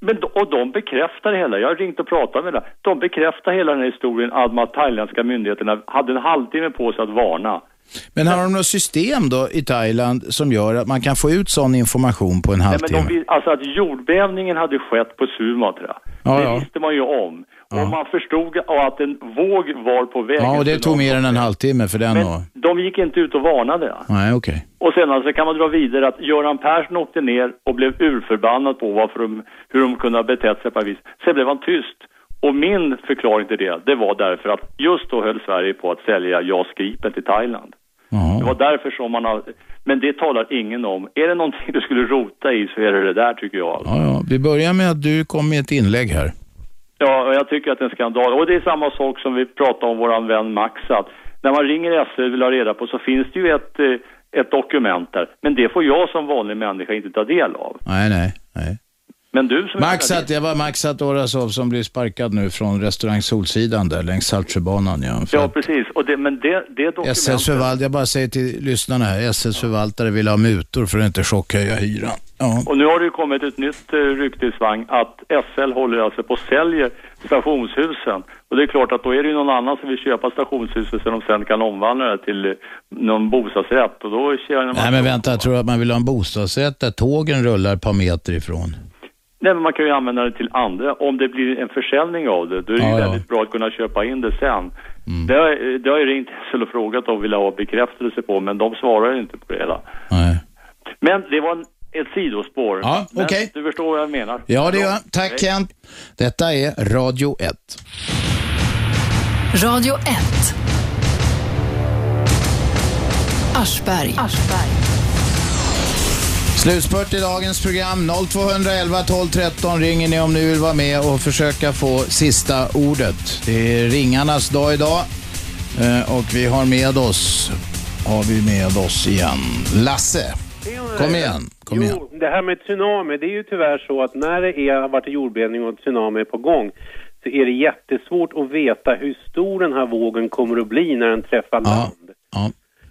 Speaker 26: Men, d- och de bekräftar hela, jag har ringt och pratat med dem, de bekräftar hela den här historien att de thailändska myndigheterna hade en halvtimme på sig att varna.
Speaker 2: Men har de något system då i Thailand som gör att man kan få ut sån information på en
Speaker 26: Nej, men
Speaker 2: halvtimme?
Speaker 26: de, vill- alltså att jordbävningen hade skett på Sumatra,
Speaker 2: Ja,
Speaker 26: det
Speaker 2: ja.
Speaker 26: visste man ju om. Och man förstod och att en våg var på väg.
Speaker 2: Ja, och det tog mer än en halvtimme för den. Och...
Speaker 26: De gick inte ut och varnade.
Speaker 2: Nej, okej.
Speaker 26: Och sen alltså kan man dra vidare att Göran Persson åkte ner och blev urförbannad på varför de, hur de kunde ha betett sig på ett vis. Sen blev han tyst. Och min förklaring till det, det var därför att just då höll Sverige på att sälja JAS Gripen till Thailand. Det var därför som man har, men det talar ingen om. Är det någonting du skulle rota i så är det det där tycker jag.
Speaker 2: Ja, ja. Vi börjar med att du kom med ett inlägg här.
Speaker 26: Ja, och jag tycker att det är en skandal. Och det är samma sak som vi pratade om våran vän Max att när man ringer SL och vill ha reda på så finns det ju ett, eh, ett dokument där. Men det får jag som vanlig människa inte ta del av.
Speaker 2: Nej, nej.
Speaker 26: Men du som
Speaker 2: Maxat, det var Maxat Orasov som blev sparkad nu från restaurang Solsidan där längs Saltsjöbanan. Ja. För
Speaker 26: Ja, precis. Och det, men det, det
Speaker 2: att SS
Speaker 26: dokumentet...
Speaker 2: förvalt, jag bara säger till lyssnarna här, SS förvaltare vill ha mutor för att inte chockhöja hyran. Ja.
Speaker 26: Och nu har det ju kommit ett nytt eh, rykte i svang att SL håller alltså på och säljer stationshusen. Och det är klart att då är det ju någon annan som vill köpa stationshusen så de sen kan omvandla det till eh, någon bostadsrätt. Och då tjänar man...
Speaker 2: Nej men vänta, jag tror att man vill ha en bostadsrätt där tågen rullar ett par meter ifrån.
Speaker 26: Nej, men man kan ju använda det till andra. Om det blir en försäljning av det, då är det
Speaker 2: Ja,
Speaker 26: ju
Speaker 2: Mm. ja.
Speaker 26: väldigt bra att kunna köpa in det sen. Det, har, det har ju ringt SL och frågat och vill ha bekräftelse på, men de svarar ju inte på det hela. Men det var en, ett sidospår.
Speaker 2: Ja,
Speaker 26: Men
Speaker 2: okej.
Speaker 26: Du förstår vad jag menar.
Speaker 2: Ja det gör jag.
Speaker 26: Hej.
Speaker 2: Tack Kent. Detta är Radio 1.
Speaker 1: Radio 1. Aschberg.
Speaker 2: Slutspurt i dagens program 0211 12 13 ringer ni om ni vill vara med och försöka få sista ordet. Det är ringarnas dag idag Eh, och vi har med oss, har vi med oss igen, Lasse. Kom igen, kom igen.
Speaker 7: Det här med tsunami, det är ju tyvärr så att när det är, har varit en jordbävning och en tsunami är på gång så är det jättesvårt att veta hur stor den här vågen kommer att bli när den träffar land.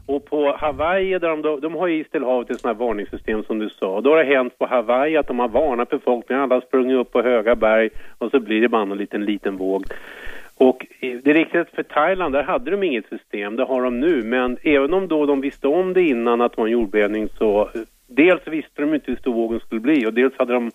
Speaker 7: Och på Hawaii, där de, då- de har ju i Stillahavet ett sånt här varningssystem som du sa. Då har det hänt på Hawaii att de har varnat befolkningen, alla har sprungit upp på höga berg och så blir det bara en liten, liten våg. Och eh, det är riktigt för Thailand, där hade de inget system, det har de nu. Men även om då de visste om det innan att det var en jordbävning så eh, dels visste de inte hur stor vågen skulle bli och dels hade de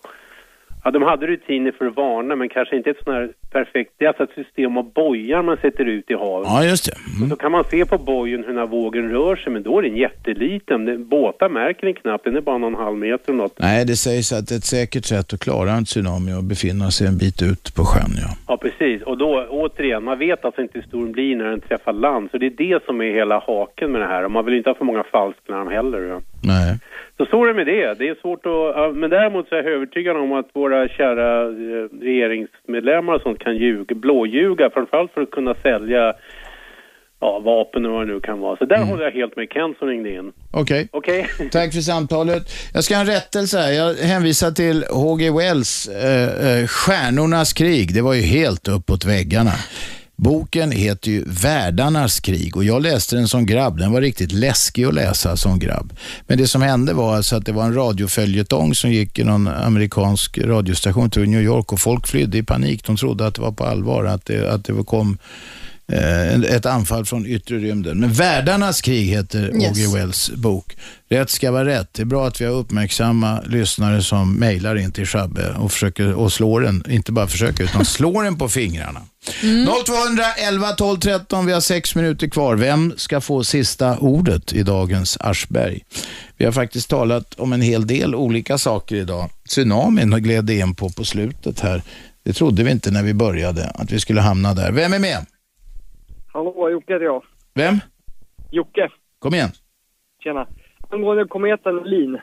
Speaker 7: Ja, de hade rutiner för att varna, men kanske inte ett sånt här perfekt... Det är alltså ett system av bojar man sätter ut i havet.
Speaker 2: Ja just det.
Speaker 7: Och så kan man se på bojen hur den här vågen rör sig, men då är den jätteliten. Den- Båtar märker den knappt, den är bara någon halv meter eller något.
Speaker 2: Nej, det sägs att ett säkert sätt att klara en tsunami är att befinna sig en bit ut på sjön. Ja.
Speaker 7: Ja, precis. Och då, återigen, man vet alltså inte hur stor den blir när den träffar land. Så det är det som är hela haken med det här. Och man vill inte ha för många falsklarm heller. ja.
Speaker 2: Nej.
Speaker 7: Så så är det med det. Det är svårt att... ja, Men däremot så är jag övertygad om att våra kära eh, regeringsmedlemmar och sånt kan ljuga, blåljuga, framförallt för att kunna sälja ja, vapen och vad det nu kan vara. Så där håller jag helt med Kent som ringde in.
Speaker 2: Okej.
Speaker 7: Okej.
Speaker 2: Tack för samtalet. Jag ska ha en rättelse här. Jag hänvisar till H.G. Wells eh, eh, Stjärnornas krig. Det var ju helt uppåt väggarna. Boken heter ju Världarnas krig och jag läste den som grabb. Den var riktigt läskig att läsa som grabb. Men det som hände var alltså att det var en radioföljetong som gick i någon amerikansk radiostation, till New York, och folk flydde i panik. De trodde att det var på allvar, att det, att det kom Eh, en- Ett anfall från yttre rymden. Men Världarnas krig heter
Speaker 10: Yes.
Speaker 2: Augie Wells bok. Rätt ska vara rätt. Det är bra att vi har uppmärksamma lyssnare som mejlar in till Shabbe och, försöker, och slår den, inte bara försöker, utan Mm. slår den på fingrarna. 0200 11 12 13, vi har sex minuter kvar. Vem ska få sista ordet i dagens Aschberg? Vi har faktiskt talat om en hel del olika saker idag. Tsunamin gled in på på slutet här. Det trodde vi inte när vi började, att vi skulle hamna där. Vem är med?
Speaker 11: Hallå, Jocke heter jag.
Speaker 2: Vem?
Speaker 11: Jocke,
Speaker 2: Kom igen.
Speaker 11: tjena. Angående kometen Lin.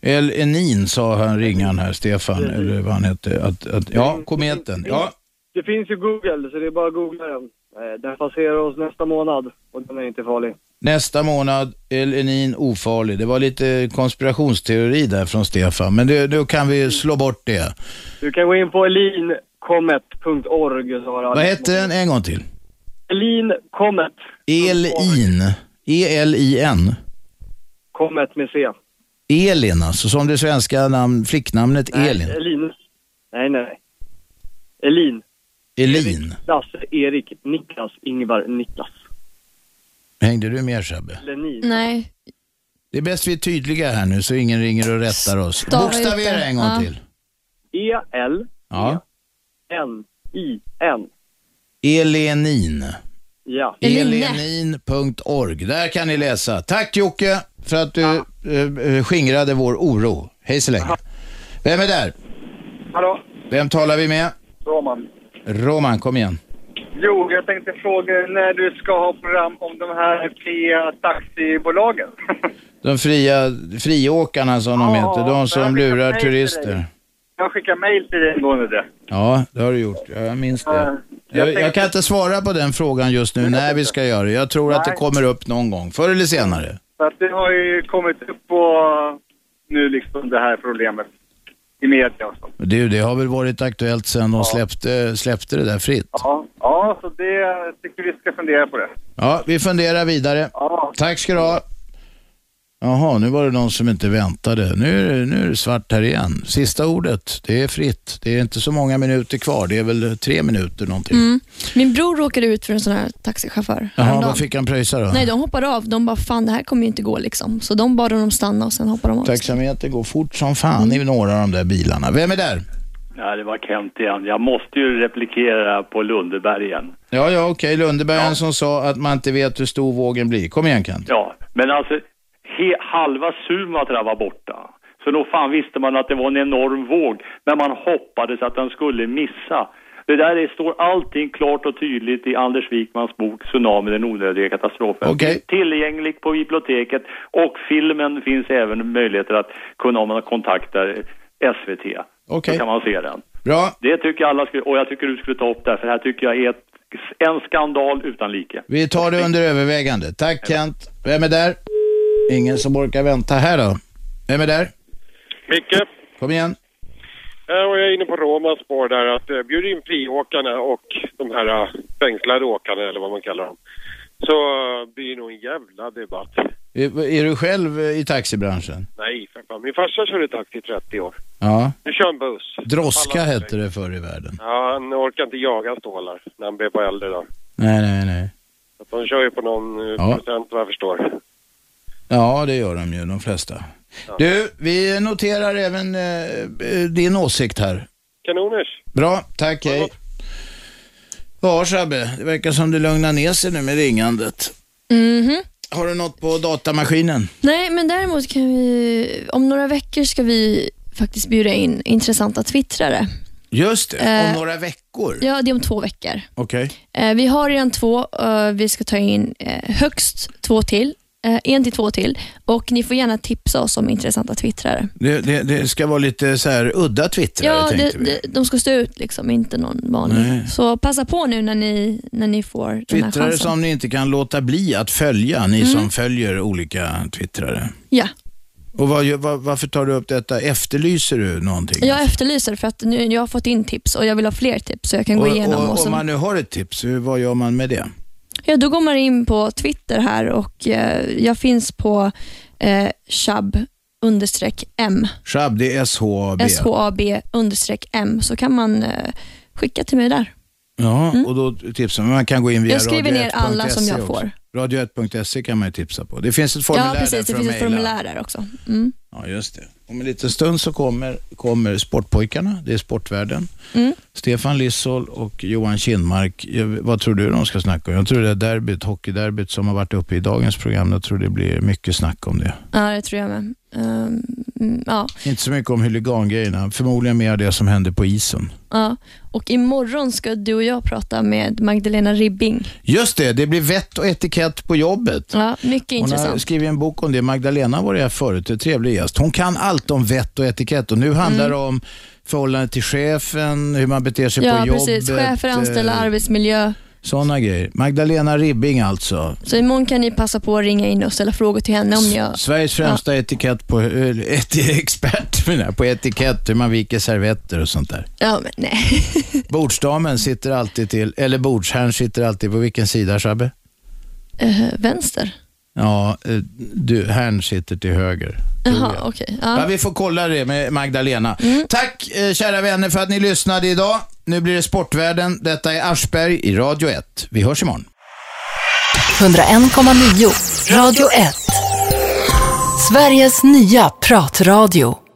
Speaker 2: El Enin sa han, ringaren här, Stefan, eller vad han hette. Att, att, ja, kometen. Ja,
Speaker 11: Det finns ju Google, så det är bara att googla den. Eh, Den passerar oss nästa månad och den är inte farlig.
Speaker 2: Nästa månad, El Enin ofarlig. Det var lite konspirationsteori där från Stefan, men det, då kan vi slå bort det.
Speaker 11: Du kan gå in på elincomet.org. så har du alla-
Speaker 2: Vad hette den en gång till?
Speaker 11: Elin Comet.
Speaker 2: Elin. E E-L-I-N.
Speaker 11: Comet med C.
Speaker 2: Elin, alltså som det svenska namn, flicknamnet Elin.
Speaker 11: Nej, Elin. Nej, nej, nej. Elin.
Speaker 2: Elin.
Speaker 11: Lasse, Erik, Niklas, Ingvar, Niklas.
Speaker 2: Hängde du med Shabbe?
Speaker 11: Lenin.
Speaker 4: Nej.
Speaker 2: Det är bäst vi är tydliga här nu så ingen ringer och rättar oss.
Speaker 4: Stava ut
Speaker 2: Bokstavera
Speaker 4: det.
Speaker 2: en gång
Speaker 4: Ja.
Speaker 2: till.
Speaker 11: E
Speaker 2: Ja.
Speaker 11: E-L-N-I-N.
Speaker 2: Elenin.
Speaker 11: Ja.
Speaker 2: Elenin.org. Där kan ni läsa. Tack Jocke för att du eh, eh, skingrade vår oro. Hej så länge. Vem är där?
Speaker 27: Hallå,
Speaker 2: Vem talar vi med?
Speaker 27: Roman.
Speaker 2: Roman, kom igen.
Speaker 27: Jo, jag tänkte fråga när du ska ha program om de här fria taxibolagen.
Speaker 2: De fria friåkarna som de heter, de som lurar
Speaker 27: nej till dig.
Speaker 2: turister.
Speaker 27: Jag skickar mejl till dig angående det.
Speaker 2: Ja, det har du gjort. Jag minns
Speaker 27: Eh,
Speaker 2: det. Jag, jag kan inte svara på den frågan just nu när vi ska göra det. Jag tror att det
Speaker 27: Nej.
Speaker 2: kommer upp någon gång, förr eller senare.
Speaker 27: För att det har ju kommit upp på nu liksom det här problemet i media och så.
Speaker 2: Du, det har väl varit aktuellt sedan de släppte, släppte det där fritt.
Speaker 27: Ja, ja, så det jag tycker vi ska fundera på det.
Speaker 2: Ja, vi funderar vidare. Tack ska du ha. Jaha, nu var det någon som inte väntade. Nu är, det, nu är det svart här igen. Sista ordet, det är fritt. Det är inte så många minuter kvar. Det är väl tre minuter någonting.
Speaker 4: Mm. Min bror råkade ut för en sån här taxichaufför
Speaker 2: Jaha,
Speaker 4: häromdagen.
Speaker 2: vad fick han pröjsa då?
Speaker 4: Nej, de hoppade av. De bara, fan det här kommer ju inte gå liksom. Så de bad honom stanna och sen hoppade de Mm. av.
Speaker 2: Taxametern går fort som fan i några av de där bilarna. Vem är där?
Speaker 26: Ja, det var Kent igen. Jag måste ju replikera på Lundeberg igen.
Speaker 2: Ja, ja, okej. Lundebergen som sa att man inte vet hur stor vågen blir. Kom igen Kent.
Speaker 26: Ja, men alltså he, halva Sumatra var borta. Så nog fan visste man att det var en enorm våg, men man hoppades att den skulle missa. Det där är, står allting klart och tydligt i Anders Wikmans bok Tsunami, den onödiga katastrofen.
Speaker 2: Okej.
Speaker 26: Tillgänglig på biblioteket och filmen finns även möjligheter att kunna om man kontaktar SVT.
Speaker 2: Okej.
Speaker 26: Så kan man se den.
Speaker 2: Bra.
Speaker 26: Det tycker jag alla skulle, och jag tycker du skulle ta upp det här, för det här tycker jag är ett, en skandal utan like.
Speaker 2: Vi tar det under övervägande. Tack Kent. Vem är där? Ingen som orkar vänta här då. Vem är där?
Speaker 28: Micke,
Speaker 2: Kom igen.
Speaker 28: här var jag inne på Romans spår där att eh, bjud in friåkarna och de här eh, fängslade åkarna eller vad man kallar dem. Så eh, blir det nog en jävla debatt.
Speaker 2: Är, är du själv eh, i taxibranschen?
Speaker 28: Nej, för fan. Min farsa körde taxi i 30 år.
Speaker 2: Ja.
Speaker 28: Nu kör han buss.
Speaker 2: Droska
Speaker 28: Alla-
Speaker 2: hette det förr i världen.
Speaker 28: Ja, han orkar inte jaga stålar när han blir på äldre då.
Speaker 2: Nej, nej, nej.
Speaker 28: Så att de kör ju på någon eh,
Speaker 2: Ja.
Speaker 28: procent vad jag förstår.
Speaker 2: Ja, det gör de ju, de flesta. Du, vi noterar även eh, eh, din åsikt här.
Speaker 28: Kanoners!
Speaker 2: Bra, tack, hej. Ja, Shabbe, det verkar som du lugnar ner sig nu med ringandet.
Speaker 4: Mhm.
Speaker 2: Har du något på datamaskinen?
Speaker 4: Nej, men däremot kan vi, om några veckor ska vi faktiskt bjuda in intressanta twittrare.
Speaker 2: Just det, om
Speaker 4: Eh,
Speaker 2: några veckor.
Speaker 4: Ja, det är om två veckor.
Speaker 2: Okej.
Speaker 4: Eh, vi har redan två. eh, vi ska ta in eh, högst två till. Eh, en till två till. Och ni får gärna tipsa oss om intressanta twittrare.
Speaker 2: Det, det, det ska vara lite så här udda twittrare,
Speaker 4: ja,
Speaker 2: tänkte vi.
Speaker 4: det, de ska stå ut, liksom, inte någon vanlig.
Speaker 2: Nej.
Speaker 4: Så passa på nu när ni, när ni får den här
Speaker 2: Twittrare
Speaker 4: chansen.
Speaker 2: som ni inte kan låta bli att följa, ni
Speaker 4: Mm.
Speaker 2: som följer olika twittrare.
Speaker 4: Ja.
Speaker 2: Och vad, gör- vad, varför tar du upp detta? Efterlyser du någonting?
Speaker 4: Jag efterlyser för att nu, jag har fått in tips och jag vill ha fler tips så jag kan
Speaker 2: och,
Speaker 4: gå igenom.
Speaker 2: och,
Speaker 4: Och,
Speaker 2: Om
Speaker 4: sen,
Speaker 2: man nu har ett tips, hur- vad gör man med det?
Speaker 4: ja, då går man in på Twitter här och eh, jag finns på eh, shab understreck m.
Speaker 2: Shab, det är SHAB.
Speaker 4: SHAB understreck m så kan man eh, skicka till mig där.
Speaker 2: Ja, och då tipsar man. Man kan gå in via
Speaker 4: Jag skriver ner
Speaker 2: radio1.se
Speaker 4: alla som jag
Speaker 2: E också.
Speaker 4: får.
Speaker 2: Radio1.se E kan man ju tipsa på. Det finns ett formulär
Speaker 4: Ja,
Speaker 2: där
Speaker 4: precis.
Speaker 2: för
Speaker 4: Det
Speaker 2: att
Speaker 4: finns ett
Speaker 2: mejla.
Speaker 4: formulär där också. Mm.
Speaker 2: Ja, just det. Om en liten stund så kommer, kommer Sportpojkarna, det är Sportvärlden.
Speaker 4: Mm.
Speaker 2: Stefan Lissol och Johan Kindmark. Jag- Vad tror du de ska snacka om? Jag tror det är derbyt, hockeyderbyt som har varit uppe i dagens program. Jag tror det blir mycket snack om det.
Speaker 4: Ja, det tror jag med. Ehm, mm, ja.
Speaker 2: Inte så mycket om huligangrejerna, förmodligen mer det som hände på isen.
Speaker 4: Ja. Och imorgon ska du och jag prata med Magdalena Ribbing.
Speaker 2: Just det, det blir vett och etikett på jobbet.
Speaker 4: Ja, mycket
Speaker 2: Hon har
Speaker 4: intressant.
Speaker 2: skrivit en bok om det. Magdalena var det här förut, en trevlig gäst. Hon kan allt om vett och etikett och nu handlar det om förhållandet till chefen, hur man beter sig
Speaker 4: Mm. Ja,
Speaker 2: på jobbet.
Speaker 4: precis. Chefer, anställda,
Speaker 2: eh,
Speaker 4: arbetsmiljö.
Speaker 2: Sådana grejer. Magdalena Ribbing alltså.
Speaker 4: Så imorgon kan ni passa på att ringa in och ställa frågor till henne om ni har...
Speaker 2: Sveriges främsta etikett på, eller, et, expert menar jag, på etikett, hur man viker servetter och sånt där.
Speaker 4: Ja, men nej.
Speaker 2: Bordsdamen sitter alltid till, eller bordsherrn sitter alltid på vilken sida Shabbe?
Speaker 4: Eh, vänster?
Speaker 2: Ja, eh, du, herrn sitter till höger.
Speaker 4: Jaha, okej.
Speaker 2: Ja,
Speaker 4: Ja. Mm.
Speaker 2: vi får kolla det med Magdalena. Tack eh, kära vänner för att ni lyssnade idag. Nu blir det Sportvärlden. Detta är Aschberg i Radio 1. Vi hörs imorgon.
Speaker 1: 101,9. Radio 1. Sveriges nya pratradio.